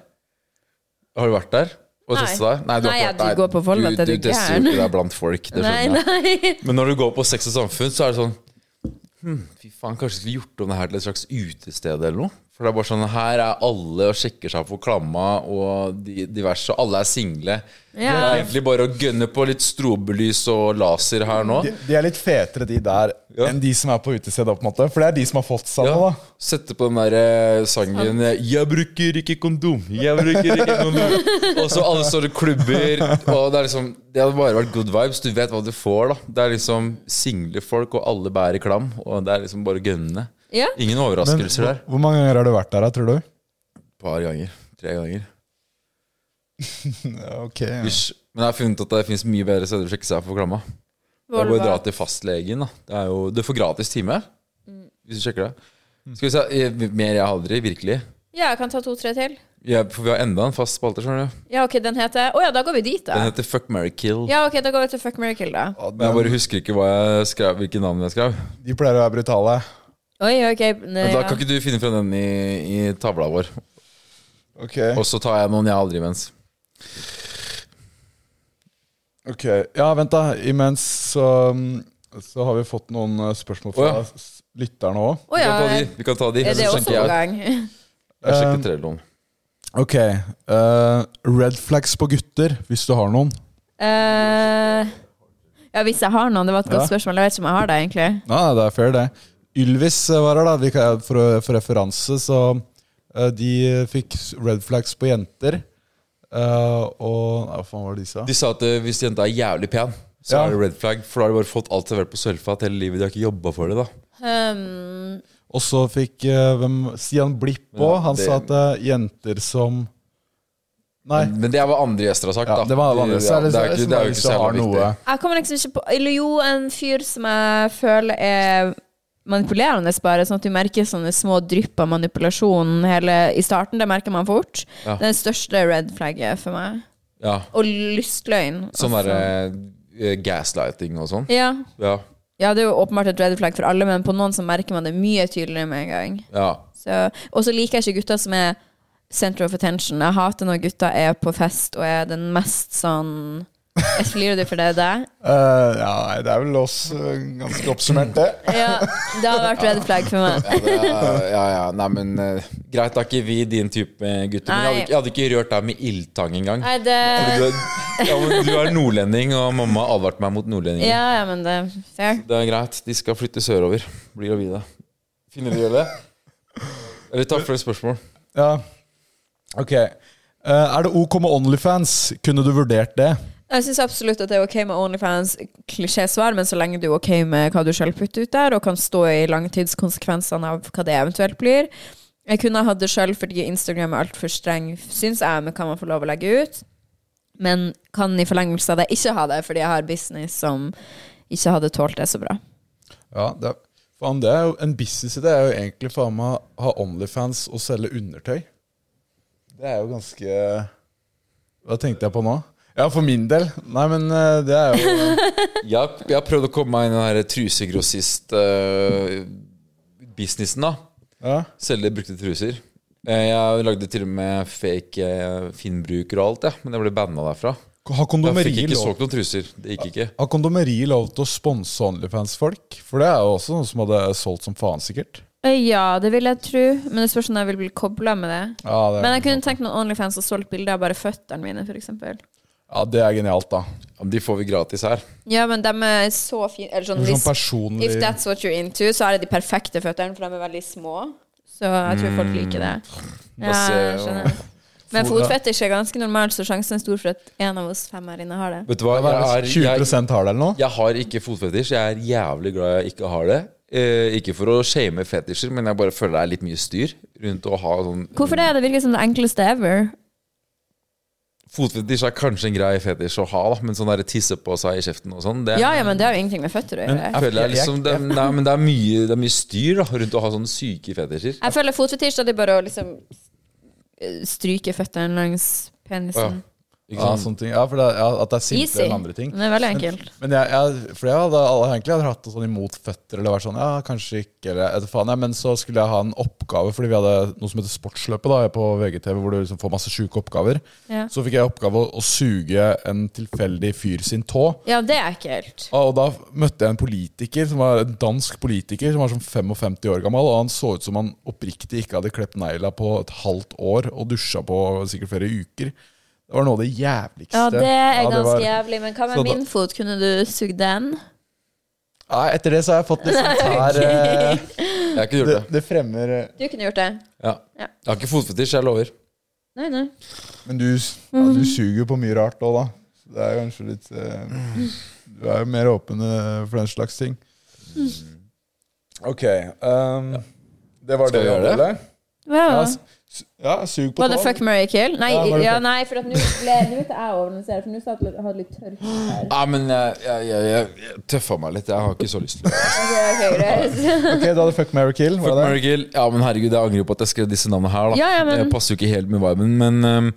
Speaker 2: Har du vært der? Og
Speaker 3: Nei.
Speaker 2: testa deg? du har
Speaker 3: Nei,
Speaker 2: ikke
Speaker 3: ja,
Speaker 2: vært
Speaker 3: du
Speaker 2: der.
Speaker 3: går på Volda
Speaker 2: Du-
Speaker 3: til du er
Speaker 2: Du tester jo
Speaker 3: gæren.
Speaker 2: ikke deg blant folk. Det sånn,
Speaker 3: Nei,
Speaker 2: skjønner jeg.
Speaker 3: nei.
Speaker 2: Men når du går på Sex og samfunn, så er det sånn hm, Fy faen, kanskje vi skulle gjort om det her til et slags utested eller noe? For det er bare sånn Her er alle og sjekker seg for klamma og de- diverse, og alle er single. Det
Speaker 3: Ja.
Speaker 2: er egentlig bare å gønne på litt strobelys og laser her nå.
Speaker 1: De, de er litt fetere, de der,
Speaker 2: Ja.
Speaker 1: enn de som er på utestedet. på en måte. For det er de som har fått seg noe,
Speaker 2: Ja,
Speaker 1: da.
Speaker 2: sette på den der eh, sangen eh, 'Jeg bruker ikke kondom', 'Jeg bruker ikke kondom'. Og så alle står i klubber, og det er liksom Det hadde bare vært good vibes. Du vet hva du får, da. Det er liksom single folk, og alle bærer klam, og det er liksom bare gønnende.
Speaker 3: Ja.
Speaker 2: Ingen
Speaker 1: Men,
Speaker 2: overraskelser
Speaker 1: hvor,
Speaker 2: der.
Speaker 1: hvor mange ganger har du vært der, da, tror du?
Speaker 2: Et par ganger. Tre ganger.
Speaker 1: Ja, Ok, ja.
Speaker 2: Hysj. Men jeg har funnet at det fins mye bedre steder å sjekke seg for klamma. Det er bare å dra til fastlegen. da det er jo, Du får gratis time hvis du sjekker det. Skal vi se, eh, Mer jeg har aldri, virkelig.
Speaker 3: Ja, jeg kan ta to-tre til.
Speaker 2: Ja, for vi har enda en fast spalte. skjønner du
Speaker 3: Ja, ok, den heter Å ja, da går vi dit,
Speaker 2: Den
Speaker 3: da.
Speaker 2: heter Fuck, marry, kill.
Speaker 3: Ja, ok, da går vi til Fuck Miracle, da.
Speaker 1: Ja,
Speaker 2: Men jeg
Speaker 1: den-
Speaker 2: bare husker ikke hva jeg skrev, hvilke navn jeg skrev.
Speaker 1: De pleier å være brutale.
Speaker 3: Oi, ok. Nei,
Speaker 2: Men da
Speaker 3: ja.
Speaker 2: kan ikke du finne frem den i, i tavla vår.
Speaker 1: Ok,
Speaker 2: Og så tar jeg noen jeg aldri imens.
Speaker 1: ok. Ja, vent, da. Imens så, så har vi fått noen eh, spørsmål fra
Speaker 2: Å, ja.
Speaker 1: s- lytterne òg.
Speaker 3: Å ja.
Speaker 2: Vi kan ta de. Vi kan ta de.
Speaker 3: Er det
Speaker 2: så
Speaker 3: også
Speaker 2: sjekker
Speaker 3: på
Speaker 2: jeg,
Speaker 3: gang?
Speaker 2: jeg
Speaker 1: Um,
Speaker 2: sjekker trelloen.
Speaker 1: Ok. eh, red flags på gutter, hvis du har noen.
Speaker 3: Eh, ja, hvis jeg har noen. Det var et godt
Speaker 1: Ja.
Speaker 3: spørsmål. Jeg vet ikke om jeg har det, egentlig.
Speaker 1: Nei, nei, det er fair, det. Ylvis eh, var her, da. Vi kan, for, å- for referanse, så eh, De fikk s- red flags på jenter. Eh, og nei, Hva faen var det de sa?
Speaker 2: De sa at eh, hvis jenta er jævlig pen, så
Speaker 1: Ja.
Speaker 2: er det red flag. For da har de bare fått alt servert på sølvfat hele livet. De har ikke jobba for det, da.
Speaker 3: Um,
Speaker 1: Og så fikk eh, hvem, Stian Blipp òg.
Speaker 2: Ja,
Speaker 1: han
Speaker 2: det-
Speaker 1: sa at eh, jenter som Nei.
Speaker 2: Men det er hva andre gjester har sagt,
Speaker 1: Ja,
Speaker 2: da.
Speaker 1: det var alle andre.
Speaker 2: De-
Speaker 1: Så er det,
Speaker 2: ja, det er ikke-
Speaker 1: liksom
Speaker 2: det er jo
Speaker 1: hvis du
Speaker 2: ikke så
Speaker 1: har
Speaker 2: jævlig
Speaker 1: noe
Speaker 2: viktig.
Speaker 3: jeg kommer liksom ikke på Eller jo, en fyr som jeg føler er manipulerende, bare. Sånn at du merker sånne små drypp av manipulasjon hele, i starten. Det merker man fort.
Speaker 2: Ja.
Speaker 3: Det er det største red flagget for meg.
Speaker 2: Ja.
Speaker 3: Og lystløgn.
Speaker 2: Sånn
Speaker 3: altså.
Speaker 2: derre eh, gaslighting og sånn.
Speaker 3: ja.
Speaker 2: Ja.
Speaker 3: ja, det er jo åpenbart et red flagg for alle, men på noen så merker man det mye tydeligere med en gang.
Speaker 2: ja.
Speaker 3: Så- Og så liker jeg ikke gutter som er center of attention. Jeg hater når gutter er på fest og er den mest sånn Jeg flirer du for det der?
Speaker 1: Eh, ja, nei, det er vel oss eh, ganske oppsummert, det.
Speaker 3: Ja, det har vært red flag for meg.
Speaker 2: Ja, det er- ja, ja. Nei, men eh, greit, da er ikke vi din type gutter. Men jeg hadde,
Speaker 3: Nei.
Speaker 2: ikke- jeg hadde ikke rørt deg med ildtang engang.
Speaker 3: Nei, det
Speaker 2: Du er, ja, men du er nordlending, og mamma advarte meg mot nordlendinger.
Speaker 3: Ja, ja, men det er fair.
Speaker 2: Det er greit, de skal flytte sørover. Blir gravide. Finner de det? Eller takk for et spørsmål.
Speaker 1: Ja. Ok. Eh, er det OK med Onlyfans? Kunne du vurdert det?
Speaker 3: Jeg syns absolutt at det er ok med Onlyfans, klisjésvar, men så lenge du er ok med hva du selv putter ut der, og kan stå i langtidskonsekvensene av hva det eventuelt blir. Jeg kunne hatt det sjøl fordi Instagram er altfor streng, syns jeg, med hva man får lov å legge ut. Men kan i forlengelse av det ikke ha det, fordi jeg har business som ikke hadde tålt det så bra.
Speaker 1: Ja, det er Faen, det er jo En businessidé er jo egentlig faen meg å ha Onlyfans og selge undertøy. Det er jo ganske Hva tenkte jeg på nå? Ja, for min del. Nei, men eh, det er jo
Speaker 2: Jeg, har- jeg har prøvd å komme meg inn i den her trusegrossist-businessen, da.
Speaker 1: ja.
Speaker 2: Selge brukte truser. Eh, Jeg lagde til og med fake eh, Finn-bruker og alt, ja. men jeg ble banna derfra.
Speaker 1: Har
Speaker 2: Jeg fikk
Speaker 1: kondomeriet
Speaker 2: ikke
Speaker 1: lov,
Speaker 2: solgt noen truser. Det gikk ikke.
Speaker 1: har kondomeri lov til å sponse Onlyfans-folk? For det er jo også noe som hadde solgt som faen, sikkert.
Speaker 3: Eh, Ja, det vil jeg tro. Men det spørs om jeg vil bli kobla med det.
Speaker 1: Ja, det,
Speaker 3: Men jeg kunne tenkt meg en Onlyfans som solgte bilder av bare føttene mine, f.eks.
Speaker 1: ja, det er genialt, da.
Speaker 2: Ja, men De får vi gratis her.
Speaker 3: Ja, men de er så fine. Eller sånn,
Speaker 1: Det er
Speaker 3: hvis,
Speaker 1: Sånn personlig
Speaker 3: if that's what you're into, så er det de perfekte føttene, for de er veldig små. Så jeg tror folk liker det.
Speaker 1: Mm.
Speaker 3: Ja, jeg skjønner. Men fotfetisj er ganske normalt, så sjansen er stor for at en av oss fem her inne har det.
Speaker 2: Vet du hva,
Speaker 1: Hva er det,
Speaker 2: jeg, er,
Speaker 1: 20
Speaker 2: jeg,
Speaker 1: har det, eller noe?
Speaker 2: jeg har ikke fotfetisj. Jeg er jævlig glad jeg ikke har det. Eh, ikke for å shame fetisjer, men jeg bare føler det er litt mye styr rundt å ha sånn
Speaker 3: Hvorfor det? Det virker som det enkleste ever.
Speaker 2: Fotfetisj er kanskje en grei fetisj å ha, da, men sånn der tisse på seg i kjeften og sånn, det
Speaker 3: Ja, ja, men det har jo ingenting med føtter å gjøre.
Speaker 2: jeg føler jeg liksom, det, nei, men det er, mye, det er mye styr da, rundt å ha sånne syke fetisjer.
Speaker 3: Jeg føler fotfetisj, da er det bare å liksom eh, stryke føttene langs penisen.
Speaker 2: Ikke
Speaker 1: Ja,
Speaker 2: sant?
Speaker 1: sånne ting. ja, for det er, ja, at det er
Speaker 3: Easy.
Speaker 1: simplere enn andre ting.
Speaker 3: Det er veldig enkelt.
Speaker 1: Men jeg, jeg, for jeg hadde alle egentlig hadde hatt noe sånn imot føtter, eller vært sånn, ja, kanskje ikke, eller jeg vet faen jeg, men så skulle jeg ha en oppgave, fordi vi hadde noe som heter sportsløpet da, på VGTV, hvor du liksom får masse syke oppgaver.
Speaker 3: Ja.
Speaker 1: Så fikk jeg oppgave å, å suge en tilfeldig fyr sin tå,
Speaker 3: Ja, det er ekkelt.
Speaker 1: Ja, Ah, og da møtte jeg en politiker, som var en dansk politiker, som var sånn 55 år gammel, og han så ut som han oppriktig ikke hadde klept negla på et halvt år, og dusja på sikkert flere uker. Det var noe av det jævligste.
Speaker 3: Ja, det er
Speaker 1: Ja, det
Speaker 3: ganske
Speaker 1: var-
Speaker 3: jævlig. Men hva med
Speaker 1: Så da-
Speaker 3: min fot? Kunne du sugd den?
Speaker 1: Nei, etter det så har jeg fått litt sånn tær eh,
Speaker 2: Jeg har ikke gjort
Speaker 1: det,
Speaker 2: det.
Speaker 1: det fremmer eh,
Speaker 3: Du kunne gjort det.
Speaker 2: Ja.
Speaker 3: Ja.
Speaker 2: Jeg har ikke fotfetisj, jeg lover.
Speaker 3: Nei, nei.
Speaker 1: Men du, s- ja,
Speaker 3: Mm.
Speaker 1: du suger jo på mye rart òg, da. Så Det er kanskje litt eh, Du er jo mer åpen eh, for den slags ting. Ok.
Speaker 2: eh,
Speaker 1: ehm, Det var
Speaker 2: Skal
Speaker 1: det
Speaker 2: vi
Speaker 1: vi
Speaker 2: gjøre det?
Speaker 1: hadde. Ja,
Speaker 3: Wow.
Speaker 1: s- s- ja, sug på
Speaker 3: Var det
Speaker 1: tåa.
Speaker 3: fuck, marry, kill? Nei,
Speaker 1: Ja, var
Speaker 3: ja,
Speaker 1: det fuck-
Speaker 3: nei for at nå ble nå vet jeg å organisere, for nå satt jeg og hadde litt tørk her.
Speaker 2: Nei, men jeg, jeg, jeg, jeg, jeg tøffa meg litt. Jeg har ikke så lyst til det.
Speaker 3: Ok, ok, greit.
Speaker 1: Ok, da hadde fuck, marry, kill.
Speaker 2: Fuck
Speaker 1: Var det det?
Speaker 2: Mary Kill. Ja, men herregud, jeg angrer på at jeg skrev disse navnene her. da
Speaker 3: Ja, ja, men-
Speaker 2: Det passer jo ikke helt med viben, men ehm,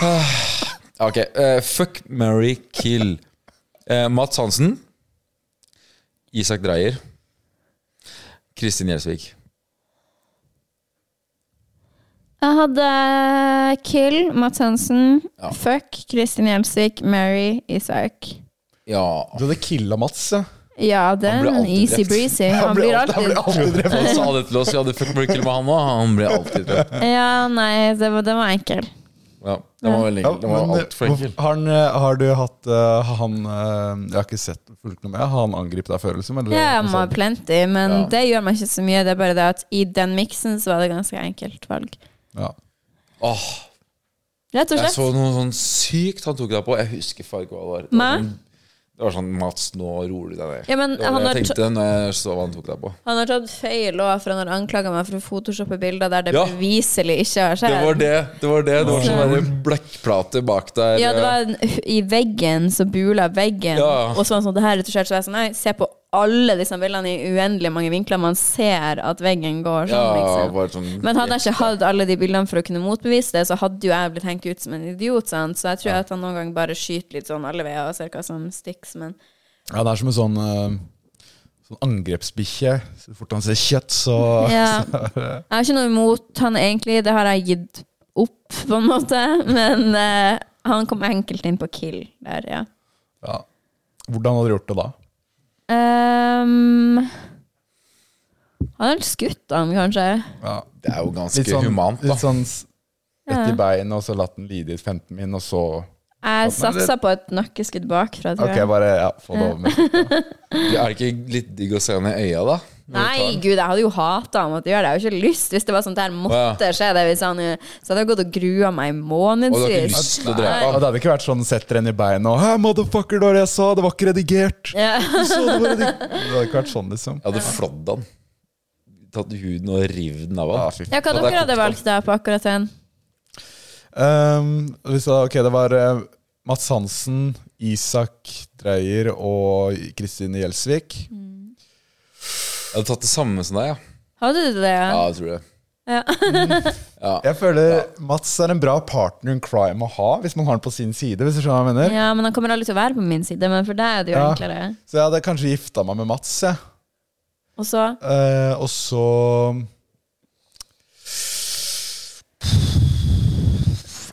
Speaker 2: ah, Ok. eh, fuck Mary Kill. Eh, Mats Hansen. Isak Dreyer. Kristin Gjelsvik.
Speaker 3: Jeg hadde eh, kill Mads Hansen,
Speaker 2: Ja.
Speaker 3: fuck Kristin Gjelsvik, Mary Isak.
Speaker 2: Ja.
Speaker 1: Du hadde killa Mats, ja.
Speaker 3: Ja, det
Speaker 2: Han
Speaker 3: er
Speaker 2: blir
Speaker 3: en
Speaker 2: alltid
Speaker 3: easy
Speaker 2: drept.
Speaker 3: breezy. Han blir alltid
Speaker 1: alltid drept.
Speaker 2: Han sa det til oss, vi hadde fuck Mary Kill med han òg. Han ble alltid drept.
Speaker 3: Ja, nei, det var, den var enkel.
Speaker 2: Ja, den var veldig
Speaker 1: Ja,
Speaker 2: enkel. Den var
Speaker 1: men,
Speaker 2: altfor enkel.
Speaker 1: har, han, eh, har du hatt eh, har han eh, Jeg har ikke sett fulgt noe med. Har han angrepet deg før, liksom? eller-
Speaker 3: Ja, jeg må ha plenty, men
Speaker 1: Ja.
Speaker 3: det gjør meg ikke så mye. Det er bare det at i den miksen så var det ganske enkelt valg.
Speaker 1: Ja.
Speaker 2: Åh,
Speaker 3: Rett og
Speaker 2: Jeg
Speaker 3: slett.
Speaker 2: så noe sånn sykt han tok deg på. Jeg husker faen ikke hva det var. Det var.
Speaker 3: Meg?
Speaker 2: sånn- Det var sånn Mats, nå roer du deg ned.
Speaker 3: Ja, men
Speaker 2: det var
Speaker 3: han
Speaker 2: det
Speaker 3: har
Speaker 2: jeg tenkte når jeg så hva han tok deg på.
Speaker 3: Han har tatt feil òg, for han har anklaga meg for å photoshoppe bilder der det
Speaker 2: Ja.
Speaker 3: beviselig ikke har
Speaker 2: Det
Speaker 3: skjedd.
Speaker 2: var det. Det var det Det var sånn der blekkplate bak der. eh,
Speaker 3: Ja, det var en, i veggen, så bula veggen.
Speaker 2: Ja.
Speaker 3: Og så var han sånn, det her er retusjert. Så jeg er sånn, nei, se på alle disse bildene i uendelig mange vinkler. Man ser at veggen går
Speaker 2: Ja,
Speaker 3: sånn, liksom.
Speaker 2: bare sånn
Speaker 3: Men hadde jeg ikke hatt alle de bildene for å kunne motbevise det, så hadde jo jeg blitt hengt ut som en idiot, sant. Så jeg tror at han noen gang bare skyter litt sånn alle veier og ser hva som stikker, men
Speaker 1: ja, det er som en sånn eh, Sånn angrepsbikkje. Så fort han ser kjøtt, så
Speaker 3: Ja. Jeg har ikke noe imot han egentlig, det har jeg gitt opp, på en måte. Men eh, han kom enkelt inn på kill der, ja.
Speaker 1: ja. Hvordan hadde du gjort det da?
Speaker 3: Ehm, han har skutt han, kanskje.
Speaker 1: Ja.
Speaker 2: Det er jo ganske
Speaker 1: Litt sånn,
Speaker 2: humant, da.
Speaker 1: litt sånn s- rett i beinet, og så latt den lide i 15 min, og så
Speaker 3: Jeg satsa på et nakkeskudd bakfra, tror
Speaker 1: Ok,
Speaker 3: jeg.
Speaker 1: bare ja, få det over med.
Speaker 2: Er det ikke litt digg å se henne i øya, da? Når du tar
Speaker 3: Nei,
Speaker 2: den?
Speaker 3: gud, jeg hadde jo hata han måtte gjøre det. Jeg har jo ikke lyst hvis det var sånt der
Speaker 2: Å,
Speaker 3: måtte skje. det hvis han, jo- Så hadde jeg gått og grua meg i
Speaker 2: Og du har ikke
Speaker 3: månedsvis.
Speaker 2: lyst til
Speaker 1: Ja,
Speaker 2: å drepe
Speaker 1: det hadde ikke vært sånn setter henne i beinet og «Hæ, motherfucker, det var det jeg sa, det var ikke redigert.
Speaker 3: Ja.
Speaker 1: Du så det, var redig det hadde ikke vært sånn, liksom.
Speaker 2: Jeg hadde flådd han. Tatt huden og revet den av
Speaker 1: Ja,
Speaker 2: han.
Speaker 1: fy
Speaker 3: ja, hva
Speaker 2: Og der
Speaker 3: dere hadde
Speaker 2: kokte han.
Speaker 3: valgt da på akkurat den?
Speaker 1: Um, vi sa, ok, det var eh, Mats Hansen, Isak Dreyer og Kristine Gjelsvik.
Speaker 2: Jeg hadde tatt det samme som deg, ja.
Speaker 3: Hadde du det?
Speaker 2: Ja, jeg tror det.
Speaker 1: Jeg føler Mats er en bra partner in crime å ha, hvis man har den på sin side. hvis du skjønner hva jeg mener.
Speaker 3: Ja, men han kommer aldri til å være på min side, men for deg er det jo
Speaker 1: Ja.
Speaker 3: enklere.
Speaker 1: Så jeg hadde kanskje gifta meg med Mats, jeg.
Speaker 3: Og så
Speaker 1: Eh, og så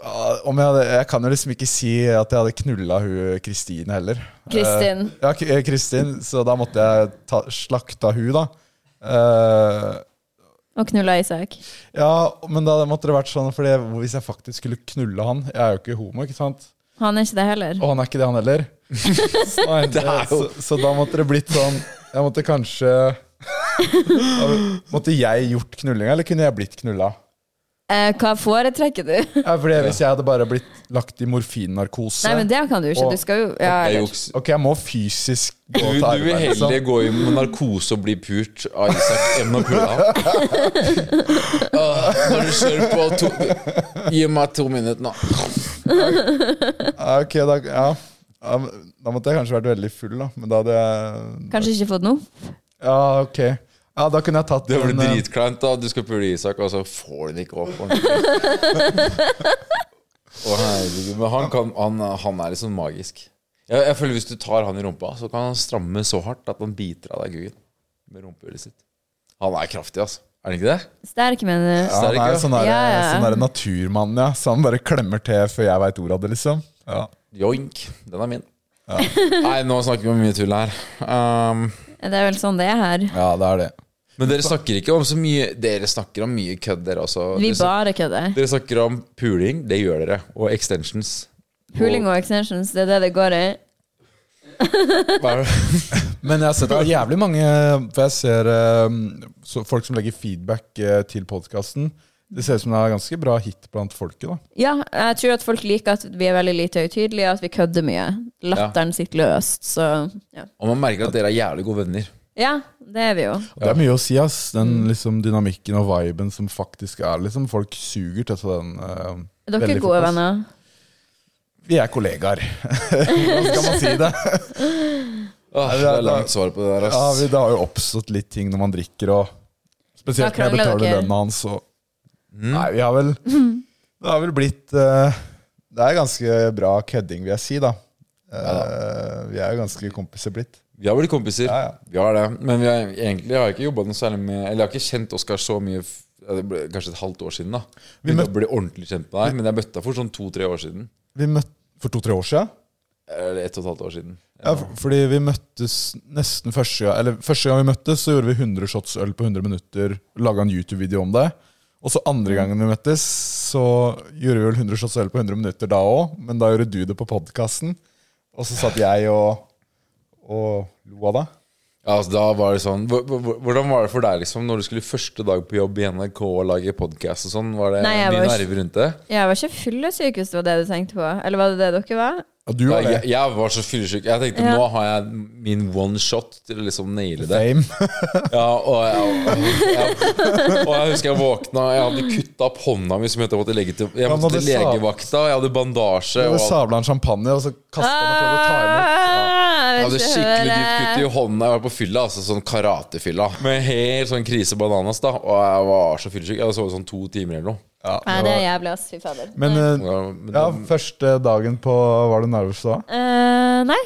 Speaker 1: Ah, om jeg, hadde, jeg kan jo liksom ikke si at jeg hadde knulla hun Kristine heller.
Speaker 3: Kristin.
Speaker 1: Eh, ja, K- eh, Kristin, så da måtte jeg ta, slakta hun, da. Eh,
Speaker 3: Og knulla Isak.
Speaker 1: ja, men da måtte det vært sånn, for hvis jeg faktisk skulle knulle han Jeg er jo ikke homo, ikke sant?
Speaker 3: Han er ikke det heller.
Speaker 1: Og han er ikke det, han heller. Så, nei,
Speaker 2: Det er
Speaker 1: så,
Speaker 2: jo-
Speaker 1: så da måtte det blitt sånn Jeg måtte kanskje Måtte jeg gjort knullinga, eller kunne jeg blitt knulla?
Speaker 3: Eh, hva foretrekker du?
Speaker 1: Ja, fordi Hvis jeg hadde bare blitt lagt i morfinnarkose
Speaker 3: Nei, men det kan du ikke. Du skal jo ja,
Speaker 2: Jeg
Speaker 3: eller-
Speaker 2: juks.
Speaker 1: Ok, jeg må fysisk gå
Speaker 2: Du,
Speaker 1: til
Speaker 2: du vil
Speaker 1: arbeid, liksom.
Speaker 2: heller gå i med narkose og bli pult av Isak enn å pulle av. Åh, Når du kjører på to Gi meg to minutter nå.
Speaker 1: Ja, ok, da, ja. Ja, men da måtte jeg kanskje vært veldig full, da. Men da hadde jeg
Speaker 3: Kanskje ikke fått noe?
Speaker 1: Ja, ok. Ja, da kunne jeg tatt
Speaker 2: Det blir
Speaker 1: den, eh,
Speaker 2: dritkleint da du skal pule Isak, og så får du den ikke opp. ordentlig. Å herregud, Men han, kan, han, han er liksom magisk. Jeg, jeg føler Hvis du tar han i rumpa, så kan han stramme så hardt at han biter av deg guggen med rumpehullet sitt. Han er kraftig, altså. Er han ikke det?
Speaker 3: Sterk, eh, mener du?
Speaker 1: ja, han er jo sånn der,
Speaker 3: Ja, ja.
Speaker 1: sånn der naturmann, ja. Så han bare klemmer til før jeg veit ordet av det, liksom. Ja.
Speaker 2: Joink. Den er min. Nei, nå snakker vi om mye tull her. Um,
Speaker 3: Det er vel sånn det er her.
Speaker 1: ja, det er det.
Speaker 2: men dere snakker ikke om så mye Dere snakker om mye kødd, dere også.
Speaker 3: Vi
Speaker 2: Dere, snak-
Speaker 3: bare kødder.
Speaker 2: dere snakker om puling, det gjør dere. Og extensions.
Speaker 3: Pooling og extensions, det er det det går i.
Speaker 2: Hva er det?
Speaker 1: Men jeg har sett det er jævlig mange For jeg ser eh, så folk som legger feedback eh, til podkasten. Det ser ut som det er ganske bra hit blant folket. da
Speaker 3: Ja, jeg tror at folk liker at vi er veldig lite høytidelige, at vi kødder mye. Latteren sitter løst, så ja.
Speaker 2: Og man merker at dere er jævlig gode venner.
Speaker 3: ja. Det er vi jo.
Speaker 1: Det er mye å si, ass.
Speaker 3: Mm.
Speaker 1: Den liksom, dynamikken og viben som faktisk er liksom Folk suger til seg den. eh,
Speaker 3: Er dere
Speaker 1: veldig fort,
Speaker 3: gode
Speaker 1: ass.
Speaker 3: venner?
Speaker 1: Vi er kollegaer. Hvordan skal man si det?
Speaker 2: Åh, det er langt svar på det der,
Speaker 1: Ja,
Speaker 2: ass.
Speaker 1: vi, det har jo oppstått litt ting når man drikker, og spesielt når
Speaker 3: Da
Speaker 1: jeg
Speaker 3: krangler
Speaker 1: betaler
Speaker 3: dere.
Speaker 1: lønna hans. Og, Nei, vi har vel Det har vel blitt eh, Det er ganske bra kødding, vil jeg si, da. Eh, vi er jo ganske kompiser blitt.
Speaker 2: Vi har blitt kompiser.
Speaker 1: Ja, ja.
Speaker 2: Vi har det. Men vi har, egentlig har jeg ikke jobbet noe særlig med Eller jeg har ikke kjent Oskar så mye f- ja, det ble kanskje et halvt år siden. da Vi
Speaker 1: møtte-
Speaker 2: ble ordentlig kjent med deg, men jeg møtte deg for sånn to-tre år siden.
Speaker 1: Vi møtte for to-tre år siden.
Speaker 2: Eller ett og et halvt år siden.
Speaker 1: Ja, for- fordi vi møttes nesten første gang Eller første gang vi møttes, så gjorde vi 100 shots øl på 100 minutter. Laga en YouTube-video om det. Og så
Speaker 2: Mm.
Speaker 1: andre gangen vi møttes, så gjorde vi vel 100 shots øl på 100 minutter da òg. Men da gjorde du det på podkasten. Og så satt jeg og, og lo av deg.
Speaker 2: Ja, altså, da var det sånn hvor- hvor- Hvordan var det for deg liksom når du skulle første dag på jobb i NRK og lage podkast og sånn? Var det
Speaker 3: Nei, jeg
Speaker 2: mye
Speaker 3: var-
Speaker 2: nerver rundt det?
Speaker 3: Jeg var ikke fyllesyk, hvis det var det du tenkte på. Eller var det det dere var?
Speaker 1: Ja, du
Speaker 2: Ja,
Speaker 1: var det.
Speaker 2: jeg, jeg var så fyllesyk. Jeg tenkte
Speaker 3: Ja.
Speaker 2: nå har jeg min one shot til å liksom naile det.
Speaker 1: Fame.
Speaker 2: Ja, og jeg, og jeg husker jeg våkna Jeg hadde kutta opp hånda mi, som jeg måtte legge til Jeg
Speaker 1: Ja,
Speaker 2: måtte
Speaker 1: men
Speaker 2: til
Speaker 1: det sa-
Speaker 2: legevakta, jeg hadde bandasje
Speaker 1: Du
Speaker 2: og alt.
Speaker 1: sabla en champagne, og så kasta han og prøvde å ta imot.
Speaker 3: Ah,
Speaker 2: Jeg
Speaker 3: vil
Speaker 2: hadde
Speaker 3: ikke
Speaker 2: skikkelig
Speaker 3: høre.
Speaker 2: dypt kutt i hånda. Jeg var på fylla, altså sånn karatefylla. Med helt sånn krise bananas, da. Og jeg var så fyllesyk. Jeg hadde sovet sånn to timer eller noe.
Speaker 1: Ja,
Speaker 3: Nei,
Speaker 1: det
Speaker 3: det er
Speaker 1: var-
Speaker 3: jævlig, ass. Fy fader.
Speaker 1: men eh,
Speaker 2: Ja, men
Speaker 1: ja,
Speaker 2: det-
Speaker 1: første dagen på Var du nervøs da?
Speaker 3: Eh, nei,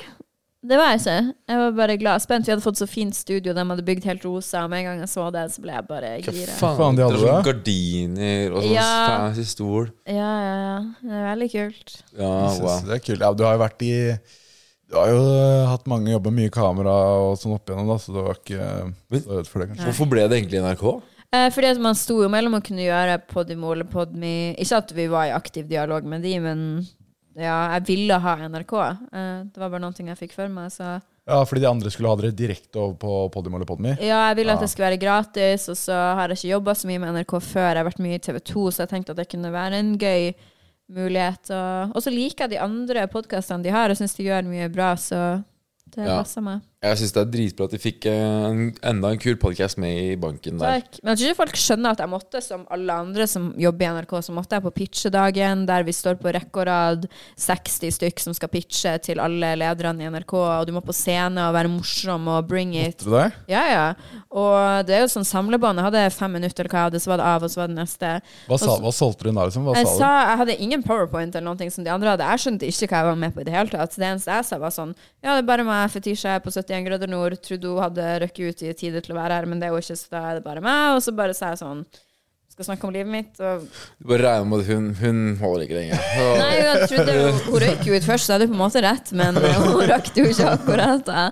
Speaker 3: det var jeg ikke. Jeg var bare glad. Spent. Vi hadde fått så fint studio, de hadde bygd helt rosa, og med en gang jeg så det, så ble jeg bare
Speaker 2: Hva
Speaker 3: gira.
Speaker 2: faen,
Speaker 1: Faen, de
Speaker 2: det er
Speaker 1: hadde
Speaker 2: sånn
Speaker 1: det.
Speaker 2: gardiner og sånn
Speaker 3: Ja.
Speaker 2: fancy stol.
Speaker 3: Ja, ja, ja. Det er veldig kult.
Speaker 2: Ja,
Speaker 1: Jeg
Speaker 2: Ah, wow.
Speaker 1: synes Det er kult. Ja, du har jo vært i Du har jo eh, hatt mange jobber, mye kamera og sånn opp igjennom, da, så du var ikke eh, så redd for det, kanskje.
Speaker 2: Hvorfor ble det egentlig NRK?
Speaker 3: Eh, fordi at man sto jo mellom å kunne gjøre Podimo eller Podme Ikke at vi var i aktiv dialog med de, men ja, jeg ville ha NRK. Eh, det var bare noen ting jeg fikk for meg, så
Speaker 1: Ja, fordi de andre skulle ha dere direkte over på Podimo eller Podme.
Speaker 3: Ja, jeg ville at det skulle være gratis, og så har jeg ikke jobba så mye med NRK før. Jeg har vært mye i TV 2, så jeg tenkte at det kunne være en gøy mulighet. Og og så liker jeg de andre podkastene de har, og syns de gjør mye bra, så det
Speaker 2: Ja.
Speaker 3: passer meg.
Speaker 2: Jeg syns det er dritbra at de fikk eh, en, enda en kul podcast med i banken der.
Speaker 3: Takk. Men jeg tror ikke folk skjønner at jeg måtte, som alle andre som jobber i NRK, så måtte jeg på pitchedagen, der vi står på rekke og rad, 60 stykk som skal pitche til alle lederne i NRK, og du må på scene og være morsom og bring it.
Speaker 1: Tror du det?
Speaker 3: Ja, ja. Og det er jo sånn samlebånd. Jeg hadde fem minutter, eller hva jeg hadde, så var det av, og så var det neste.
Speaker 1: Hva, sa, hva solgte du da, liksom? Hva
Speaker 3: Jeg
Speaker 1: sa
Speaker 3: sa
Speaker 1: du?
Speaker 3: jeg hadde ingen powerpoint eller noe som de andre hadde. Jeg skjønte ikke hva jeg var med på i det hele tatt. Det eneste jeg sa, var sånn Ja, det er bare meg, Fetisha er på 71 grader nord. Trudeau hadde røkket ut i tide til å være her, men det er jo ikke, så da er det bare meg. Og så bare sa jeg sånn Skal snakke om livet mitt, og
Speaker 2: Du bare regner med at hun, hun holder ikke lenger.
Speaker 3: Nei, jeg trodde jo- hun røyk jo ut først, så jeg hadde på en måte rett, men eh, hun rakk det jo ikke akkurat. Da.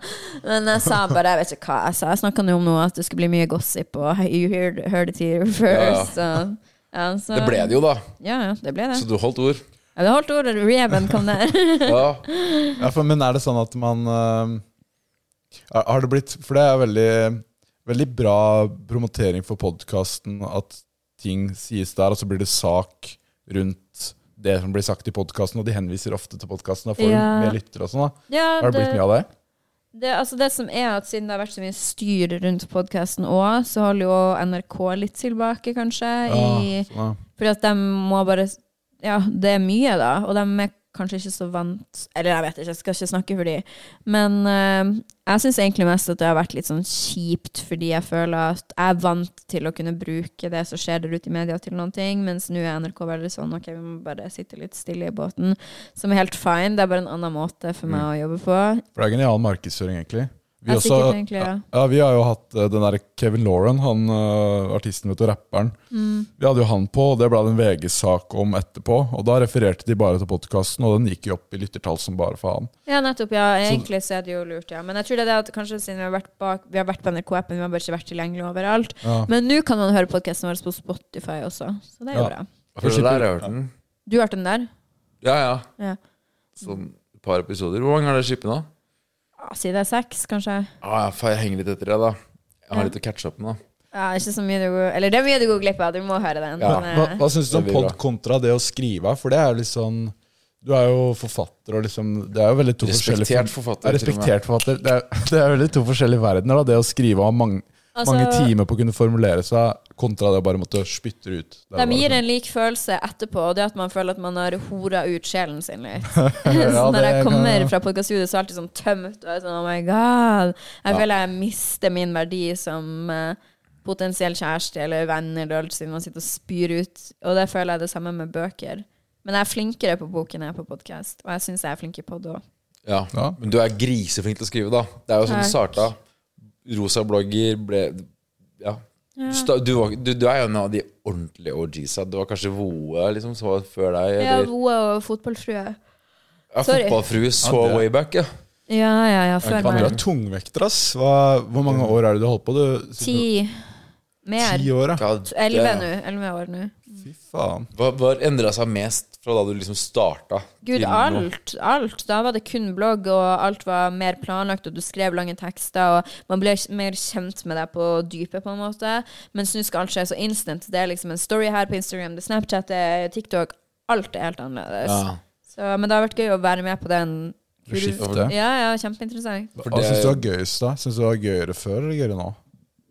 Speaker 3: Men jeg sa bare Jeg vet ikke hva jeg sa. Jeg snakka nå om noe at det skulle bli mye gossip, og you heard, heard it here first. Og, ja, så,
Speaker 2: Det ble det jo, da.
Speaker 3: Ja, ja, det ble det.
Speaker 2: Så du holdt ord.
Speaker 3: Ja, det holdt ordet. Reben kom der.
Speaker 2: Ja.
Speaker 1: Ja, for, men er det sånn at man eh, er- Har det blitt For det er veldig, veldig bra promotering for podkasten at ting sies der, og så blir det sak rundt det som blir sagt i podkasten, og de henviser ofte til podkasten og får
Speaker 3: Ja.
Speaker 1: mer lyttere og sånn. da.
Speaker 3: Ja,
Speaker 1: Har det blitt mye av det?
Speaker 3: Det, altså det som er at Siden det har vært så mye styr rundt podkasten òg, så holder jo NRK litt tilbake, kanskje.
Speaker 1: Ja,
Speaker 3: I,
Speaker 1: sånn, ja.
Speaker 3: fordi at de må bare Ja, det er mye, da. Og de er kanskje ikke så vant Eller jeg vet ikke, jeg skal ikke snakke for de. Men eh, jeg syns egentlig mest at det har vært litt sånn kjipt, fordi jeg føler at jeg er vant til å kunne bruke det som skjer der ute i media, til noen ting. Mens nå er NRK veldig sånn OK, vi må bare sitte litt stille i båten. Som er helt fine. Det er bare en annen måte for meg å jobbe på.
Speaker 1: For det er genial markedsføring, egentlig. Vi,
Speaker 3: Ja,
Speaker 1: også,
Speaker 3: sikkert egentlig, ja.
Speaker 1: Ja, vi har jo hatt eh, den der Kevin Lauren, han eh, artisten, vet du, rapperen. Vi hadde jo han på, og det ble det en VG-sak om etterpå. Og da refererte de bare til podkasten, og den gikk jo opp i lyttertall som bare faen.
Speaker 3: Ja, nettopp. Ja, egentlig så er det jo lurt, ja. Men jeg tror det er det at kanskje siden vi har vært, bak, vi har vært på NRK-appen, vi har bare ikke vært tilgjengelig overalt.
Speaker 1: Ja.
Speaker 3: Men nå kan man høre podkasten vår på Spotify også, så det er jo
Speaker 1: Ja.
Speaker 3: bra.
Speaker 2: For det der har jeg hørt den.
Speaker 3: Du hørte den der?
Speaker 2: Ja, ja.
Speaker 3: Ja.
Speaker 2: Sånn et par episoder. Hvor mange har dere skippet nå?
Speaker 3: Ah, Si det er seks, kanskje?
Speaker 2: Ah, ja, faen, jeg henger litt etter deg, da. Jeg har litt å catche opp med, da.
Speaker 3: Ja, ikke så mye du går Eller det er mye du går glipp av, du må høre den.
Speaker 2: Ja.
Speaker 1: Hva,
Speaker 3: Men, eh,
Speaker 1: hva syns du om
Speaker 2: Det blir bra.
Speaker 1: pod kontra det å skrive? For det er jo litt sånn Du er jo forfatter, og liksom Det er jo veldig to
Speaker 2: Respektert
Speaker 1: forskjellige
Speaker 2: forfatter.
Speaker 1: Ja,
Speaker 2: til og med.
Speaker 1: respektert forfatter. Det er, det er veldig to forskjellige verdener, da. Det å skrive og ha mange,
Speaker 3: Altså-
Speaker 1: mange timer på å kunne formulere seg, kontra det å bare måtte spytte det ut. Det er
Speaker 3: de
Speaker 1: bare
Speaker 3: gir
Speaker 1: sånn.
Speaker 3: en lik følelse etterpå, og det at man føler at man har hora ut sjelen sin litt.
Speaker 1: Ja,
Speaker 3: så når jeg
Speaker 1: det kan-
Speaker 3: kommer fra podkaststudio, så er jeg alltid sånn tømt. Og jeg er sånn, oh my god. Jeg
Speaker 2: Ja.
Speaker 3: føler jeg mister min verdi som eh, potensiell kjæreste eller venn eller alt, siden man sitter og spyr ut. Og det føler jeg er det samme med bøker. Men jeg er flinkere på boken enn jeg er på podkast, og jeg syns jeg er flink i pod òg.
Speaker 2: Ja.
Speaker 1: Ja.
Speaker 2: Men du er griseflink til å skrive, da. Det er jo sånn du starta. Rosa blogger ble Ja. Du, sta- du, var, du, du er jo en av de ordentlige OGs-a. Du var kanskje Voe liksom, som var før deg.
Speaker 3: Ja,
Speaker 2: Eller,
Speaker 3: Voa og fotballfrue.
Speaker 2: ja,
Speaker 3: sorry.
Speaker 2: Fotballfrue så
Speaker 1: Ja, det-
Speaker 2: way back, ja.
Speaker 3: Ja, ja, ja. Før
Speaker 1: Faen, du
Speaker 3: meg.
Speaker 1: er tungvekter, ass. Hva, hvor mange år er det du har holdt på? Du,
Speaker 3: Ti. Mer.
Speaker 1: Ti år, ja.
Speaker 2: God
Speaker 3: Elleve
Speaker 2: damn.
Speaker 3: nå. Elleve år nå.
Speaker 1: Fy faen.
Speaker 2: Hva, hva endra seg mest fra da du liksom starta?
Speaker 3: Gud,
Speaker 2: til nå?
Speaker 3: alt, alt. Da var det kun blogg, og alt var mer planlagt, og du skrev lange tekster, og man ble mer kjent med deg på dypet, på en måte. Mens nå skal alt skje så instant. Det er liksom en story her på Instagram, det er Snapchat, det er TikTok. Alt er helt annerledes.
Speaker 2: Ja.
Speaker 3: Så, men det har vært gøy å være med på den.
Speaker 1: Du skifter.
Speaker 3: Ja, ja, kjempeinteressant.
Speaker 2: For
Speaker 1: Hva
Speaker 2: det-
Speaker 1: syns du var gøyest, da? Syns du det var gøyere før eller gøyere nå?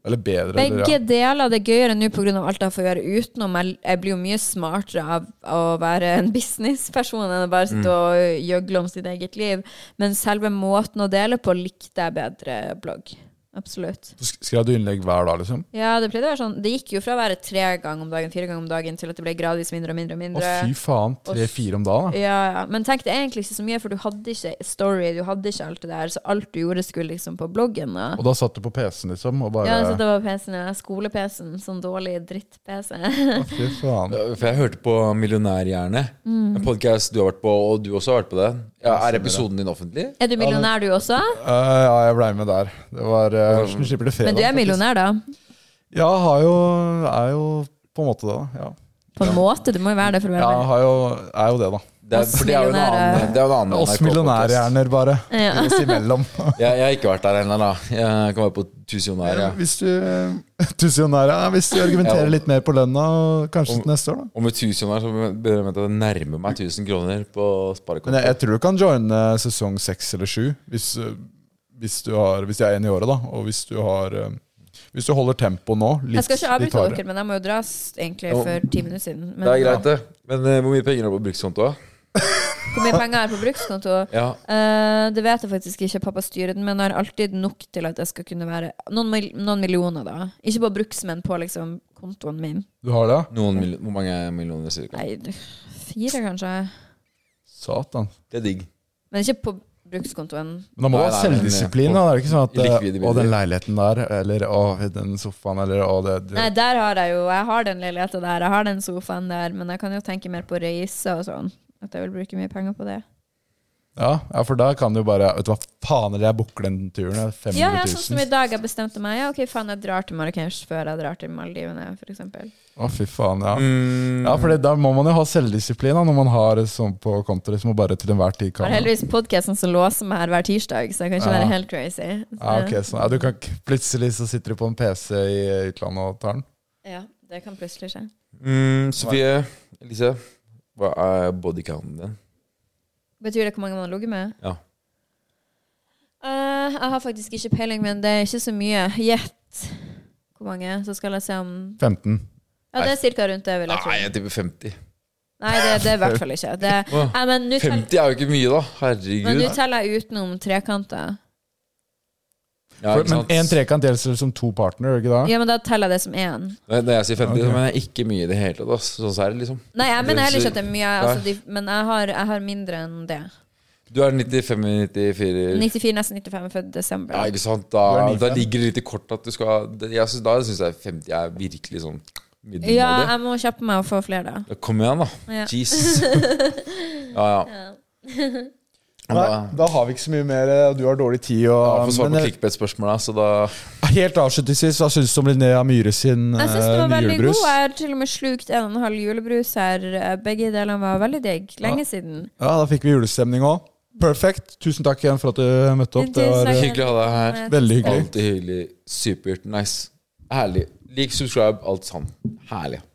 Speaker 1: Eller bedre? eller,
Speaker 3: Begge
Speaker 1: ja.
Speaker 3: deler. Det er gøyere nå pga. alt jeg får gjøre utenom. Jeg, jeg blir jo mye smartere av å være en businessperson enn å bare sitte
Speaker 1: Mm.
Speaker 3: og gjøgle om sitt eget liv. Men selve måten å dele på likte jeg bedre blogg. Absolutt.
Speaker 1: Så sk- Skrev du innlegg hver dag, liksom?
Speaker 3: Ja, det pleide å være sånn. Det gikk jo fra å være tre ganger om dagen, fire ganger om dagen, til at det ble gradvis mindre og mindre og
Speaker 1: Å,
Speaker 3: mindre.
Speaker 1: fy faen. Tre-fire om dagen, da.
Speaker 3: Ja, ja. Men tenk, det er egentlig ikke så mye, for du hadde ikke story, du hadde ikke alt det der, så alt du gjorde skulle liksom på bloggen. da.
Speaker 1: Og da satt du på PC-en, liksom? Og bare
Speaker 3: Ja, så det var PC-en, ja. skole-PC-en, sånn dårlig dritt-PC.
Speaker 1: Å, Fy faen.
Speaker 2: Ja, For jeg hørte på Millionærhjerne,
Speaker 3: Mm.
Speaker 2: en podkast du har vært på, og du også har vært på det. Ja, er episoden din offentlig?
Speaker 3: Er du millionær du også?
Speaker 1: Eh, ja, jeg blei med der. Det var eh, Hvordan slipper det fredag?
Speaker 3: Men du er
Speaker 1: faktisk.
Speaker 3: millionær, da?
Speaker 1: Ja, har jo, er jo på en måte det, da. Ja,
Speaker 3: På en måte. Du må jo være det for å
Speaker 1: ja
Speaker 3: være med.
Speaker 1: har jo, er jo det, da.
Speaker 2: Det er,
Speaker 3: Oss
Speaker 2: for det er jo en
Speaker 3: millionærer.
Speaker 2: annen, det er jo en annen
Speaker 1: Oss
Speaker 2: NRK-podcast.
Speaker 1: millionærhjerner, bare.
Speaker 3: Ja.
Speaker 1: Oss imellom.
Speaker 2: Jeg, jeg har ikke vært der ennå, da. Jeg kan være på Tusenjonær. Ja.
Speaker 1: Hvis du, tusenjonær, ja, hvis du argumenterer
Speaker 2: Ja.
Speaker 1: litt mer på lønna, kanskje til neste år, da.
Speaker 2: Og med Tusenjonær så begynner jeg med at jeg nærmer meg 1000 kroner på
Speaker 1: Men jeg,
Speaker 2: sparekonto.
Speaker 1: jeg tror du kan joine sesong seks eller sju. Hvis, eh, hvis, du har, hvis de er én i året, da, og hvis du har eh, Hvis du holder tempoet nå litt,
Speaker 3: Jeg skal ikke
Speaker 1: litt hardere.
Speaker 3: avbryte dere, men jeg må jo dras egentlig
Speaker 2: Ja.
Speaker 3: for ti minutter siden. Men
Speaker 2: Det er greit, det. Men eh, hvor mye penger er det på brukskontoa?
Speaker 3: Hvor mye penger er på brukskonto?
Speaker 2: Ja.
Speaker 3: Eh, det vet jeg faktisk ikke. Pappa styrer den, men har alltid nok til at jeg skal kunne være Noen, mil noen millioner, da. Ikke på bruks, men på liksom kontoen min.
Speaker 1: Du har det?
Speaker 2: Noen mil hvor mange millioner cirka?
Speaker 3: Nei, du- fire kanskje.
Speaker 1: Satan.
Speaker 2: Det er digg.
Speaker 3: Men ikke på
Speaker 1: Men
Speaker 3: brukskontoen.
Speaker 1: da må du
Speaker 2: Nei,
Speaker 1: ha
Speaker 2: nei, men-
Speaker 1: selvdisiplin. da. Det er ikke sånn at eh,
Speaker 2: Likvide
Speaker 1: 'Å,
Speaker 2: midler.
Speaker 1: den leiligheten der', eller 'Å, den sofaen', eller 'Å, det, det.
Speaker 3: Nei, der har jeg jo Jeg har den leiligheten der, jeg har den sofaen der, men jeg kan jo tenke mer på reise og sånn. At jeg vil bruke mye penger på det.
Speaker 1: Ja, ja, for da kan du bare Vet du hva faen, eller jeg booker den turen. det er 500 000.
Speaker 3: Ja, ja, sånn som i dag. Jeg bestemte meg. Ja, OK, faen, jeg drar til Marrakech før jeg drar til Maldivene, for eksempel.
Speaker 1: Å, fy faen, ja.
Speaker 2: Mm.
Speaker 1: Ja, for det, Da må man jo ha selvdisiplin da, når man har det sånn på kontoret som man bare til enhver tid
Speaker 3: Jeg
Speaker 1: kan
Speaker 3: har heldigvis podkasten som låser meg her hver tirsdag, så jeg kan ikke
Speaker 1: Ja.
Speaker 3: være helt crazy. Så-
Speaker 1: Ja, ok, sånn. ja, du kan ikke, Plutselig så sitter du på en PC i utlandet og tar den.
Speaker 3: Ja, det kan plutselig skje.
Speaker 2: Mm, Sofie, Elise, hva er bodycounten din?
Speaker 3: Betyr det hvor mange man har ligget med?
Speaker 2: Ja.
Speaker 3: Eh, jeg har faktisk ikke peiling, men det er ikke så mye. Gjett hvor mange. Så skal jeg se om
Speaker 1: 15.
Speaker 3: Ja, det er ca. rundt det, vil jeg tro.
Speaker 2: Nei, jeg tipper 50.
Speaker 3: Nei, det, det er i hvert fall ikke. Det,
Speaker 2: Åh,
Speaker 3: Nei, men nå tell-
Speaker 2: 50 er jo ikke mye, da.
Speaker 3: men
Speaker 2: Herregud.
Speaker 3: nå teller jeg utenom trekanter.
Speaker 2: Ja,
Speaker 1: For,
Speaker 2: ikke
Speaker 1: men
Speaker 2: sant?
Speaker 1: én trekant gjelder selv som to partner, gjør det ikke det?
Speaker 3: Ja, men da teller jeg det som én.
Speaker 2: Nei, Når jeg sier 50,
Speaker 1: Ok.
Speaker 2: så mener jeg ikke mye i det hele tatt. ass. Sånn så er det liksom.
Speaker 3: Nei, jeg mener heller ikke at det er mye,
Speaker 2: Nei.
Speaker 3: altså, de, men jeg har, jeg har mindre enn det.
Speaker 2: Du er 95-94
Speaker 3: 94, nesten 95 født desember.
Speaker 2: Ja, ikke sant?
Speaker 1: Du
Speaker 2: Da,
Speaker 1: er 95.
Speaker 2: da ligger det litt i kortet at du skal det- jeg synes, Da syns jeg 50 er virkelig sånn middelmådig.
Speaker 3: Ja, jeg må kjappe meg og få flere, da.
Speaker 2: Ja, Kom igjen, da.
Speaker 3: Ja.
Speaker 2: Jesus. Ja, ja.
Speaker 1: Nei,
Speaker 2: Da,
Speaker 1: da har vi ikke så mye mer. eh, Du har dårlig tid. Og,
Speaker 2: ja, får svare på
Speaker 1: men, eh,
Speaker 2: clickbait-spørsmålet, så da
Speaker 1: helt avslutningsvis, hva syns du om Linnea Myhre sin
Speaker 3: Jeg syns det
Speaker 1: eh,
Speaker 3: var
Speaker 1: nye
Speaker 3: veldig god.
Speaker 1: julebrus?
Speaker 3: Jeg har til og med slukt en og en halv julebrus her. Eh, Begge delene var veldig digg. Lenge siden.
Speaker 1: Ja, da fikk vi julestemning òg. Perfect. Tusen takk igjen for at du møtte opp. Det var
Speaker 3: Tusen
Speaker 1: eh,
Speaker 3: takk.
Speaker 2: Hyggelig å ha deg her.
Speaker 1: veldig hyggelig.
Speaker 2: Alltid hyggelig. Supert nice. Herlig. Lik, subscribe, alt sammen. Herlig.